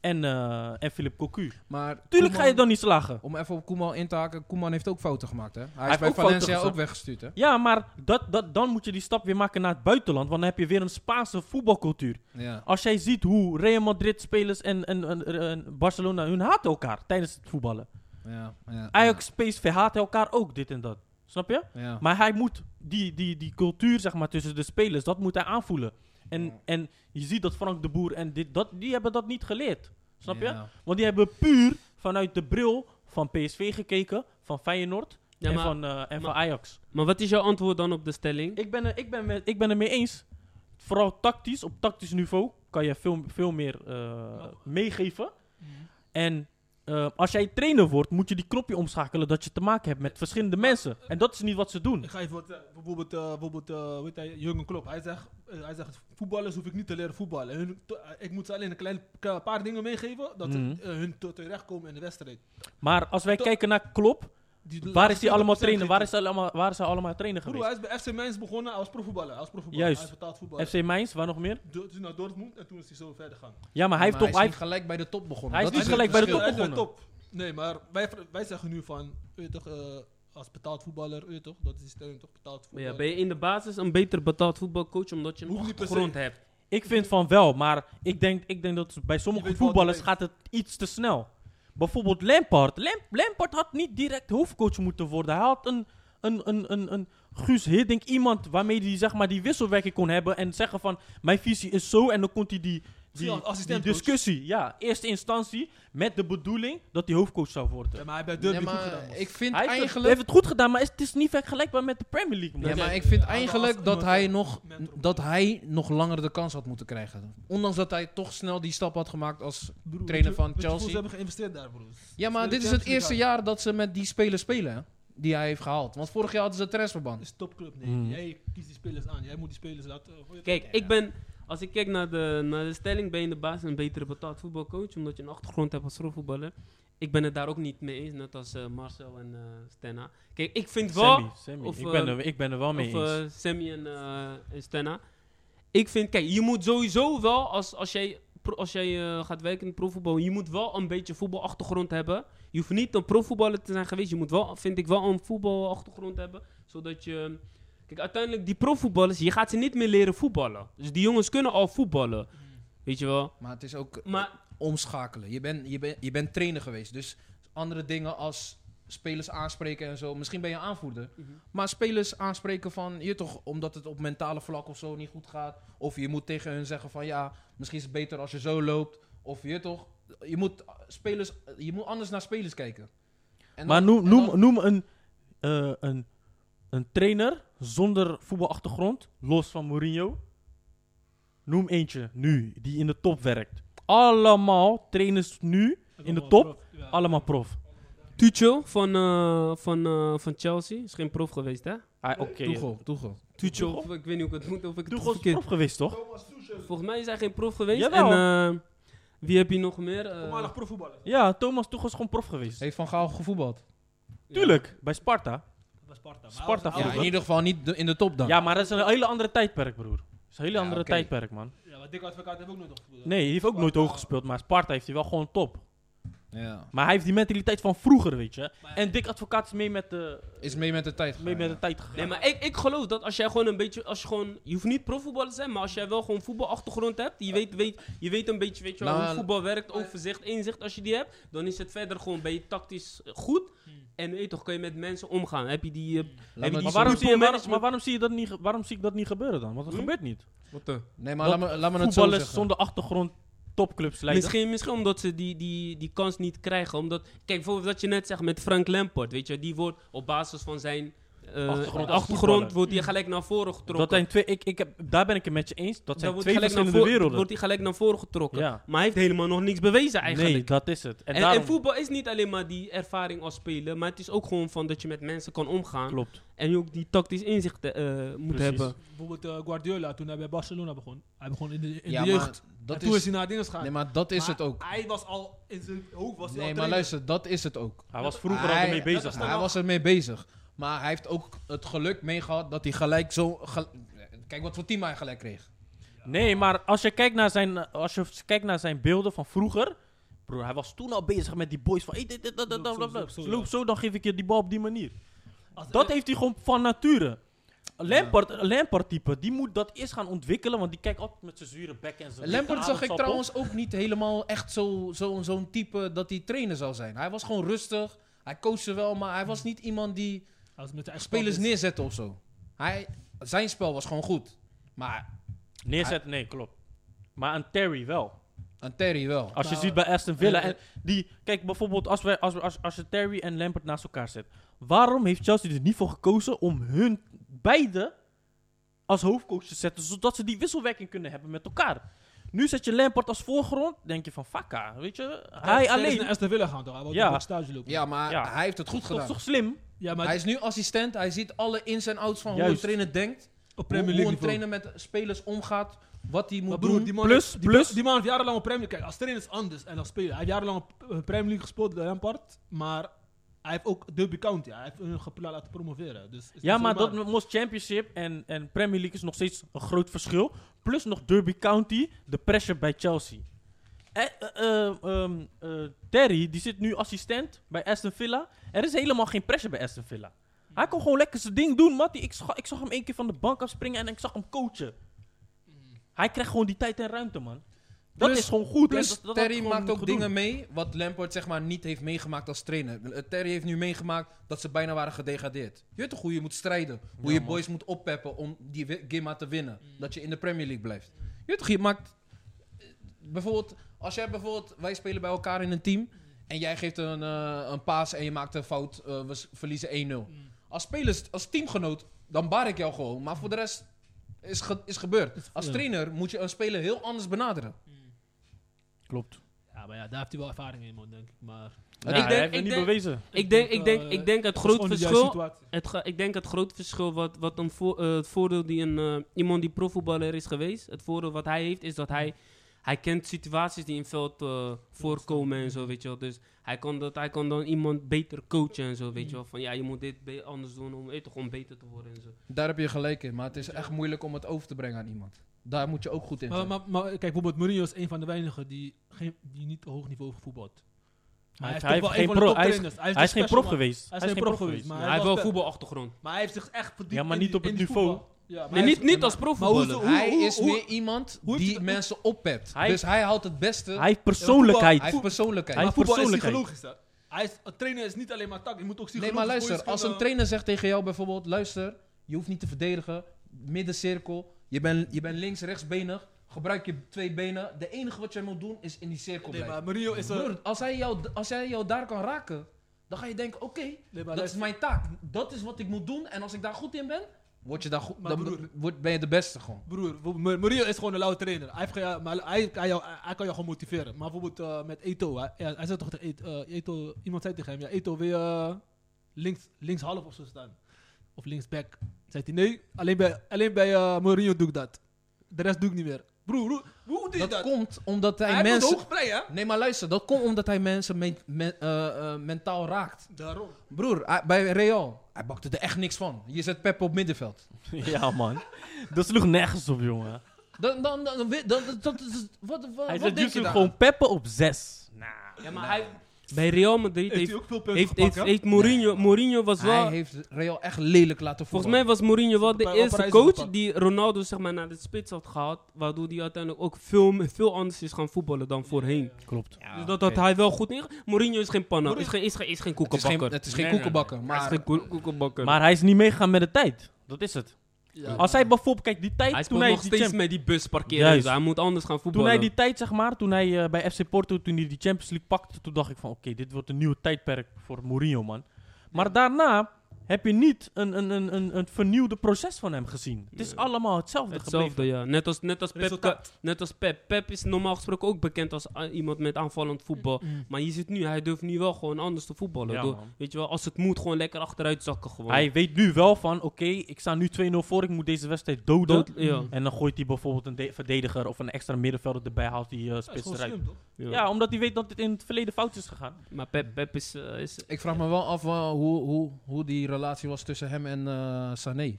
[SPEAKER 5] en, eh, en Philip Cocu.
[SPEAKER 3] Maar
[SPEAKER 5] Tuurlijk ga je
[SPEAKER 3] Koeman-
[SPEAKER 5] dan niet slagen.
[SPEAKER 3] Om even op Koeman in te haken. Koeman heeft ook fouten gemaakt, hè? Hij, is
[SPEAKER 5] heeft
[SPEAKER 3] bij
[SPEAKER 5] ook fouten
[SPEAKER 3] Valencia ook
[SPEAKER 5] gezet.
[SPEAKER 3] weggestuurd, hè?
[SPEAKER 5] Ja, maar dat, dat, dan moet je die stap weer maken naar het buitenland. Want dan heb je weer een Spaanse voetbalcultuur.
[SPEAKER 3] Ja.
[SPEAKER 5] Als jij ziet hoe Real Madrid spelers en, en, en, en Barcelona hun haten elkaar tijdens het voetballen.
[SPEAKER 3] Ja, ja,
[SPEAKER 5] Ajax, PSV haten elkaar ook dit en dat. Snap je?
[SPEAKER 3] Ja.
[SPEAKER 5] Maar hij moet die, die, die cultuur zeg maar, tussen de spelers, dat moet hij aanvoelen. En, en je ziet dat Frank de Boer en dit, dat, die hebben dat niet geleerd. Snap je?
[SPEAKER 3] Ja.
[SPEAKER 5] Want die hebben puur vanuit de bril van PSV gekeken, van Feyenoord
[SPEAKER 2] Ja,
[SPEAKER 5] en,
[SPEAKER 2] maar-
[SPEAKER 5] van, eh, en
[SPEAKER 2] maar-
[SPEAKER 5] van Ajax.
[SPEAKER 2] Maar wat is jouw antwoord dan op de stelling?
[SPEAKER 5] Ik ben, er- ik, ben met, ik ben het mee eens. Vooral tactisch, op tactisch niveau kan je veel, veel meer eh, meegeven.
[SPEAKER 4] Mhm.
[SPEAKER 5] En eh, als jij trainer wordt, moet je die knopje omschakelen dat je te maken hebt met verschillende mensen. En dat is niet wat ze doen.
[SPEAKER 4] Ik ga even wat, eh, bijvoorbeeld, eh, bijvoorbeeld eh, weet hij, Jurgen Klopp. Hij zegt, eh, hij zegt, voetballers hoef ik niet te leren voetballen. Hun, to- eh, ik moet ze alleen een klein ka- paar dingen meegeven, dat ze,
[SPEAKER 5] Mhm.
[SPEAKER 4] eh, hun tot terecht komen in de wedstrijd.
[SPEAKER 5] Maar als wij
[SPEAKER 4] To-
[SPEAKER 5] kijken naar Klopp,
[SPEAKER 4] Die
[SPEAKER 5] waar is hij
[SPEAKER 4] 70%
[SPEAKER 5] allemaal trainer? Waar is
[SPEAKER 4] geeft-
[SPEAKER 5] hij allemaal, waar is hij allemaal trainer
[SPEAKER 4] Broer, hij
[SPEAKER 5] geweest?
[SPEAKER 4] is bij FC Mainz begonnen als profvoetballer. Als profvoetballer.
[SPEAKER 5] Juist.
[SPEAKER 4] Hij is betaald voetballer.
[SPEAKER 5] FC Mainz, waar nog meer?
[SPEAKER 4] Do- Toen naar Dortmund en toen is hij zo verder gegaan.
[SPEAKER 5] Ja, maar hij heeft toch...
[SPEAKER 3] is
[SPEAKER 5] Hij
[SPEAKER 3] niet gelijk bij de top begonnen.
[SPEAKER 5] Hij is
[SPEAKER 3] Dat
[SPEAKER 5] niet gelijk bij de
[SPEAKER 3] het
[SPEAKER 5] top
[SPEAKER 4] Uit
[SPEAKER 3] verschil.
[SPEAKER 4] de
[SPEAKER 5] begonnen.
[SPEAKER 4] top. Nee, maar wij, wij zeggen nu van, weet je toch, eh, als betaald voetballer, weet je toch, dat is die stelling toch betaald
[SPEAKER 2] Ja,
[SPEAKER 4] voetballer.
[SPEAKER 2] ben je in de basis een beter betaald voetbalcoach omdat je een
[SPEAKER 4] Hoeft niet per se.
[SPEAKER 2] achtergrond hebt?
[SPEAKER 5] Ik vind van wel, maar ik denk, ik denk dat bij
[SPEAKER 4] Je
[SPEAKER 5] sommige
[SPEAKER 4] weet wel
[SPEAKER 5] voetballers
[SPEAKER 4] wat je
[SPEAKER 5] gaat het iets te snel. Bijvoorbeeld Lampard. Lam- Lampard had niet direct hoofdcoach moeten worden. Hij had een, een, een, een, een Guus Hiddink, iemand waarmee hij zeg maar, die wisselwerking kon hebben en zeggen van mijn visie is zo en dan komt hij die, die,
[SPEAKER 4] als
[SPEAKER 5] die
[SPEAKER 4] assistentcoach.
[SPEAKER 5] discussie. Ja, eerste instantie met de bedoeling dat hij hoofdcoach zou worden.
[SPEAKER 4] Ja, maar hij bij
[SPEAKER 3] Nee,
[SPEAKER 4] Derby goed
[SPEAKER 3] maar
[SPEAKER 4] gedaan. man.
[SPEAKER 3] ik vind
[SPEAKER 5] hij heeft het,
[SPEAKER 3] eigenlijk...
[SPEAKER 5] heeft het goed gedaan, maar is- het is niet vergelijkbaar met de Premier League. man.
[SPEAKER 3] Nee, maar
[SPEAKER 4] Ja,
[SPEAKER 3] ik vind
[SPEAKER 4] ja,
[SPEAKER 3] eigenlijk
[SPEAKER 4] als
[SPEAKER 3] dat
[SPEAKER 4] iemand
[SPEAKER 3] hij,
[SPEAKER 4] een
[SPEAKER 3] nog,
[SPEAKER 4] mentor-
[SPEAKER 3] dat hij nog langer de kans had moeten krijgen. Ondanks dat hij toch snel die stap had gemaakt als...
[SPEAKER 4] Broer, weet
[SPEAKER 3] trainer
[SPEAKER 4] je-
[SPEAKER 3] van
[SPEAKER 4] weet je hoeveel
[SPEAKER 3] Chelsea.
[SPEAKER 4] Ze hebben geïnvesteerd daar, broer.
[SPEAKER 3] Ja, maar
[SPEAKER 4] Ze
[SPEAKER 3] dit is
[SPEAKER 4] hebben
[SPEAKER 3] het eerste
[SPEAKER 4] Champions
[SPEAKER 3] jaar dat ze met die spelers spelen, hè? Die hij heeft gehaald. Want vorig jaar hadden ze het
[SPEAKER 4] League
[SPEAKER 3] restverband.
[SPEAKER 4] is topclub, nee.
[SPEAKER 5] Hmm.
[SPEAKER 4] Jij kiest die spelers aan. Jij moet die spelers laten... eh,
[SPEAKER 2] Kijk,
[SPEAKER 4] Ja.
[SPEAKER 2] ik ben, als ik kijk naar de, naar de stelling, ben je in de basis een betere betaald voetbalcoach, omdat je een achtergrond hebt als profvoetballer. Ik ben het daar ook niet mee eens, net als eh, Marcel en eh Stenna. Kijk, ik vind wel,
[SPEAKER 5] Sammy, Sammy,
[SPEAKER 2] of,
[SPEAKER 5] ik, ben
[SPEAKER 2] eh,
[SPEAKER 5] er, ik ben er wel mee
[SPEAKER 2] of
[SPEAKER 5] eens.
[SPEAKER 2] eh, Sammy en, eh, en Stenna. Ik vind, kijk, je moet sowieso wel, als, als jij, pro- als jij eh, gaat werken in het profvoetbal, je moet wel een beetje voetbalachtergrond hebben. Je hoeft niet een profvoetballer te zijn geweest. Je moet wel, vind ik, wel een voetbalachtergrond hebben. Zodat je... Kijk, uiteindelijk, die profvoetballers, je gaat ze niet meer leren voetballen. Dus die jongens kunnen al voetballen. Weet je wel?
[SPEAKER 3] Maar het is ook
[SPEAKER 2] Maar
[SPEAKER 3] omschakelen. Je bent je bent je bent trainer geweest. Dus andere dingen als spelers aanspreken en zo. Misschien ben je aanvoerder.
[SPEAKER 2] Mhm.
[SPEAKER 3] Maar spelers aanspreken van je toch, omdat het op mentale vlak of zo niet goed gaat. Of je moet tegen hun zeggen van ja, misschien is het beter als je zo loopt. Of je toch, je moet, eh, spelers, je moet anders naar spelers kijken. En
[SPEAKER 5] maar
[SPEAKER 3] dan-
[SPEAKER 5] noem,
[SPEAKER 3] en
[SPEAKER 5] noem,
[SPEAKER 3] dan-
[SPEAKER 5] noem een, eh, een, een trainer zonder voetbalachtergrond, los van Mourinho. Noem eentje nu die in de top werkt. Allemaal trainers nu, in de top,
[SPEAKER 4] Ja.
[SPEAKER 5] allemaal prof.
[SPEAKER 2] Tuchel van, eh, van, eh, van Chelsea is geen prof geweest, hè?
[SPEAKER 5] Ah, Oké,
[SPEAKER 3] Tuchel, Tuchel.
[SPEAKER 2] Tuchel, of ik weet niet hoe ik het moet, of ik het
[SPEAKER 5] Tuchel is
[SPEAKER 2] verkeerd-
[SPEAKER 5] prof geweest, toch?
[SPEAKER 2] Volgens mij is hij geen prof geweest.
[SPEAKER 5] Jawel.
[SPEAKER 2] En eh, wie heb je nog meer? Eh,
[SPEAKER 4] Voormalig profvoetballer.
[SPEAKER 5] Ja, Thomas Tuchel is gewoon prof geweest.
[SPEAKER 3] Heeft Van Gaal gevoetbald?
[SPEAKER 5] Tuurlijk, bij Sparta.
[SPEAKER 4] Bij Sparta. Maar
[SPEAKER 5] Sparta
[SPEAKER 4] hij
[SPEAKER 3] Ja,
[SPEAKER 4] was-
[SPEAKER 5] vroeger.
[SPEAKER 3] in ieder geval niet de- in de top dan.
[SPEAKER 5] Ja, maar dat is een hele andere tijdperk, broer. Dat is een hele
[SPEAKER 3] Ja,
[SPEAKER 5] andere
[SPEAKER 3] oké.
[SPEAKER 5] tijdperk, man.
[SPEAKER 4] Ja, maar Dick Advocaat heeft ook nooit nog gevoetbald.
[SPEAKER 5] Nee, die heeft ook nooit
[SPEAKER 4] Sparta-
[SPEAKER 5] hoog gespeeld, maar Sparta heeft hij wel gewoon top.
[SPEAKER 3] Ja.
[SPEAKER 5] Maar hij heeft die mentaliteit van vroeger, weet je.
[SPEAKER 4] Maar-
[SPEAKER 5] En Dick Advocaat is mee met de,
[SPEAKER 3] Is mee met de tijd.
[SPEAKER 5] mee
[SPEAKER 3] gegaan,
[SPEAKER 5] met
[SPEAKER 3] ja.
[SPEAKER 5] de tijd gegaan.
[SPEAKER 2] Nee, maar ik, ik geloof dat als jij gewoon een beetje, als je gewoon, je hoeft niet profvoetballer te zijn, maar als jij wel gewoon voetbalachtergrond hebt, je weet, weet, je weet een beetje weet je wel,
[SPEAKER 3] Nou,
[SPEAKER 2] hoe voetbal werkt, overzicht, inzicht, als je die hebt, dan is het verder gewoon, ben je tactisch eh, goed en weet je toch, kun je met mensen omgaan. Heb je die... eh,
[SPEAKER 3] Laat
[SPEAKER 2] Heb je
[SPEAKER 3] me-
[SPEAKER 5] Maar
[SPEAKER 2] die
[SPEAKER 5] waarom,
[SPEAKER 2] people
[SPEAKER 5] zie je, waarom,
[SPEAKER 2] management-
[SPEAKER 5] maar waarom, zie je dat niet, ge- waarom zie ik dat niet gebeuren dan? Want dat
[SPEAKER 2] Hm?
[SPEAKER 5] gebeurt niet.
[SPEAKER 3] Nee, maar
[SPEAKER 5] Wat eh?
[SPEAKER 3] laat me, laat me het zo
[SPEAKER 5] Voetballers
[SPEAKER 3] zeggen.
[SPEAKER 5] zonder achtergrond topclubs leiden.
[SPEAKER 2] Misschien, misschien omdat ze die, die, die kans niet krijgen. Omdat, kijk, bijvoorbeeld wat je net zegt met Frank Lampard, weet je, die wordt op basis van zijn... eh,
[SPEAKER 5] Achtergrond
[SPEAKER 2] achtergrond,
[SPEAKER 5] als voetballer.
[SPEAKER 2] wordt hij gelijk naar voren getrokken.
[SPEAKER 5] Mm. dat zijn twee, ik, ik heb, daar ben ik het met je eens. Dat
[SPEAKER 2] Dan
[SPEAKER 5] zijn
[SPEAKER 2] wordt
[SPEAKER 5] twee
[SPEAKER 2] hij gelijk naar
[SPEAKER 5] verschillende
[SPEAKER 2] voor-
[SPEAKER 5] werelden.
[SPEAKER 2] Wordt hij gelijk naar voren getrokken.
[SPEAKER 5] Ja.
[SPEAKER 2] Maar hij heeft helemaal nog niks bewezen eigenlijk.
[SPEAKER 5] Nee, dat is het. En,
[SPEAKER 2] en,
[SPEAKER 5] daarom
[SPEAKER 2] en voetbal is niet alleen maar die ervaring als speler. Maar het is ook gewoon van dat je met mensen kan omgaan.
[SPEAKER 5] klopt.
[SPEAKER 2] En je ook die tactisch inzicht eh, moet
[SPEAKER 5] Precies.
[SPEAKER 2] hebben.
[SPEAKER 4] Bijvoorbeeld eh, Guardiola, toen hij bij Barcelona begon. Hij begon in de, in
[SPEAKER 3] Ja,
[SPEAKER 4] de
[SPEAKER 3] maar
[SPEAKER 4] jeugd.
[SPEAKER 3] dat
[SPEAKER 4] en toen
[SPEAKER 3] is-
[SPEAKER 4] is hij naar dingen gegaan.
[SPEAKER 3] Nee, maar dat is
[SPEAKER 4] Maar
[SPEAKER 3] het ook.
[SPEAKER 4] Hij was al in zijn hoofd. Was hij
[SPEAKER 3] Nee, maar
[SPEAKER 4] al trainer.
[SPEAKER 3] luister, dat is het ook.
[SPEAKER 5] Hij was vroeger al
[SPEAKER 3] Hij-
[SPEAKER 5] ermee bezig.
[SPEAKER 4] dat is-
[SPEAKER 3] Hij was ermee bezig. Maar hij heeft ook het geluk mee gehad dat hij gelijk zo... gel- Kijk wat voor team hij gelijk kreeg.
[SPEAKER 5] Nee, maar als je, kijkt naar zijn, als je kijkt naar zijn beelden van vroeger. Broer, hij was toen al bezig met die boys van. Hey, dit, dit, dat, dat,
[SPEAKER 4] Loop zo,
[SPEAKER 5] dat,
[SPEAKER 4] loop
[SPEAKER 5] dat.
[SPEAKER 4] zo,
[SPEAKER 5] Loop
[SPEAKER 4] ja.
[SPEAKER 5] zo, dan geef ik je die bal op die manier.
[SPEAKER 4] Als-
[SPEAKER 5] Dat
[SPEAKER 4] eh,
[SPEAKER 5] heeft hij gewoon van nature. Lampard, Lampard type, die moet dat eerst gaan ontwikkelen, want die kijkt altijd met zijn zure bek en zijn.
[SPEAKER 3] Lampard zag ik
[SPEAKER 5] ademsappel.
[SPEAKER 3] trouwens ook niet helemaal echt zo'n zo, zo'n- zo'n type dat hij trainer zou zijn. Hij was gewoon rustig. Hij koos ze wel, maar hij was niet iemand die
[SPEAKER 4] als het met de eigen
[SPEAKER 3] spelers
[SPEAKER 4] spelers-
[SPEAKER 3] neerzette of zo. Hij, zijn spel was gewoon goed. Maar
[SPEAKER 5] Neerzetten, nee, klopt. Maar aan Terry wel.
[SPEAKER 3] aan Terry wel.
[SPEAKER 5] Als je
[SPEAKER 4] Nou,
[SPEAKER 5] ziet bij Aston Villa.
[SPEAKER 3] eh,
[SPEAKER 5] En die, kijk, bijvoorbeeld als, we, als, we- als, als je Terry en Lampard naast elkaar zet. Waarom heeft Chelsea er niet voor gekozen om hun beide als hoofdcoach te zetten? Zodat ze die wisselwerking kunnen hebben met elkaar. Nu zet je Lampard als voorgrond. Denk je van, fakka, weet je. Hij
[SPEAKER 4] Sterren is
[SPEAKER 5] alleen.
[SPEAKER 4] naar Aston Villa gaan toch? Hij wil
[SPEAKER 5] Ja.
[SPEAKER 4] ja. stage lopen.
[SPEAKER 3] Ja, maar
[SPEAKER 5] Ja.
[SPEAKER 3] hij heeft het goed
[SPEAKER 5] Dat is
[SPEAKER 3] gedaan.
[SPEAKER 5] toch slim?
[SPEAKER 4] Ja, maar
[SPEAKER 3] Hij is nu assistent. Hij ziet alle ins en outs van hoe
[SPEAKER 5] Juist.
[SPEAKER 3] een trainer denkt.
[SPEAKER 4] op
[SPEAKER 3] Hoe,
[SPEAKER 4] Premier
[SPEAKER 3] hoe
[SPEAKER 4] League
[SPEAKER 3] een
[SPEAKER 4] niveau.
[SPEAKER 3] trainer met spelers omgaat. Wat hij
[SPEAKER 4] Maar
[SPEAKER 3] moet
[SPEAKER 4] broer,
[SPEAKER 3] doen.
[SPEAKER 4] die man,
[SPEAKER 5] Plus,
[SPEAKER 4] die,
[SPEAKER 5] plus.
[SPEAKER 4] die man heeft jarenlang op Premier League. Kijk, als trainer is het anders en als speler. Hij heeft jarenlang op eh, Premier League gespeeld, Lampard. Maar hij heeft ook Derby County. Hij heeft hun gepla- laten promoveren. Dus het is
[SPEAKER 5] Ja,
[SPEAKER 4] niet
[SPEAKER 5] maar
[SPEAKER 4] zomaar-
[SPEAKER 5] dat moest Championship en, en Premier League is nog steeds een groot verschil. Plus nog Derby County, de pressure bij Chelsea. Eh, eh, eh, ehm, eh, Terry, die zit nu assistent bij Aston Villa. Er is helemaal geen pressure bij Aston Villa. Hij kon gewoon lekker zijn ding doen, Matty. Ik, scha- ik zag hem één keer van de bank afspringen en ik zag hem coachen. Hij krijgt gewoon die tijd en ruimte, man. Dat
[SPEAKER 3] Plus-
[SPEAKER 5] is gewoon goed.
[SPEAKER 3] Plus,
[SPEAKER 5] En dat- dat had
[SPEAKER 3] Terry
[SPEAKER 5] gewoon
[SPEAKER 3] maakt ook
[SPEAKER 5] moeten doen.
[SPEAKER 3] dingen mee wat Lampard zeg maar niet heeft meegemaakt als trainer. Eh, Terry heeft nu meegemaakt dat ze bijna waren gedegradeerd. Je weet toch hoe je moet strijden? Hoe
[SPEAKER 5] Ja,
[SPEAKER 3] je
[SPEAKER 5] man. Mm.
[SPEAKER 3] boys moet oppeppen om die wi- gimma te winnen. Dat je in de Premier League blijft. Je weet toch, je maakt... eh, Bijvoorbeeld, als jij bijvoorbeeld... Wij spelen bij elkaar in een team en jij geeft een, eh, een paas en je maakt een fout. eh, we s- verliezen 1-0.
[SPEAKER 5] Mm.
[SPEAKER 3] Als spelers, als teamgenoot, dan baar ik jou gewoon. Maar voor de rest is, ge- is gebeurd. Als
[SPEAKER 4] ja.
[SPEAKER 3] trainer moet je een speler heel anders benaderen.
[SPEAKER 5] Klopt.
[SPEAKER 4] Ja, maar ja, daar heeft hij wel ervaring in, man, denk ik. Maar
[SPEAKER 5] Nou,
[SPEAKER 2] ik
[SPEAKER 5] ik
[SPEAKER 2] denk-
[SPEAKER 5] denk,
[SPEAKER 2] ik
[SPEAKER 5] niet
[SPEAKER 2] denk-
[SPEAKER 5] bewezen.
[SPEAKER 2] Ik denk, ik denk,
[SPEAKER 4] eh,
[SPEAKER 2] ik denk het
[SPEAKER 4] is
[SPEAKER 2] groot
[SPEAKER 4] gewoon de juiste
[SPEAKER 2] verschil...
[SPEAKER 4] situatie.
[SPEAKER 2] Het ge- ik denk het groot verschil wat, wat een voor- eh, het voordeel die een, eh, iemand die profvoetballer is geweest, het voordeel wat hij heeft is dat hij, hij kent situaties die in het veld eh, voorkomen en zo, weet je wel. Dus hij kan, dat, hij kan dan iemand beter coachen en zo, weet je wel. Van ja, je moet dit be- anders doen om, eh, toch, om beter te worden en zo.
[SPEAKER 3] Daar heb je gelijk in, maar het is echt moeilijk om het over te brengen aan iemand. Daar moet je ook goed in
[SPEAKER 4] Maar,
[SPEAKER 3] zijn.
[SPEAKER 4] maar, maar kijk, bijvoorbeeld Mourinho is een van de weinigen die, geen, die niet hoog niveau heeft voetbald.
[SPEAKER 5] Hij
[SPEAKER 4] Maar hij,
[SPEAKER 5] heeft- hij
[SPEAKER 4] is toch wel
[SPEAKER 5] heeft
[SPEAKER 4] een van de
[SPEAKER 5] geen pro- hij is-
[SPEAKER 4] toptrainers.
[SPEAKER 5] Hij is geen
[SPEAKER 4] special,
[SPEAKER 5] prof
[SPEAKER 4] man.
[SPEAKER 5] geweest.
[SPEAKER 4] Hij is geen prof geweest, maar
[SPEAKER 2] hij heeft
[SPEAKER 4] was
[SPEAKER 2] wel
[SPEAKER 4] de-
[SPEAKER 2] voetbalachtergrond.
[SPEAKER 4] Maar hij heeft zich echt verdiept
[SPEAKER 5] Ja, maar
[SPEAKER 4] in
[SPEAKER 5] niet
[SPEAKER 4] die-
[SPEAKER 5] op het
[SPEAKER 4] in die
[SPEAKER 5] niveau.
[SPEAKER 4] voetbal. Ja, maar
[SPEAKER 2] Nee,
[SPEAKER 4] hij
[SPEAKER 2] niet,
[SPEAKER 4] heeft-
[SPEAKER 2] niet als
[SPEAKER 4] hoe-
[SPEAKER 2] profvoetballer.
[SPEAKER 4] hoe-
[SPEAKER 3] hij
[SPEAKER 4] hoe-
[SPEAKER 3] is
[SPEAKER 4] hoe-
[SPEAKER 3] weer iemand
[SPEAKER 4] hoe heeft
[SPEAKER 3] die
[SPEAKER 4] hij dat-
[SPEAKER 3] mensen oppept.
[SPEAKER 5] Hij-
[SPEAKER 3] dus hij haalt het beste.
[SPEAKER 5] Hij
[SPEAKER 3] Hij,
[SPEAKER 5] heeft persoonlijkheid.
[SPEAKER 3] heeft persoonlijkheid.
[SPEAKER 5] Hij-
[SPEAKER 4] Maar voetbal is
[SPEAKER 5] persoonlijkheid.
[SPEAKER 4] psychologisch, hè. Hij is, een trainer is niet alleen maar tak, je moet ook
[SPEAKER 3] nee,
[SPEAKER 4] psychologisch...
[SPEAKER 3] maar luister.
[SPEAKER 4] boys
[SPEAKER 3] Als een
[SPEAKER 4] kunnen-
[SPEAKER 3] trainer zegt tegen jou bijvoorbeeld... Luister, je hoeft niet te verdedigen. Middencirkel. Je bent je bent links, rechtsbenig. Gebruik je twee benen. De enige wat jij moet doen is in die cirkel
[SPEAKER 4] Nee,
[SPEAKER 3] blijven.
[SPEAKER 4] maar Mourinho is een...
[SPEAKER 3] Broer, als, hij jou, als hij jou daar kan raken... Dan ga je denken, oké,
[SPEAKER 4] Nee, maar
[SPEAKER 3] dat is
[SPEAKER 4] luister,
[SPEAKER 3] mijn taak. Dat is wat ik moet doen. En als ik daar goed in ben... Word je daar goed,
[SPEAKER 4] Maar broer-
[SPEAKER 3] dan word, ben je de beste gewoon.
[SPEAKER 4] broer, Mo- Mourinho is gewoon een lauwe trainer. Hij, heeft geen- maar hij, kan jou, hij kan jou gewoon motiveren. Maar bijvoorbeeld eh, met Eto, hij, ja, hij zei toch tegen Eto, eh, Eto- iemand zei tegen hem, ja, Eto wil je eh, links, links half of zo staan. Of linksback. Zei hij, nee, alleen bij, alleen bij eh, Mourinho doe ik dat. De rest doe ik niet meer. Broer, hoe, hoe doe je
[SPEAKER 3] Dat,
[SPEAKER 4] dat?
[SPEAKER 3] komt omdat hij,
[SPEAKER 4] hij
[SPEAKER 3] mensen.
[SPEAKER 4] wil hoog breien, hè?
[SPEAKER 3] Nee, maar luister, dat komt omdat hij mensen men- men- eh, eh, mentaal raakt.
[SPEAKER 4] Daarom.
[SPEAKER 3] Broer, hij- bij Real, hij bakte er echt niks van. Je zet Pep op middenveld.
[SPEAKER 5] Ja, man. Dat sloeg nergens op, jongen.
[SPEAKER 3] Dan, dan, dan, dan, dan- dat- dat is- wat, wat,
[SPEAKER 5] Hij zet
[SPEAKER 3] Oh, wat denk je
[SPEAKER 5] YouTube
[SPEAKER 3] daar?
[SPEAKER 5] gewoon peppen op 6.
[SPEAKER 2] Ja, maar hij, bij Real Madrid
[SPEAKER 4] Heeft
[SPEAKER 2] heeft,
[SPEAKER 4] hij ook veel punten
[SPEAKER 2] heeft,
[SPEAKER 4] gepakt,
[SPEAKER 2] heeft,
[SPEAKER 4] hè?
[SPEAKER 2] heeft Mourinho, Mourinho was wel...
[SPEAKER 3] Hij heeft Real echt lelijk laten
[SPEAKER 2] Volgens
[SPEAKER 3] voetballen.
[SPEAKER 2] mij was Mourinho wel de
[SPEAKER 4] Bij- bij
[SPEAKER 2] eerste
[SPEAKER 4] Parijs
[SPEAKER 2] coach
[SPEAKER 4] gepakt.
[SPEAKER 2] die Ronaldo zeg maar, naar de spits had gehaald. Waardoor hij uiteindelijk ook veel, me- veel anders is gaan voetballen dan voorheen.
[SPEAKER 5] Klopt.
[SPEAKER 2] dus dat had hij wel goed in. Mourinho is geen panna, is
[SPEAKER 4] Mourinho-
[SPEAKER 2] geen, is geen, is geen
[SPEAKER 3] Het is geen,
[SPEAKER 2] koekenbakker.
[SPEAKER 3] het is geen
[SPEAKER 5] Nee, nee,
[SPEAKER 3] koekenbakker,
[SPEAKER 2] Hij is
[SPEAKER 3] maar...
[SPEAKER 2] geen koe- koekenbakker.
[SPEAKER 5] Maar hij is niet meegegaan met de tijd. Dat is het.
[SPEAKER 4] Ja.
[SPEAKER 5] Als hij bijvoorbeeld, kijk, die tijd
[SPEAKER 2] hij
[SPEAKER 5] toen
[SPEAKER 2] speelt
[SPEAKER 5] hij
[SPEAKER 2] nog
[SPEAKER 5] die
[SPEAKER 2] steeds
[SPEAKER 5] champ-
[SPEAKER 2] met die bus parkeren.
[SPEAKER 5] Juist.
[SPEAKER 2] Dus hij moet anders gaan
[SPEAKER 5] Toen
[SPEAKER 2] voetballen.
[SPEAKER 5] hij die tijd, zeg maar, toen hij eh, bij FC Porto, toen hij die Champions League pakte, toen dacht ik van, oké, dit wordt een nieuw tijdperk voor Mourinho, man. Maar daarna heb je niet een, een, een, een, een vernieuwde proces van hem gezien. Het is
[SPEAKER 2] Nee.
[SPEAKER 5] allemaal hetzelfde, gebleven.
[SPEAKER 2] Hetzelfde, ja. Net als, net, als Pep,
[SPEAKER 4] Resultaat.
[SPEAKER 2] Ka- net als Pep. Pep is normaal gesproken ook bekend als a- iemand met aanvallend voetbal. Maar je ziet nu, hij durft nu wel gewoon anders te voetballen.
[SPEAKER 5] Ja,
[SPEAKER 2] Door-
[SPEAKER 5] man.
[SPEAKER 2] weet je wel, als het moet, gewoon lekker achteruit zakken. Gewoon.
[SPEAKER 5] Hij weet nu wel van, oké, ik sta nu 2-0 voor, ik moet deze wedstrijd doden.
[SPEAKER 2] Dood- ja.
[SPEAKER 5] En dan gooit hij bijvoorbeeld een de- verdediger of een extra middenvelder erbij, haalt die eh,
[SPEAKER 4] Dat is
[SPEAKER 5] spits
[SPEAKER 4] gewoon
[SPEAKER 5] eruit.
[SPEAKER 4] slim, toch?
[SPEAKER 2] Ja.
[SPEAKER 5] Ja, omdat hij weet dat dit in het verleden fout is gegaan.
[SPEAKER 2] Maar Pep, Pep is, eh, is,
[SPEAKER 3] Ik vraag me wel af eh, hoe, hoe, hoe die relatie was tussen hem en eh Sané.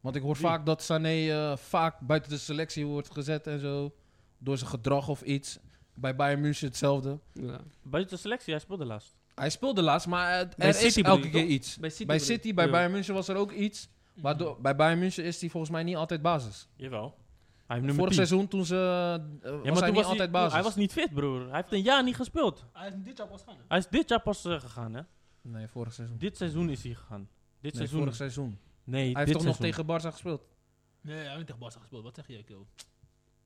[SPEAKER 3] Want ik hoor vaak dat Sané eh, vaak buiten de selectie wordt gezet en zo. Door zijn gedrag of iets. Bij Bayern München hetzelfde.
[SPEAKER 2] Ja.
[SPEAKER 5] Buiten de selectie, hij speelde laatst.
[SPEAKER 3] Hij speelde laatst, maar het-
[SPEAKER 2] Bij
[SPEAKER 3] er
[SPEAKER 2] City
[SPEAKER 3] is
[SPEAKER 2] bedoel
[SPEAKER 3] elke
[SPEAKER 2] je,
[SPEAKER 3] keer
[SPEAKER 2] toch?
[SPEAKER 3] iets.
[SPEAKER 2] Bij City,
[SPEAKER 3] Bij
[SPEAKER 2] bedoel ik.
[SPEAKER 3] City, bij
[SPEAKER 2] Ja.
[SPEAKER 3] Bayern München was er ook iets.
[SPEAKER 4] Mhm.
[SPEAKER 3] Maar door- bij Bayern München is hij volgens mij niet altijd basis.
[SPEAKER 5] Jawel. Hij heeft nummer
[SPEAKER 3] Vorig
[SPEAKER 5] 10.
[SPEAKER 3] seizoen toen ze, eh, was
[SPEAKER 5] Ja,
[SPEAKER 3] hij
[SPEAKER 5] toen
[SPEAKER 3] niet altijd basis.
[SPEAKER 5] Hij was niet fit, broer. Hij heeft een jaar niet gespeeld.
[SPEAKER 4] Hij is dit jaar pas gaan. hè?
[SPEAKER 5] Hij is dit jaar pas eh, gegaan, hè?
[SPEAKER 3] Nee, vorig seizoen.
[SPEAKER 5] Dit seizoen is hij gegaan. Dit
[SPEAKER 3] Nee,
[SPEAKER 5] seizoen.
[SPEAKER 3] vorig seizoen.
[SPEAKER 5] Nee,
[SPEAKER 3] Hij heeft
[SPEAKER 5] dit
[SPEAKER 3] toch nog
[SPEAKER 5] seizoen.
[SPEAKER 3] tegen Barca gespeeld?
[SPEAKER 4] Nee, hij heeft niet tegen Barca gespeeld. Wat zeg jij, Kil?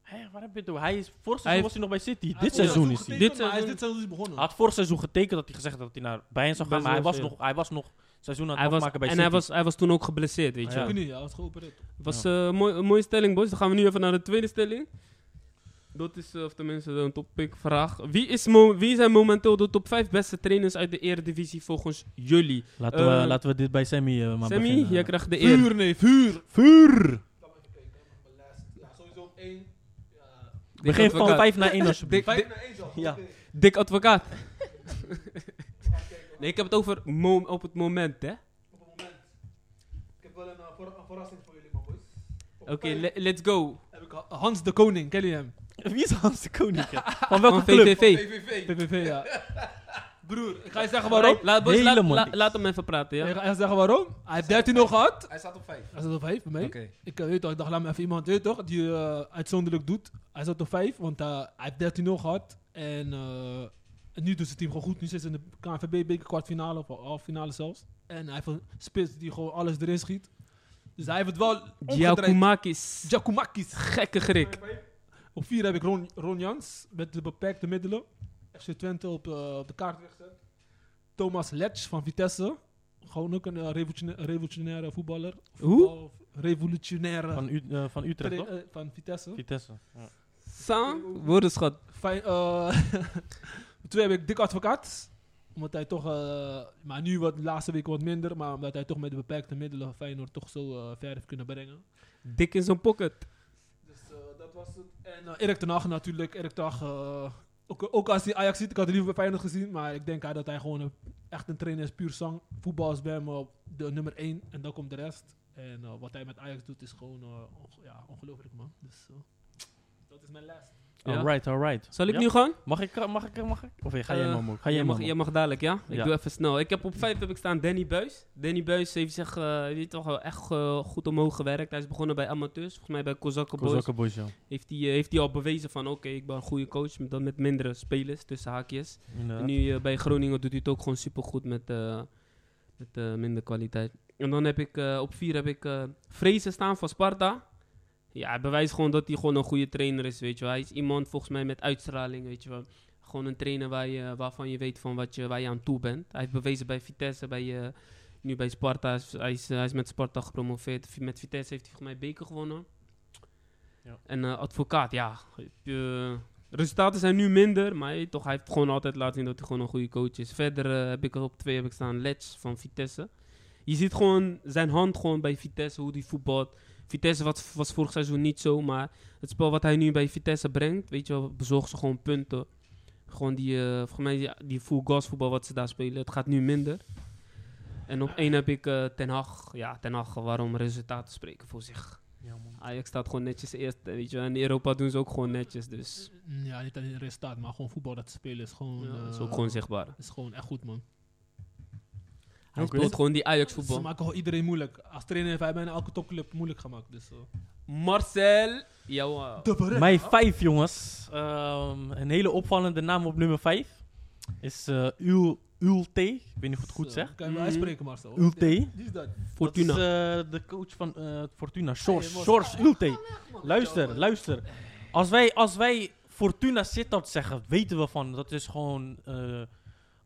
[SPEAKER 5] Hé, waar heb je het over? Hij is, vorig seizoen
[SPEAKER 2] heeft-
[SPEAKER 5] was hij nog bij City.
[SPEAKER 4] Hij
[SPEAKER 5] dit
[SPEAKER 4] heeft
[SPEAKER 5] seizoen
[SPEAKER 4] vorig
[SPEAKER 5] is hij.
[SPEAKER 4] getekend,
[SPEAKER 2] Dit
[SPEAKER 4] maar Hij is
[SPEAKER 2] seizoen-
[SPEAKER 4] dit seizoen Ah, is
[SPEAKER 2] Hm.
[SPEAKER 4] begonnen.
[SPEAKER 5] Hij had vorig seizoen getekend dat hij gezegd had dat hij naar Bayern zou gaan.
[SPEAKER 2] Best
[SPEAKER 5] Maar hij
[SPEAKER 2] wel
[SPEAKER 5] was,
[SPEAKER 2] veel.
[SPEAKER 5] nog, hij was nog seizoen aan het
[SPEAKER 2] Hij was,
[SPEAKER 5] afmaken bij
[SPEAKER 2] en
[SPEAKER 5] City.
[SPEAKER 2] hij was, hij was toen ook geblesseerd, weet je.
[SPEAKER 5] Ja.
[SPEAKER 4] Ik weet niet, hij was geopereerd.
[SPEAKER 2] was eh, een mooi- een mooie stelling, boys. Dan gaan we nu even naar de tweede stelling. Dat is, eh, of tenminste, een topicvraag. Wie, is mo- wie zijn momenteel de top 5 beste trainers uit de Eredivisie volgens jullie?
[SPEAKER 5] laten, we,
[SPEAKER 2] eh,
[SPEAKER 5] laten we dit bij Sammy eh, maar
[SPEAKER 2] Sammy,
[SPEAKER 5] beginnen.
[SPEAKER 2] jij krijgt de eer.
[SPEAKER 4] nee, vuur!
[SPEAKER 5] Vuur!
[SPEAKER 4] Ja, sowieso één. Ja,
[SPEAKER 5] Begin van
[SPEAKER 2] advocaat.
[SPEAKER 5] 5 naar 1 alsjeblieft.
[SPEAKER 4] vijf naar één zelf.
[SPEAKER 5] Ja.
[SPEAKER 4] Oké.
[SPEAKER 2] Dik advocaat. nee, ik heb het over mo- op het moment, hè.
[SPEAKER 4] Op het moment. Ik heb wel een, eh, voor- een verrassing voor jullie, man, boys.
[SPEAKER 2] Oké, le- let's go.
[SPEAKER 4] Heb ik Ha- Hans de Koning, ken je hem?
[SPEAKER 5] Wie is Hans de Koning? Van
[SPEAKER 2] Van
[SPEAKER 5] welke club?
[SPEAKER 2] VVV.
[SPEAKER 4] PVV. PVV, ja. Broer, ik ga je zeggen waarom.
[SPEAKER 2] Waarom? Laat, boys, laat,
[SPEAKER 5] Helemaal
[SPEAKER 2] la-
[SPEAKER 5] niks.
[SPEAKER 2] laat hem even praten, ja.
[SPEAKER 4] Ik ga je zeggen waarom. Hij heeft 13 nog gehad.
[SPEAKER 3] Hij staat op 5.
[SPEAKER 4] Hij zat op 5 bij mij.
[SPEAKER 3] Oké.
[SPEAKER 4] Ik, eh, weet toch, ik dacht, laat me even iemand, weet toch, die eh, uitzonderlijk doet. Hij zat op 5, want eh, hij heeft 13-0 gehad. En, eh, en nu doet zijn team gewoon goed. Nu zit ze in de KNVB-beker kwartfinale of halve finale zelfs. En hij heeft een spits die gewoon alles erin schiet. Dus hij heeft het wel omgedraaid.
[SPEAKER 2] Giacomakis.
[SPEAKER 4] Giacomakis.
[SPEAKER 2] Gekke Griek.
[SPEAKER 4] Op 4 heb ik Ron, Ron Jans met de beperkte middelen. FC Twente op, eh, op de kaart wegzet. Thomas Letch van Vitesse. Gewoon ook een eh, revolutiona- revolutionaire voetballer.
[SPEAKER 2] Hoe?
[SPEAKER 4] Revolutionaire
[SPEAKER 5] Van, U- eh, van Utrecht,
[SPEAKER 4] tra-
[SPEAKER 5] toch?
[SPEAKER 4] eh, van Vitesse.
[SPEAKER 5] Vitesse. Ja.
[SPEAKER 2] Sa, woordenschat.
[SPEAKER 4] Fijn, eh, twee heb ik Dick Advocaat. Omdat hij toch, eh, maar nu wat, de laatste weken wat minder. Maar omdat hij toch met de beperkte middelen Feyenoord toch zo eh, ver heeft kunnen brengen.
[SPEAKER 2] Dik in zijn pocket.
[SPEAKER 4] Dus eh, dat was het. En eh, Erik ten Hag natuurlijk. Erik ten Hag, eh, ook, ook als hij Ajax ziet, ik had het liever bij Feyenoord gezien. Maar ik denk eh, dat hij gewoon een- echt een trainer is, puur zang. Voetbal is bij hem eh, de nummer één en dan komt de rest. En eh, wat hij met Ajax doet is gewoon eh, onge- ja, ongelooflijk, man. Dus eh, dat is mijn les.
[SPEAKER 2] Ja.
[SPEAKER 5] Alright, alright.
[SPEAKER 2] Zal ik
[SPEAKER 5] Ja?
[SPEAKER 2] nu gaan?
[SPEAKER 5] Mag ik, eh, mag ik, mag ik? Of ga jij
[SPEAKER 2] Eh,
[SPEAKER 5] maar moe? Ga jij
[SPEAKER 2] jij, mag,
[SPEAKER 5] maar
[SPEAKER 2] jij mag dadelijk, ja? Ik
[SPEAKER 5] Ja.
[SPEAKER 2] doe even snel. Ik heb op vijf heb ik staan Danny Buis. Danny Buis heeft zich eh, weet je toch wel echt eh, goed omhoog gewerkt. Hij is begonnen bij amateurs, volgens mij bij Kozakken Boys.
[SPEAKER 5] Kozakke boys, ja.
[SPEAKER 2] Heeft hij eh, heeft hij al bewezen van, oké, ik ben een goede coach, maar dan met mindere spelers, tussen haakjes.
[SPEAKER 5] Inderdaad.
[SPEAKER 2] En nu eh, bij Groningen doet hij het ook gewoon supergoed met, eh, met eh, minder kwaliteit. En dan heb ik eh, op vier heb ik eh Vrezen staan van Sparta. Ja, hij bewijst gewoon dat hij gewoon een goede trainer is, weet je wel. Hij is iemand volgens mij met uitstraling, weet je wel. Gewoon een trainer waar je, waarvan je weet van wat je, waar je aan toe bent. Hij heeft bewezen bij Vitesse, bij, eh, nu bij Sparta. Hij is, hij, is, hij is met Sparta gepromoveerd. Vi- Met Vitesse heeft hij volgens mij beker gewonnen.
[SPEAKER 5] Ja.
[SPEAKER 2] En eh, advocaat, ja. eh, resultaten zijn nu minder, maar eh, toch, hij heeft gewoon altijd laten zien dat hij gewoon een goede coach is. Verder eh, heb ik er op twee heb ik staan Letch van Vitesse. Je ziet gewoon zijn hand gewoon bij Vitesse, hoe hij voetbalt. Vitesse wat, was vorig seizoen niet zo, maar het spel wat hij nu bij Vitesse brengt, weet je wel, bezorgt ze gewoon punten. Gewoon die, eh, volgens mij die, die full gas voetbal wat ze daar spelen, het gaat nu minder. En op één heb ik eh, Ten Hag. Ja, Ten Hag, waarom resultaten spreken voor zich.
[SPEAKER 5] Ja, man.
[SPEAKER 2] Ajax staat gewoon netjes eerst, eh, weet je wel. En in Europa doen ze ook gewoon netjes, dus
[SPEAKER 4] Ja, niet alleen het resultaat, maar gewoon voetbal dat ze spelen is gewoon,
[SPEAKER 2] ja, dat is
[SPEAKER 4] eh,
[SPEAKER 2] ook gewoon zichtbaar.
[SPEAKER 4] is gewoon echt goed, man.
[SPEAKER 2] Hij
[SPEAKER 5] Oké.
[SPEAKER 2] speelt gewoon die Ajax
[SPEAKER 4] Ze
[SPEAKER 2] voetbal.
[SPEAKER 4] maken gewoon iedereen moeilijk. Als trainer heeft hij bijna elke topclub moeilijk gemaakt. Dus, eh.
[SPEAKER 2] Marcel. eh, Jouw.
[SPEAKER 5] Mijn vijf, jongens. Ehm, een hele opvallende naam op nummer vijf is eh Ul, Ulte. Ik weet niet of ik het goed
[SPEAKER 4] Zo,
[SPEAKER 5] zeg.
[SPEAKER 4] Kan je wel
[SPEAKER 2] Mhm.
[SPEAKER 4] uitspreken, Marcel?
[SPEAKER 5] Ulte.
[SPEAKER 4] Wie is dat?
[SPEAKER 2] Fortuna.
[SPEAKER 5] Dat is eh, de coach van eh, Fortuna. Sjors.
[SPEAKER 4] Hey, man.
[SPEAKER 5] Sjors Ulte. Luister, luister. Als wij, als wij Fortuna Sittard zeggen, weten we van. Dat is gewoon eh,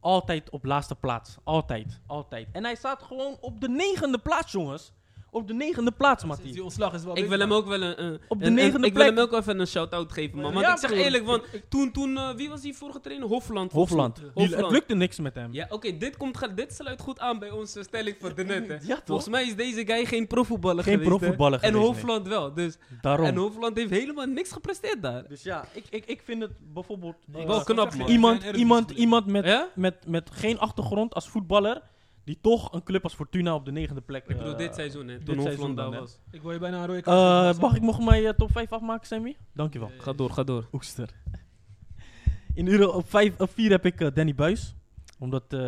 [SPEAKER 5] altijd op laatste plaats. Altijd, altijd. En hij staat gewoon op de negende plaats, jongens. Op de negende plaats,
[SPEAKER 4] Sinds Dus Die
[SPEAKER 5] Mathieu.
[SPEAKER 4] ontslag is wel
[SPEAKER 2] ik wil hem ook wel een... een-
[SPEAKER 5] Op de
[SPEAKER 2] een- een-
[SPEAKER 5] negende
[SPEAKER 2] Ik wil hem
[SPEAKER 5] plek.
[SPEAKER 2] ook even een shout-out geven, man. Want
[SPEAKER 5] Ja,
[SPEAKER 2] ik zeg
[SPEAKER 5] broer.
[SPEAKER 2] eerlijk, want toen... toen eh, wie was die vorige trainer? Hofland. volgens mij.
[SPEAKER 5] Hofland. Die- Het
[SPEAKER 2] Hofland.
[SPEAKER 5] lukte niks met hem.
[SPEAKER 2] Ja, oké. dit, komt ge- dit sluit goed aan bij onze stelling voor de net, hè.
[SPEAKER 5] Ja, toch?
[SPEAKER 2] Volgens mij is deze guy geen profvoetballer
[SPEAKER 5] Geen
[SPEAKER 2] geweest. hè.
[SPEAKER 5] profvoetballer
[SPEAKER 2] En
[SPEAKER 5] geweest, nee.
[SPEAKER 2] Hofland wel. Dus,
[SPEAKER 5] Daarom.
[SPEAKER 2] en Hofland heeft helemaal niks gepresteerd daar.
[SPEAKER 5] Dus ja, ik, ik, ik vind het bijvoorbeeld... eh,
[SPEAKER 2] Wel knap, man.
[SPEAKER 5] Iemand, iemand, iemand met,
[SPEAKER 2] Ja?
[SPEAKER 5] met, met geen achtergrond als voetballer... Die toch een club als Fortuna op de negende plek...
[SPEAKER 2] Ik bedoel,
[SPEAKER 5] eh,
[SPEAKER 2] dit seizoen, hè,
[SPEAKER 5] dit
[SPEAKER 2] toen Hofland
[SPEAKER 5] seizoen
[SPEAKER 2] daar
[SPEAKER 5] dan, hè.
[SPEAKER 2] was.
[SPEAKER 4] Ik wil je bijna een rode
[SPEAKER 5] Eh,
[SPEAKER 4] kaart.
[SPEAKER 5] mag ik nog mijn eh, top 5 afmaken, Sammy? Dankjewel.
[SPEAKER 4] Eh,
[SPEAKER 2] Ga door, ga door.
[SPEAKER 5] Oester. In Euro op, vijf, op vier heb ik eh, Danny Buis. Omdat eh,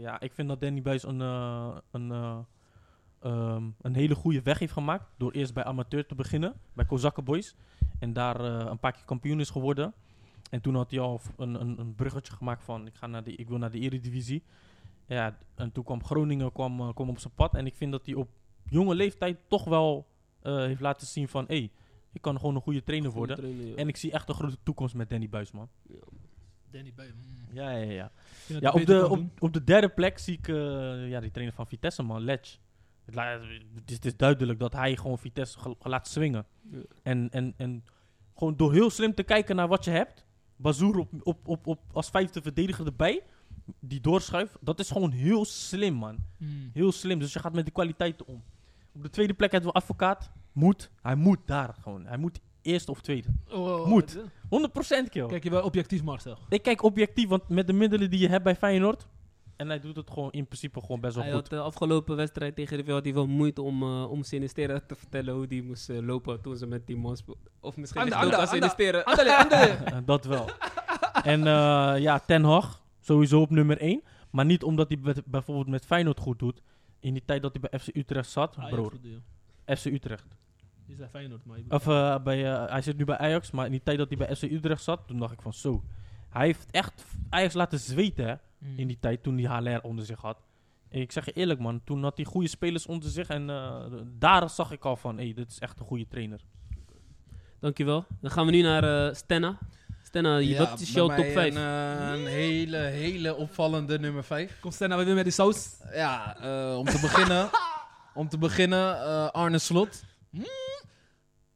[SPEAKER 5] ja, ik vind dat Danny Buis een, eh, een, eh, ehm, een hele goede weg heeft gemaakt. Door eerst bij amateur te beginnen, bij Kozakken Boys. En daar eh, een paar keer kampioen is geworden. En toen had hij al v- een, een, een bruggetje gemaakt van ik, ga naar de, ik wil naar de Eredivisie. Ja, en toen kwam Groningen kwam, eh, kwam op zijn pad. En ik vind dat hij op jonge leeftijd toch wel eh, heeft laten zien van... hé, hey, ik kan gewoon een goede trainer
[SPEAKER 2] Goede
[SPEAKER 5] worden.
[SPEAKER 2] trainer, ja.
[SPEAKER 5] En ik zie echt een grote toekomst met Danny Buisman.
[SPEAKER 4] Danny Buij. mm.
[SPEAKER 5] Ja, ja, ja.
[SPEAKER 4] Ik vind dat
[SPEAKER 5] ja
[SPEAKER 4] hij
[SPEAKER 5] op,
[SPEAKER 4] beter
[SPEAKER 5] de,
[SPEAKER 4] kan
[SPEAKER 5] op,
[SPEAKER 4] doen.
[SPEAKER 5] op de derde plek zie ik eh, ja, die trainer van Vitesse, man, Letch. Het, la- het is, het is duidelijk dat hij gewoon Vitesse ge- laat swingen.
[SPEAKER 2] Ja.
[SPEAKER 5] En, en, en gewoon door heel slim te kijken naar wat je hebt. Bazoer op, op, op, op, als vijfde verdediger erbij. Die doorschuift. Dat is gewoon heel slim, man.
[SPEAKER 4] Mm.
[SPEAKER 5] Heel slim. Dus je gaat met de kwaliteiten om. Op de tweede plek hebben we advocaat. Moet. Hij moet daar gewoon. Hij moet eerste of tweede.
[SPEAKER 4] Oh, oh,
[SPEAKER 5] Moet.
[SPEAKER 4] oh,
[SPEAKER 5] 100% kill.
[SPEAKER 4] Kijk je wel objectief, Marcel.
[SPEAKER 5] Ik kijk objectief, want met de middelen die je hebt bij Feyenoord. En hij doet het gewoon in principe gewoon best wel
[SPEAKER 2] Hij
[SPEAKER 5] goed.
[SPEAKER 2] had de afgelopen wedstrijd tegen River had hij wel moeite om, eh, om Sinistera te vertellen hoe die moest eh, lopen toen ze met die man speelden. Of misschien
[SPEAKER 4] Anda,
[SPEAKER 2] is het ook
[SPEAKER 4] anda,
[SPEAKER 2] aan Sinistera.
[SPEAKER 4] Andale, andale.
[SPEAKER 5] Eh, dat wel. en eh, ja, Ten Hag sowieso op nummer 1. Maar niet omdat hij met- bijvoorbeeld met Feyenoord goed doet. In die tijd dat hij bij FC Utrecht zat,
[SPEAKER 4] Ah, ja,
[SPEAKER 5] broer.
[SPEAKER 4] goed, joh.
[SPEAKER 5] FC Utrecht.
[SPEAKER 4] Die zijn Feyenoord, maar... ik bedoel-
[SPEAKER 5] Of eh, bij, eh, hij zit nu bij Ajax, maar in die tijd dat hij bij FC Utrecht zat, toen dacht ik van zo. Hij heeft echt Ajax laten zweten, hè.
[SPEAKER 4] Mm.
[SPEAKER 5] in die tijd toen hij HLR onder zich had. En ik zeg je eerlijk man, toen had hij goede spelers onder zich en eh, daar zag ik al van, hé, dit is echt een goede trainer.
[SPEAKER 2] Dankjewel. Dan gaan we nu naar eh, Stenna. Stenna, Eh, je-
[SPEAKER 3] Ja,
[SPEAKER 2] wat is
[SPEAKER 3] bij
[SPEAKER 2] jouw
[SPEAKER 3] mij
[SPEAKER 2] top 5?
[SPEAKER 3] Een, eh, een hele, hele opvallende nummer 5.
[SPEAKER 4] Komt Stenna nou weer met die saus?
[SPEAKER 3] Ja, eh, om te beginnen, om te beginnen eh, Arne Slot. Hm?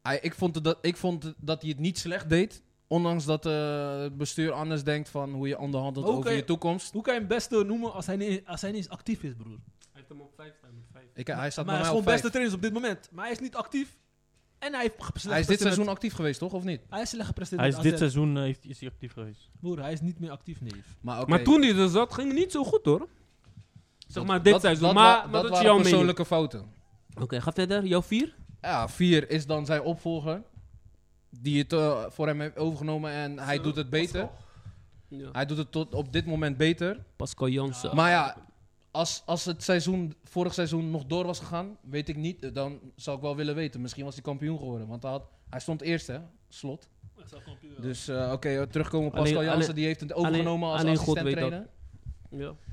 [SPEAKER 3] Hij, ik, vond het dat, ik vond het dat hij het niet slecht deed. Ondanks dat eh, het bestuur anders denkt van hoe je onderhandelt
[SPEAKER 4] Oké.
[SPEAKER 3] over je toekomst.
[SPEAKER 4] Hoe kan je hem beste noemen als hij niet, als hij niet eens actief is, broer?
[SPEAKER 2] Hij heeft hem op 5 staan.
[SPEAKER 3] Ik, hij staat bij
[SPEAKER 4] maar hij is
[SPEAKER 3] mij op
[SPEAKER 4] gewoon
[SPEAKER 3] vijf.
[SPEAKER 4] beste trainer op dit moment. Maar hij is niet actief. En hij heeft gepresteerd.
[SPEAKER 3] Hij is dit seizoen actief geweest, toch? Of niet?
[SPEAKER 4] Hij is slecht gepresteerd.
[SPEAKER 5] Hij is
[SPEAKER 4] met
[SPEAKER 5] dit
[SPEAKER 4] AZ.
[SPEAKER 5] seizoen eh, heeft, is hij actief geweest.
[SPEAKER 4] Broer, hij is niet meer actief, nee.
[SPEAKER 3] Maar, oké.
[SPEAKER 2] Maar toen hij er zat, ging het niet zo goed hoor. Zeg maar dit
[SPEAKER 3] Dat-
[SPEAKER 2] seizoen.
[SPEAKER 3] dat wa-
[SPEAKER 2] maar maar dat,
[SPEAKER 3] dat
[SPEAKER 2] is
[SPEAKER 3] waren
[SPEAKER 2] jouw mening.
[SPEAKER 3] persoonlijke fouten.
[SPEAKER 2] Oké, ga verder. Jouw 4?
[SPEAKER 3] Ja, vier is dan zijn opvolger. Die het eh, voor hem heeft overgenomen en hij doet het beter. Hij doet het tot op dit moment beter.
[SPEAKER 2] Pascal Jansen.
[SPEAKER 3] Maar ja, als, als het seizoen, vorig seizoen nog door was gegaan, weet ik niet. eh, Dan zou ik wel willen weten. Misschien was hij kampioen geworden. Want hij, had, hij stond eerst, hè? Slot. Dus eh, oké, eh, terugkomen op Pascal
[SPEAKER 2] Alleen-
[SPEAKER 3] Jansen. Die heeft het overgenomen als
[SPEAKER 2] alleen God
[SPEAKER 3] assistent
[SPEAKER 2] weet dat.
[SPEAKER 3] trainer.
[SPEAKER 2] ja.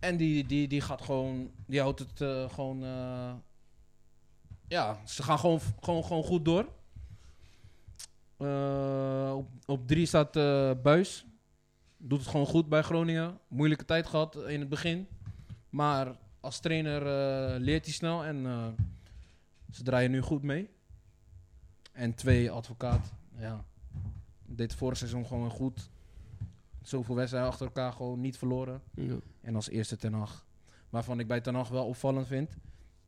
[SPEAKER 3] En die, die, die gaat gewoon, die houdt het eh, gewoon, eh, ja, ze gaan gewoon, gewoon, gewoon goed door. Eh, op, op drie staat eh, Buis. Doet het gewoon goed bij Groningen. Moeilijke tijd gehad in het begin. Maar als trainer eh, leert hij snel en eh, ze draaien nu goed mee. En twee, advocaat. Ja, deed vorig seizoen gewoon goed. Zoveel wedstrijden achter elkaar gewoon niet verloren.
[SPEAKER 2] Ja.
[SPEAKER 3] En als eerste Ten Hag. Waarvan ik bij Ten Hag wel opvallend vind.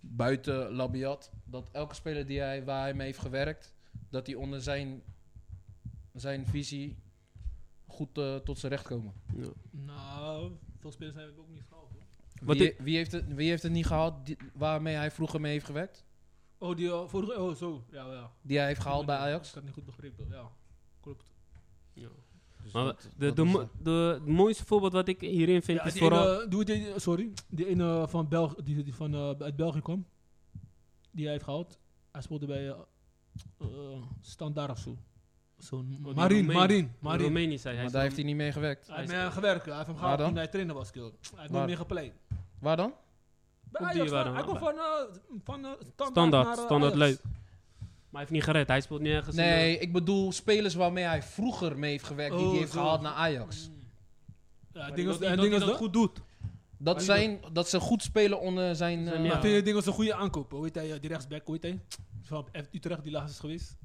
[SPEAKER 3] Buiten Labiat. Dat elke speler die hij, waar hij mee heeft gewerkt. Dat die onder zijn, zijn visie goed eh, tot zijn recht komen.
[SPEAKER 2] Ja.
[SPEAKER 4] Nou, veel spelers hebben we ook niet gehaald, hoor.
[SPEAKER 2] Wat
[SPEAKER 3] wie,
[SPEAKER 2] ik-
[SPEAKER 3] wie, heeft het, wie heeft het niet gehaald die- waarmee hij vroeger mee heeft gewerkt?
[SPEAKER 4] Oh, die eh, vorige... Oh, zo. Ja, ja.
[SPEAKER 3] Die hij heeft gehaald
[SPEAKER 4] Ik
[SPEAKER 3] bij
[SPEAKER 4] weet niet,
[SPEAKER 3] Ajax?
[SPEAKER 4] Ik had niet goed begrepen, ja. Klopt.
[SPEAKER 2] Maar
[SPEAKER 3] Dus dat-
[SPEAKER 2] de,
[SPEAKER 3] dat
[SPEAKER 2] de,
[SPEAKER 3] is
[SPEAKER 2] mo-
[SPEAKER 3] dat.
[SPEAKER 2] de, het mooiste voorbeeld wat ik hierin vind
[SPEAKER 4] Ja,
[SPEAKER 2] is
[SPEAKER 4] die
[SPEAKER 2] vooral...
[SPEAKER 4] ene- doe het die- sorry, die ene eh, van Belg, die, die van, eh, uit België kwam, die hij heeft gehaald. Hij speelde bij eh, eh, Standaard of zo. Zo'n
[SPEAKER 2] die
[SPEAKER 4] Marien,
[SPEAKER 2] Roemeen.
[SPEAKER 4] Marien, Marien.
[SPEAKER 2] Roemenië zei hij.
[SPEAKER 3] Maar daar heeft hij niet mee gewerkt.
[SPEAKER 4] Hij heeft mee gewerkt, hij heeft hem
[SPEAKER 3] Waar
[SPEAKER 4] gehaald
[SPEAKER 3] dan?
[SPEAKER 4] toen hij trainer was. kill. Hij heeft
[SPEAKER 3] Waar?
[SPEAKER 4] nooit meer gepleit.
[SPEAKER 3] Waar dan?
[SPEAKER 4] Bij
[SPEAKER 2] Komt
[SPEAKER 4] Ajax,
[SPEAKER 2] die waar
[SPEAKER 4] hij-
[SPEAKER 2] dan?
[SPEAKER 4] hij komt van, eh, van eh, Standaard
[SPEAKER 2] Standaard,
[SPEAKER 4] naar, eh,
[SPEAKER 2] standaard
[SPEAKER 4] Ajax.
[SPEAKER 2] leuk. Maar hij heeft niet gered, hij speelt nergens. in de-
[SPEAKER 3] Nee, ik bedoel spelers waarmee hij vroeger mee heeft gewerkt. die
[SPEAKER 4] Oh,
[SPEAKER 3] hij heeft
[SPEAKER 4] zo.
[SPEAKER 3] gehaald naar Ajax.
[SPEAKER 4] Ja,
[SPEAKER 2] Maar die- dat
[SPEAKER 4] ik denk dat-
[SPEAKER 2] die- dat
[SPEAKER 4] ik denk
[SPEAKER 2] die
[SPEAKER 4] dat
[SPEAKER 2] dat
[SPEAKER 4] dat goed doet.
[SPEAKER 3] Dat, zijn, dat ze goed spelen onder zijn...
[SPEAKER 2] Oh, Zijn
[SPEAKER 3] eh,
[SPEAKER 2] ja.
[SPEAKER 4] Ik vind- ik denk dat ze een goede aankoop, hoor. weet hij, eh, die rechtsback, hoe heet hij? Van F- Utrecht, die laatst is geweest.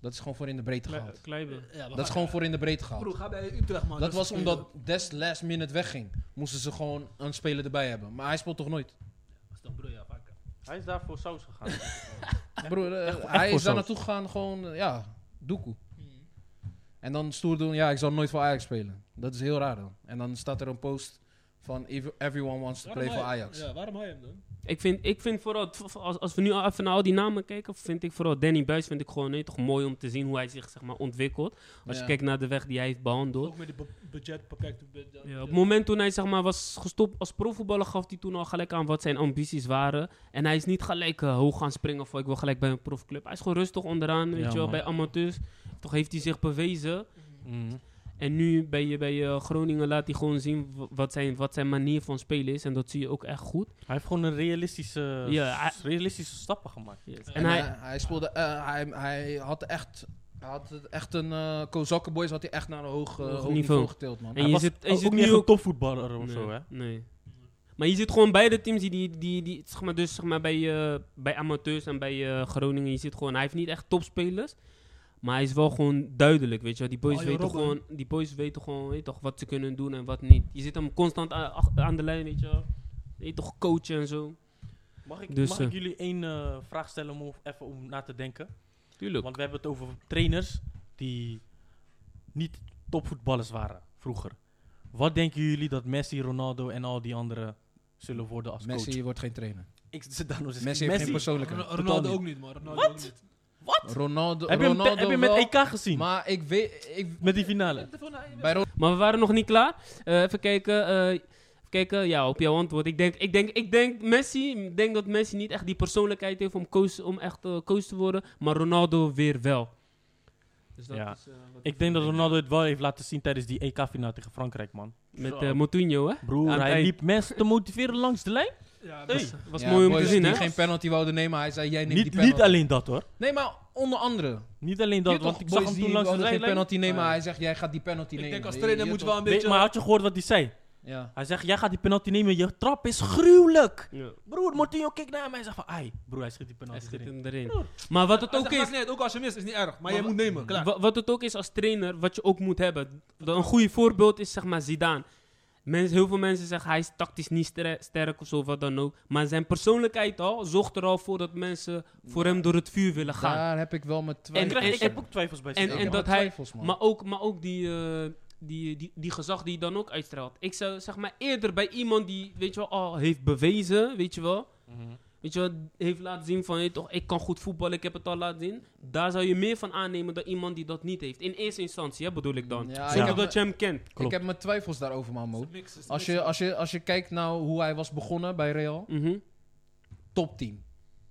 [SPEAKER 3] Dat is gewoon voor in de breedte
[SPEAKER 2] Kle-
[SPEAKER 3] gehaald.
[SPEAKER 2] Kleiber.
[SPEAKER 4] Ja, maar
[SPEAKER 3] Dat is
[SPEAKER 4] ga-
[SPEAKER 3] gewoon voor in de breedte
[SPEAKER 4] eh, Broer,
[SPEAKER 3] gehaald.
[SPEAKER 4] ga bij Utrecht, man.
[SPEAKER 3] Dat
[SPEAKER 4] is
[SPEAKER 3] was
[SPEAKER 4] een
[SPEAKER 3] omdat
[SPEAKER 4] speler.
[SPEAKER 3] Des last minute wegging. Moesten ze gewoon een speler erbij hebben. Maar hij speelt toch nooit?
[SPEAKER 4] Dat is toch broer, ja, vaak.
[SPEAKER 5] Hij is daar voor saus gegaan.
[SPEAKER 3] Broer, eh,
[SPEAKER 5] echt
[SPEAKER 3] hij
[SPEAKER 5] voor
[SPEAKER 3] is daar
[SPEAKER 5] zo'n-
[SPEAKER 3] naartoe gegaan gewoon, eh, ja, doekoe.
[SPEAKER 4] Hmm.
[SPEAKER 3] En dan stoer doen, ja, ik zal nooit voor Ajax spelen. Dat is heel raar dan. En dan staat er een post Van ev- everyone wants to
[SPEAKER 4] Waarom
[SPEAKER 3] play for
[SPEAKER 4] hij-
[SPEAKER 3] Ajax.
[SPEAKER 4] Ja, waarom hij hem dan?
[SPEAKER 2] Ik vind, ik vind vooral, v- v- als, als we nu al even naar al die namen kijken, vind ik vooral Danny Buis vind ik gewoon nee, toch mooi om te zien hoe hij zich zeg maar, ontwikkelt. Als
[SPEAKER 3] Ja.
[SPEAKER 2] je kijkt naar de weg die hij heeft behandeld.
[SPEAKER 4] Ook met die bu- budget beperkte budget.
[SPEAKER 2] Ja, op het moment toen hij zeg maar, was gestopt als profvoetballer, gaf hij toen al gelijk aan wat zijn ambities waren. En hij is niet gelijk eh, hoog gaan springen of ik wil gelijk bij een profclub. Hij is gewoon rustig onderaan, weet
[SPEAKER 5] Ja,
[SPEAKER 2] je wel,
[SPEAKER 5] man.
[SPEAKER 2] bij amateurs. Toch heeft hij zich bewezen.
[SPEAKER 5] Mhm.
[SPEAKER 2] En nu bij, je- bij eh, Groningen laat hij gewoon zien w- wat zijn, wat zijn manier van spelen is. En dat zie je ook echt goed.
[SPEAKER 5] Hij heeft gewoon een realistische,
[SPEAKER 2] Ja, hij-
[SPEAKER 5] s- realistische stappen gemaakt.
[SPEAKER 2] En,
[SPEAKER 3] En,
[SPEAKER 2] hij,
[SPEAKER 3] hij, hij speelde, eh, hij, hij had echt, hij had het echt een eh Kozakke Boys had hij echt naar een hoog, eh,
[SPEAKER 2] Hoog
[SPEAKER 3] hoog
[SPEAKER 2] niveau.
[SPEAKER 3] niveau. getild, man.
[SPEAKER 2] En
[SPEAKER 5] Hij
[SPEAKER 2] je
[SPEAKER 5] was
[SPEAKER 2] zit- en je
[SPEAKER 5] ook
[SPEAKER 2] zit
[SPEAKER 5] niet
[SPEAKER 2] nu
[SPEAKER 5] echt een
[SPEAKER 2] ook-
[SPEAKER 5] topvoetballer of
[SPEAKER 2] nee,
[SPEAKER 5] zo, hè?
[SPEAKER 2] Nee. Maar je ziet gewoon beide teams die, die, die, die zeg maar, dus, zeg maar, bij, eh, bij amateurs en bij eh, Groningen, je ziet gewoon, hij heeft niet echt topspelers. Maar hij is wel gewoon duidelijk, weet je wel. Die boys,
[SPEAKER 4] Oh, joh,
[SPEAKER 2] weten,
[SPEAKER 4] Robben.
[SPEAKER 2] gewoon, die boys weten gewoon, weet je toch, wat ze kunnen doen en wat niet. Je zit hem constant a- ach- aan de lijn, weet je wel. Je weet toch, coachen en zo.
[SPEAKER 5] Mag ik,
[SPEAKER 2] Dus,
[SPEAKER 5] mag ik
[SPEAKER 2] eh,
[SPEAKER 5] jullie één eh, vraag stellen om over- even om na te denken?
[SPEAKER 2] Tuurlijk.
[SPEAKER 5] Want we hebben het over trainers die niet topvoetballers waren vroeger. Wat denken jullie dat Messi, Ronaldo en al die anderen zullen worden als
[SPEAKER 3] Messi
[SPEAKER 5] coach?
[SPEAKER 3] wordt geen trainer.
[SPEAKER 5] Ik zit daar nog eens-
[SPEAKER 3] Messi heeft geen persoonlijke.
[SPEAKER 4] Ron-
[SPEAKER 5] Totaal
[SPEAKER 4] Ronaldo
[SPEAKER 5] niet.
[SPEAKER 4] ook niet, man. Ronaldo ook niet.
[SPEAKER 3] Ronaldo,
[SPEAKER 5] Heb je hem, te-
[SPEAKER 3] Ronaldo
[SPEAKER 5] heb je hem met
[SPEAKER 3] wel,
[SPEAKER 5] EK gezien?
[SPEAKER 3] Maar ik weet, ik,
[SPEAKER 5] met die finale?
[SPEAKER 3] bij Ronaldo
[SPEAKER 2] Maar we waren nog niet klaar. Eh, even kijken. eh, even kijken ja, op jouw antwoord. Ik denk, ik, denk, ik denk Messi. Ik denk dat Messi niet echt die persoonlijkheid heeft om, coach, om echt eh, coach te worden. Maar Ronaldo weer wel. Dus dat
[SPEAKER 5] Ja.
[SPEAKER 2] is, eh, wat
[SPEAKER 5] Ik denk dat Ronaldo het wel heeft laten zien tijdens die EK-finale tegen Frankrijk, man.
[SPEAKER 2] Met eh, Moutinho, hè?
[SPEAKER 5] Broer,
[SPEAKER 2] Aan het
[SPEAKER 5] hij
[SPEAKER 2] eind.
[SPEAKER 5] liep mensen te motiveren langs de lijn.
[SPEAKER 4] Ja,
[SPEAKER 5] Hey.
[SPEAKER 4] maar-
[SPEAKER 2] Was
[SPEAKER 3] Ja,
[SPEAKER 2] mooi om
[SPEAKER 3] boys
[SPEAKER 2] te zien,
[SPEAKER 3] die
[SPEAKER 2] hè?
[SPEAKER 3] geen penalty wouden nemen, hij zei jij neemt
[SPEAKER 5] Niet,
[SPEAKER 3] die penalty.
[SPEAKER 5] niet alleen dat, hoor.
[SPEAKER 3] Nee, maar onder andere.
[SPEAKER 5] Niet alleen
[SPEAKER 3] Dat,
[SPEAKER 5] dat, want ik
[SPEAKER 3] boys
[SPEAKER 5] zag hem
[SPEAKER 3] die
[SPEAKER 5] toen langs de
[SPEAKER 3] wouden
[SPEAKER 5] lijn.
[SPEAKER 3] geen penalty nemen,
[SPEAKER 5] Ja.
[SPEAKER 3] hij zegt jij gaat die penalty
[SPEAKER 4] Ik
[SPEAKER 3] nemen.
[SPEAKER 4] denk als
[SPEAKER 3] Je-
[SPEAKER 4] trainer
[SPEAKER 3] je
[SPEAKER 4] moet
[SPEAKER 3] toch-
[SPEAKER 4] wel een
[SPEAKER 5] Nee,
[SPEAKER 4] beetje...
[SPEAKER 5] maar had je gehoord wat hij zei?
[SPEAKER 3] Ja.
[SPEAKER 5] Hij zegt, jij gaat die penalty nemen, je trap is gruwelijk.
[SPEAKER 2] Ja,
[SPEAKER 5] Broer, Martinho kijkt naar mij en zegt van, ai, broer, hij schiet die penalty
[SPEAKER 2] hij schiet
[SPEAKER 5] erin.
[SPEAKER 2] hem erin. Maar wat het
[SPEAKER 4] Hij
[SPEAKER 2] ook
[SPEAKER 4] zegt,
[SPEAKER 2] is...
[SPEAKER 4] maakt niet uit, ook als je mist, is niet erg. Maar
[SPEAKER 2] Maar
[SPEAKER 4] je
[SPEAKER 2] wa-
[SPEAKER 4] moet nemen, klaar.
[SPEAKER 2] Wa- wat het ook is als trainer, wat je ook moet hebben. Dat een goed voorbeeld is zeg maar Zidane. Mensen, heel veel mensen zeggen hij is tactisch niet stre- sterk of zo, wat dan ook. Maar zijn persoonlijkheid al zorgt er al voor dat mensen voor hem door het vuur willen gaan.
[SPEAKER 3] Daar heb ik wel mijn
[SPEAKER 5] Ik,
[SPEAKER 3] twijfels.
[SPEAKER 5] krijg- ik
[SPEAKER 3] over.
[SPEAKER 5] heb ook twijfels bij
[SPEAKER 2] En-
[SPEAKER 5] Zidane.
[SPEAKER 3] Ik heb
[SPEAKER 2] dat
[SPEAKER 3] wel
[SPEAKER 2] hij-
[SPEAKER 3] twijfels, man.
[SPEAKER 2] Maar ook, maar ook die, eh, die, die, die gezag die hij dan ook uitstraalt. Ik zou zeg maar eerder bij iemand die, weet je wel, al heeft bewezen, weet je wel.
[SPEAKER 5] Mhm.
[SPEAKER 2] Weet je wel, heeft laten zien van, hey, toch, ik kan goed voetballen, ik heb het al laten zien. Daar zou je meer van aannemen dan iemand die dat niet heeft. In eerste instantie, hè, bedoel ik dan.
[SPEAKER 3] Ja, ik
[SPEAKER 2] Zonder
[SPEAKER 3] heb-
[SPEAKER 2] dat je hem kent.
[SPEAKER 3] Ik
[SPEAKER 5] Klopt.
[SPEAKER 3] heb mijn twijfels daarover, man, Mo.
[SPEAKER 4] Niks is
[SPEAKER 3] Als
[SPEAKER 4] niks.
[SPEAKER 3] je, als, je, als je kijkt nou hoe hij was begonnen bij Real,
[SPEAKER 2] Mhm.
[SPEAKER 3] topteam.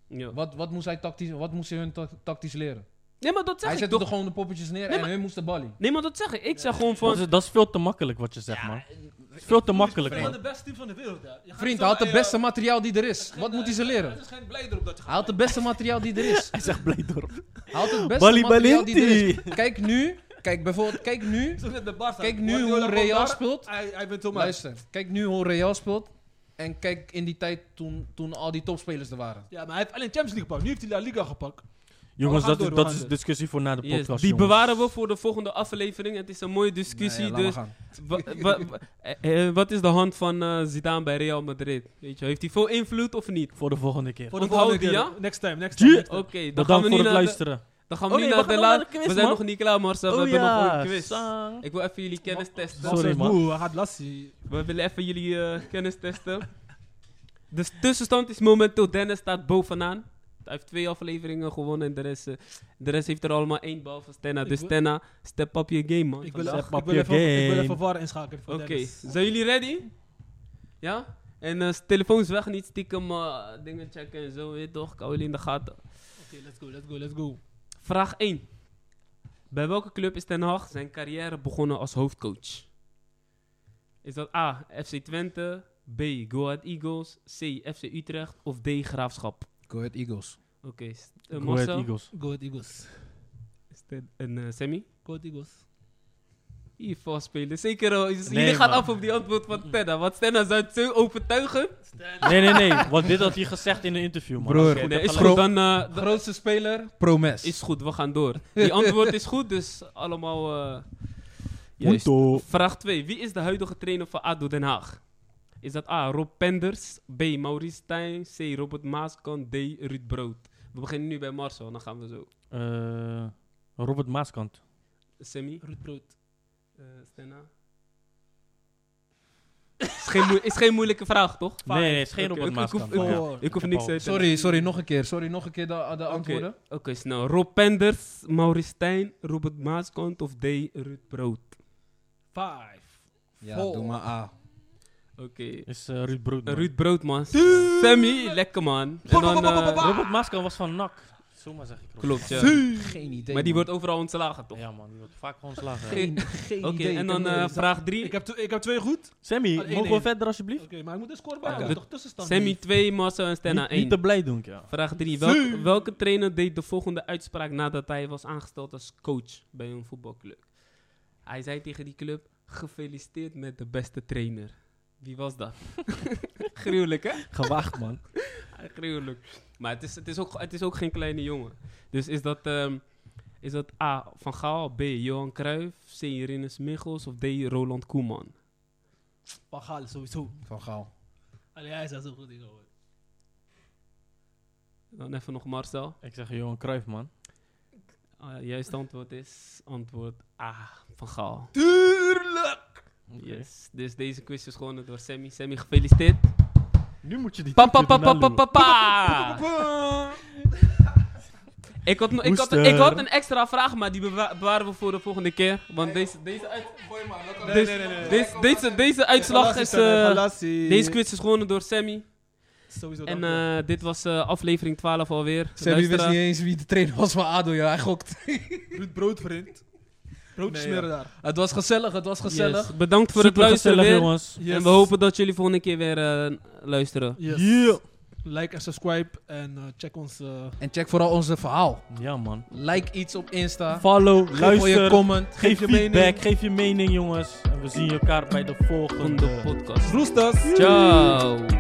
[SPEAKER 2] Ja.
[SPEAKER 3] Wat, wat, moest hij tactisch, wat moest hij hun ta- tactisch leren?
[SPEAKER 2] Nee, maar dat zeg
[SPEAKER 3] Hij
[SPEAKER 2] ik
[SPEAKER 3] zette
[SPEAKER 2] toch.
[SPEAKER 3] er gewoon de poppetjes neer
[SPEAKER 2] Nee,
[SPEAKER 3] en
[SPEAKER 2] maar-
[SPEAKER 3] hun moesten ballen.
[SPEAKER 2] Nee, maar dat zeg ik. Ik zeg gewoon
[SPEAKER 5] dat,
[SPEAKER 2] van...
[SPEAKER 5] is, dat is veel te makkelijk wat je zegt, man. Het is veel te makkelijk,
[SPEAKER 4] Een van
[SPEAKER 5] man.
[SPEAKER 4] de beste teams van de wereld, hè. Je gaat
[SPEAKER 3] Vriend,
[SPEAKER 4] zo
[SPEAKER 3] hij had
[SPEAKER 4] naar
[SPEAKER 3] het
[SPEAKER 4] je-
[SPEAKER 3] beste materiaal die er is. Wat moet hij ze leren?
[SPEAKER 4] eh, Het is geen blij erop dat
[SPEAKER 3] Hij
[SPEAKER 4] je gaat.
[SPEAKER 3] had het beste materiaal die er is.
[SPEAKER 5] Hij zegt blij door.
[SPEAKER 3] Hij had het beste
[SPEAKER 5] Bali
[SPEAKER 3] materiaal die er is.
[SPEAKER 5] Balinti.
[SPEAKER 3] Kijk nu, kijk bijvoorbeeld, kijk nu.
[SPEAKER 4] Zo net bij Barca.
[SPEAKER 3] Kijk nu
[SPEAKER 4] Guardiola
[SPEAKER 3] hoe
[SPEAKER 4] komt
[SPEAKER 3] Real
[SPEAKER 4] daar,
[SPEAKER 3] speelt.
[SPEAKER 4] Hij, hij bent zomaar...
[SPEAKER 3] Luister, kijk nu hoe Real speelt. En kijk in die tijd toen, toen al die topspelers er waren.
[SPEAKER 4] Ja, maar hij heeft alleen Champions League gepakt. Nu heeft hij La Liga gepakt.
[SPEAKER 5] Jongens,
[SPEAKER 4] gaan
[SPEAKER 5] dat, is-
[SPEAKER 4] door, we
[SPEAKER 5] dat
[SPEAKER 4] gaan
[SPEAKER 5] is
[SPEAKER 4] door.
[SPEAKER 5] discussie voor na de
[SPEAKER 2] Yes,
[SPEAKER 5] podcast,
[SPEAKER 2] die
[SPEAKER 5] jongens.
[SPEAKER 2] bewaren we voor de volgende aflevering. Het is een mooie discussie.
[SPEAKER 3] Nou ja, laat
[SPEAKER 2] dus
[SPEAKER 3] maar gaan.
[SPEAKER 2] wa- wa- wa- eh, eh, wat is de hand van eh, Zidane bij Real Madrid? Weet je, heeft hij veel invloed of niet?
[SPEAKER 5] Voor de volgende keer.
[SPEAKER 4] Voor de
[SPEAKER 2] Onthoud
[SPEAKER 4] volgende
[SPEAKER 2] die,
[SPEAKER 4] keer.
[SPEAKER 2] ja?
[SPEAKER 4] Next time, next
[SPEAKER 5] Tjie.
[SPEAKER 4] time. next
[SPEAKER 2] Oké,
[SPEAKER 4] time.
[SPEAKER 2] dan, gaan
[SPEAKER 5] Bedankt
[SPEAKER 2] we
[SPEAKER 5] voor het
[SPEAKER 2] nu naar de,
[SPEAKER 5] luisteren.
[SPEAKER 2] dan gaan we
[SPEAKER 5] Oh
[SPEAKER 2] nu
[SPEAKER 5] nee,
[SPEAKER 2] naar
[SPEAKER 5] we
[SPEAKER 2] de
[SPEAKER 5] gaan nog
[SPEAKER 2] laatste.
[SPEAKER 5] naar de quiz,
[SPEAKER 2] We zijn
[SPEAKER 5] man.
[SPEAKER 2] nog niet klaar, Marcel.
[SPEAKER 5] Oh
[SPEAKER 2] we hebben nog
[SPEAKER 5] ja,
[SPEAKER 2] een quiz.
[SPEAKER 5] sang.
[SPEAKER 2] Ik wil even jullie kennis testen.
[SPEAKER 5] Sorry,
[SPEAKER 4] Sorry,
[SPEAKER 5] man.
[SPEAKER 4] man. Moe, hij gaat lassie.
[SPEAKER 2] We willen even jullie eh, kennis testen. De tussenstand is momenteel Dennis staat bovenaan. Hij heeft twee afleveringen gewonnen en de rest, eh, de rest heeft er allemaal één behalve Stenna.
[SPEAKER 4] Ik
[SPEAKER 2] Dus
[SPEAKER 4] wil-
[SPEAKER 2] Stenna, step up your game man.
[SPEAKER 4] Ik
[SPEAKER 2] Oké,
[SPEAKER 4] wil,
[SPEAKER 5] Zet
[SPEAKER 4] ach, ik
[SPEAKER 5] maar op
[SPEAKER 4] wil,
[SPEAKER 5] je
[SPEAKER 4] even, ik wil
[SPEAKER 5] game.
[SPEAKER 4] even VAR inschakelen voor Dennis.
[SPEAKER 2] zijn jullie ready? Ja? En eh, telefoons weg, niet stiekem eh, dingen checken en zo, weet je toch? Ik hou jullie in de gaten.
[SPEAKER 4] Oké, let's go, let's go, let's go.
[SPEAKER 2] Vraag 1. Bij welke club is Ten Hag zijn carrière begonnen als hoofdcoach? Is dat A. FC Twente, B. Go Ahead Eagles, C. FC Utrecht of D. Graafschap?
[SPEAKER 3] Go Ahead Eagles.
[SPEAKER 2] Oké, st- eh,
[SPEAKER 5] Go Ahead
[SPEAKER 2] Marcel
[SPEAKER 5] Eagles.
[SPEAKER 4] Go Ahead Eagles.
[SPEAKER 2] Is dit en eh, Sammy.
[SPEAKER 4] Go Ahead Eagles.
[SPEAKER 2] Hier vastspelen. Zeker, oh, is-
[SPEAKER 5] Nee,
[SPEAKER 2] jullie gaan
[SPEAKER 5] man.
[SPEAKER 2] af op die antwoord van Tenna. Want Tenna zou het zo overtuigen.
[SPEAKER 5] Nee, nee, nee. Want dit had hij gezegd in een interview, man.
[SPEAKER 3] Broer.
[SPEAKER 5] Als
[SPEAKER 2] Oké,
[SPEAKER 5] ik
[SPEAKER 2] nee,
[SPEAKER 5] heb
[SPEAKER 2] is
[SPEAKER 5] gelijk.
[SPEAKER 2] goed, dan, eh, dan-
[SPEAKER 3] Grootste speler, Promes.
[SPEAKER 2] is goed, we gaan door. Die antwoord is goed, dus allemaal... eh, juist.
[SPEAKER 5] Punto.
[SPEAKER 2] Vraag 2. Wie is de huidige trainer van ADO Den Haag? Is dat A. Rob Penders, B. Maurice Stijn, C. Robert Maaskant, D. Ruud Brood? We beginnen nu bij Marcel, dan gaan we zo.
[SPEAKER 5] Eh, Robert Maaskant.
[SPEAKER 2] Sammy,
[SPEAKER 4] Ruud Brood.
[SPEAKER 2] eh, Stenna. Is geen, moe- is geen moeilijke vraag, toch?
[SPEAKER 5] Nee, nee, het is geen
[SPEAKER 2] Oké,
[SPEAKER 5] Robert
[SPEAKER 2] ik- ik hoef-
[SPEAKER 5] Maaskant.
[SPEAKER 2] ik-
[SPEAKER 5] Ja.
[SPEAKER 2] Ik hoef
[SPEAKER 5] heb
[SPEAKER 2] niks
[SPEAKER 5] al-
[SPEAKER 2] uit te
[SPEAKER 3] Sorry, sorry, nog een keer. Sorry, nog een keer de, de antwoorden.
[SPEAKER 2] Oké, snel. Rob Penders, Maurits Stijn, Robert Maaskant of D. Ruud Brood?
[SPEAKER 4] Vijf.
[SPEAKER 3] Ja,
[SPEAKER 4] Vol.
[SPEAKER 3] doe maar A.
[SPEAKER 2] Oké.
[SPEAKER 5] Is eh, Ruud Brood. man.
[SPEAKER 2] Ruud Brood, man. Sammy, lekker man. En dan, eh,
[SPEAKER 5] Robert Maaskant was van NAC. Zomaar zeg ik. Robert
[SPEAKER 2] Klopt, ja.
[SPEAKER 5] Maaskant.
[SPEAKER 3] Geen idee.
[SPEAKER 2] Maar die
[SPEAKER 3] man.
[SPEAKER 2] wordt overal ontslagen, toch?
[SPEAKER 5] Ja man, die wordt vaak gewoon slagen. hè.
[SPEAKER 3] Geen, geen
[SPEAKER 2] Oké,
[SPEAKER 3] idee.
[SPEAKER 2] en dan
[SPEAKER 3] Kan
[SPEAKER 2] eh,
[SPEAKER 3] niet eens-
[SPEAKER 2] vraag 3.
[SPEAKER 4] Ik heb, tw- ik heb twee goed.
[SPEAKER 5] Sammy,
[SPEAKER 4] één,
[SPEAKER 5] mogen we
[SPEAKER 4] één.
[SPEAKER 5] verder
[SPEAKER 4] Oké,
[SPEAKER 5] alsjeblieft?
[SPEAKER 4] maar ik moet de score
[SPEAKER 2] Ja.
[SPEAKER 4] bij.
[SPEAKER 2] De-
[SPEAKER 4] toch tussenstand.
[SPEAKER 2] Sammy
[SPEAKER 4] Lief.
[SPEAKER 2] 2, Marcel en Stenna
[SPEAKER 5] Niet, niet
[SPEAKER 2] 1.
[SPEAKER 5] te blij doen, ja.
[SPEAKER 2] Vraag 3. Welke, welke trainer deed de volgende uitspraak nadat hij was aangesteld als coach bij een voetbalclub? Hij zei tegen die club: Gefeliciteerd met de beste trainer. Wie was dat? Gruwelijk, hè?
[SPEAKER 5] Gewaagd man.
[SPEAKER 2] Gruwelijk. Maar het is, het, is ook, het is ook geen kleine jongen. Dus is dat, ehm, is dat A. Van Gaal, B. Johan Cruijff, C. Rinus Michels of D. Roland Koeman?
[SPEAKER 4] Van Gaal, sowieso.
[SPEAKER 3] Van Gaal.
[SPEAKER 4] Allee, hij zei zo goed dingen hoor.
[SPEAKER 2] Dan even nog Marcel.
[SPEAKER 5] Ik zeg Johan Cruijff man.
[SPEAKER 2] Ah, juist antwoord is antwoord A. Van Gaal.
[SPEAKER 5] Oké.
[SPEAKER 2] Yes. Dus deze quiz is gewonnen door Sammy. Sammy, gefeliciteerd.
[SPEAKER 5] Nu moet je die
[SPEAKER 2] Pa, pa,
[SPEAKER 5] toetje
[SPEAKER 2] pa, pa,
[SPEAKER 5] erna
[SPEAKER 2] pa,
[SPEAKER 5] doen.
[SPEAKER 2] pa, pa. Ik had, nog- ik, had,
[SPEAKER 5] Oester.
[SPEAKER 2] ik had een extra vraag, maar die bewa- bewaren we voor de volgende keer. Want deze, deze, uit- deze, deze, deze, deze uitslag is... eh, deze quiz is gewonnen door Sammy.
[SPEAKER 4] Sowieso.
[SPEAKER 2] En
[SPEAKER 4] dankbaar.
[SPEAKER 2] eh, dit was eh, aflevering 12 alweer.
[SPEAKER 3] Sammy wist
[SPEAKER 2] Luisteraar-
[SPEAKER 3] niet eens wie de trainer was van ADO. Ja, hij gokt.
[SPEAKER 4] Ruud Brood, vriend. Broodjes
[SPEAKER 3] Nee,
[SPEAKER 4] eh, smeren daar.
[SPEAKER 3] het was gezellig, het was gezellig.
[SPEAKER 2] Yes. Bedankt voor
[SPEAKER 5] Super
[SPEAKER 2] het luisteren
[SPEAKER 5] gezellig
[SPEAKER 2] weer.
[SPEAKER 5] jongens.
[SPEAKER 2] En
[SPEAKER 4] Yes.
[SPEAKER 2] we hopen dat jullie volgende keer weer eh, luisteren.
[SPEAKER 4] Yes.
[SPEAKER 5] Yeah.
[SPEAKER 4] Like en subscribe. En eh, check ons... eh,
[SPEAKER 3] En check vooral onze verhaal.
[SPEAKER 5] Ja man.
[SPEAKER 3] Like iets op Insta.
[SPEAKER 5] Follow,
[SPEAKER 3] Geef je
[SPEAKER 5] luister,
[SPEAKER 3] comment.
[SPEAKER 5] geef
[SPEAKER 3] je
[SPEAKER 5] feedback,
[SPEAKER 3] mening.
[SPEAKER 5] geef je mening jongens. En we zien elkaar bij de volgende.
[SPEAKER 2] Volgende podcast.
[SPEAKER 4] Roesters.
[SPEAKER 2] Ciao.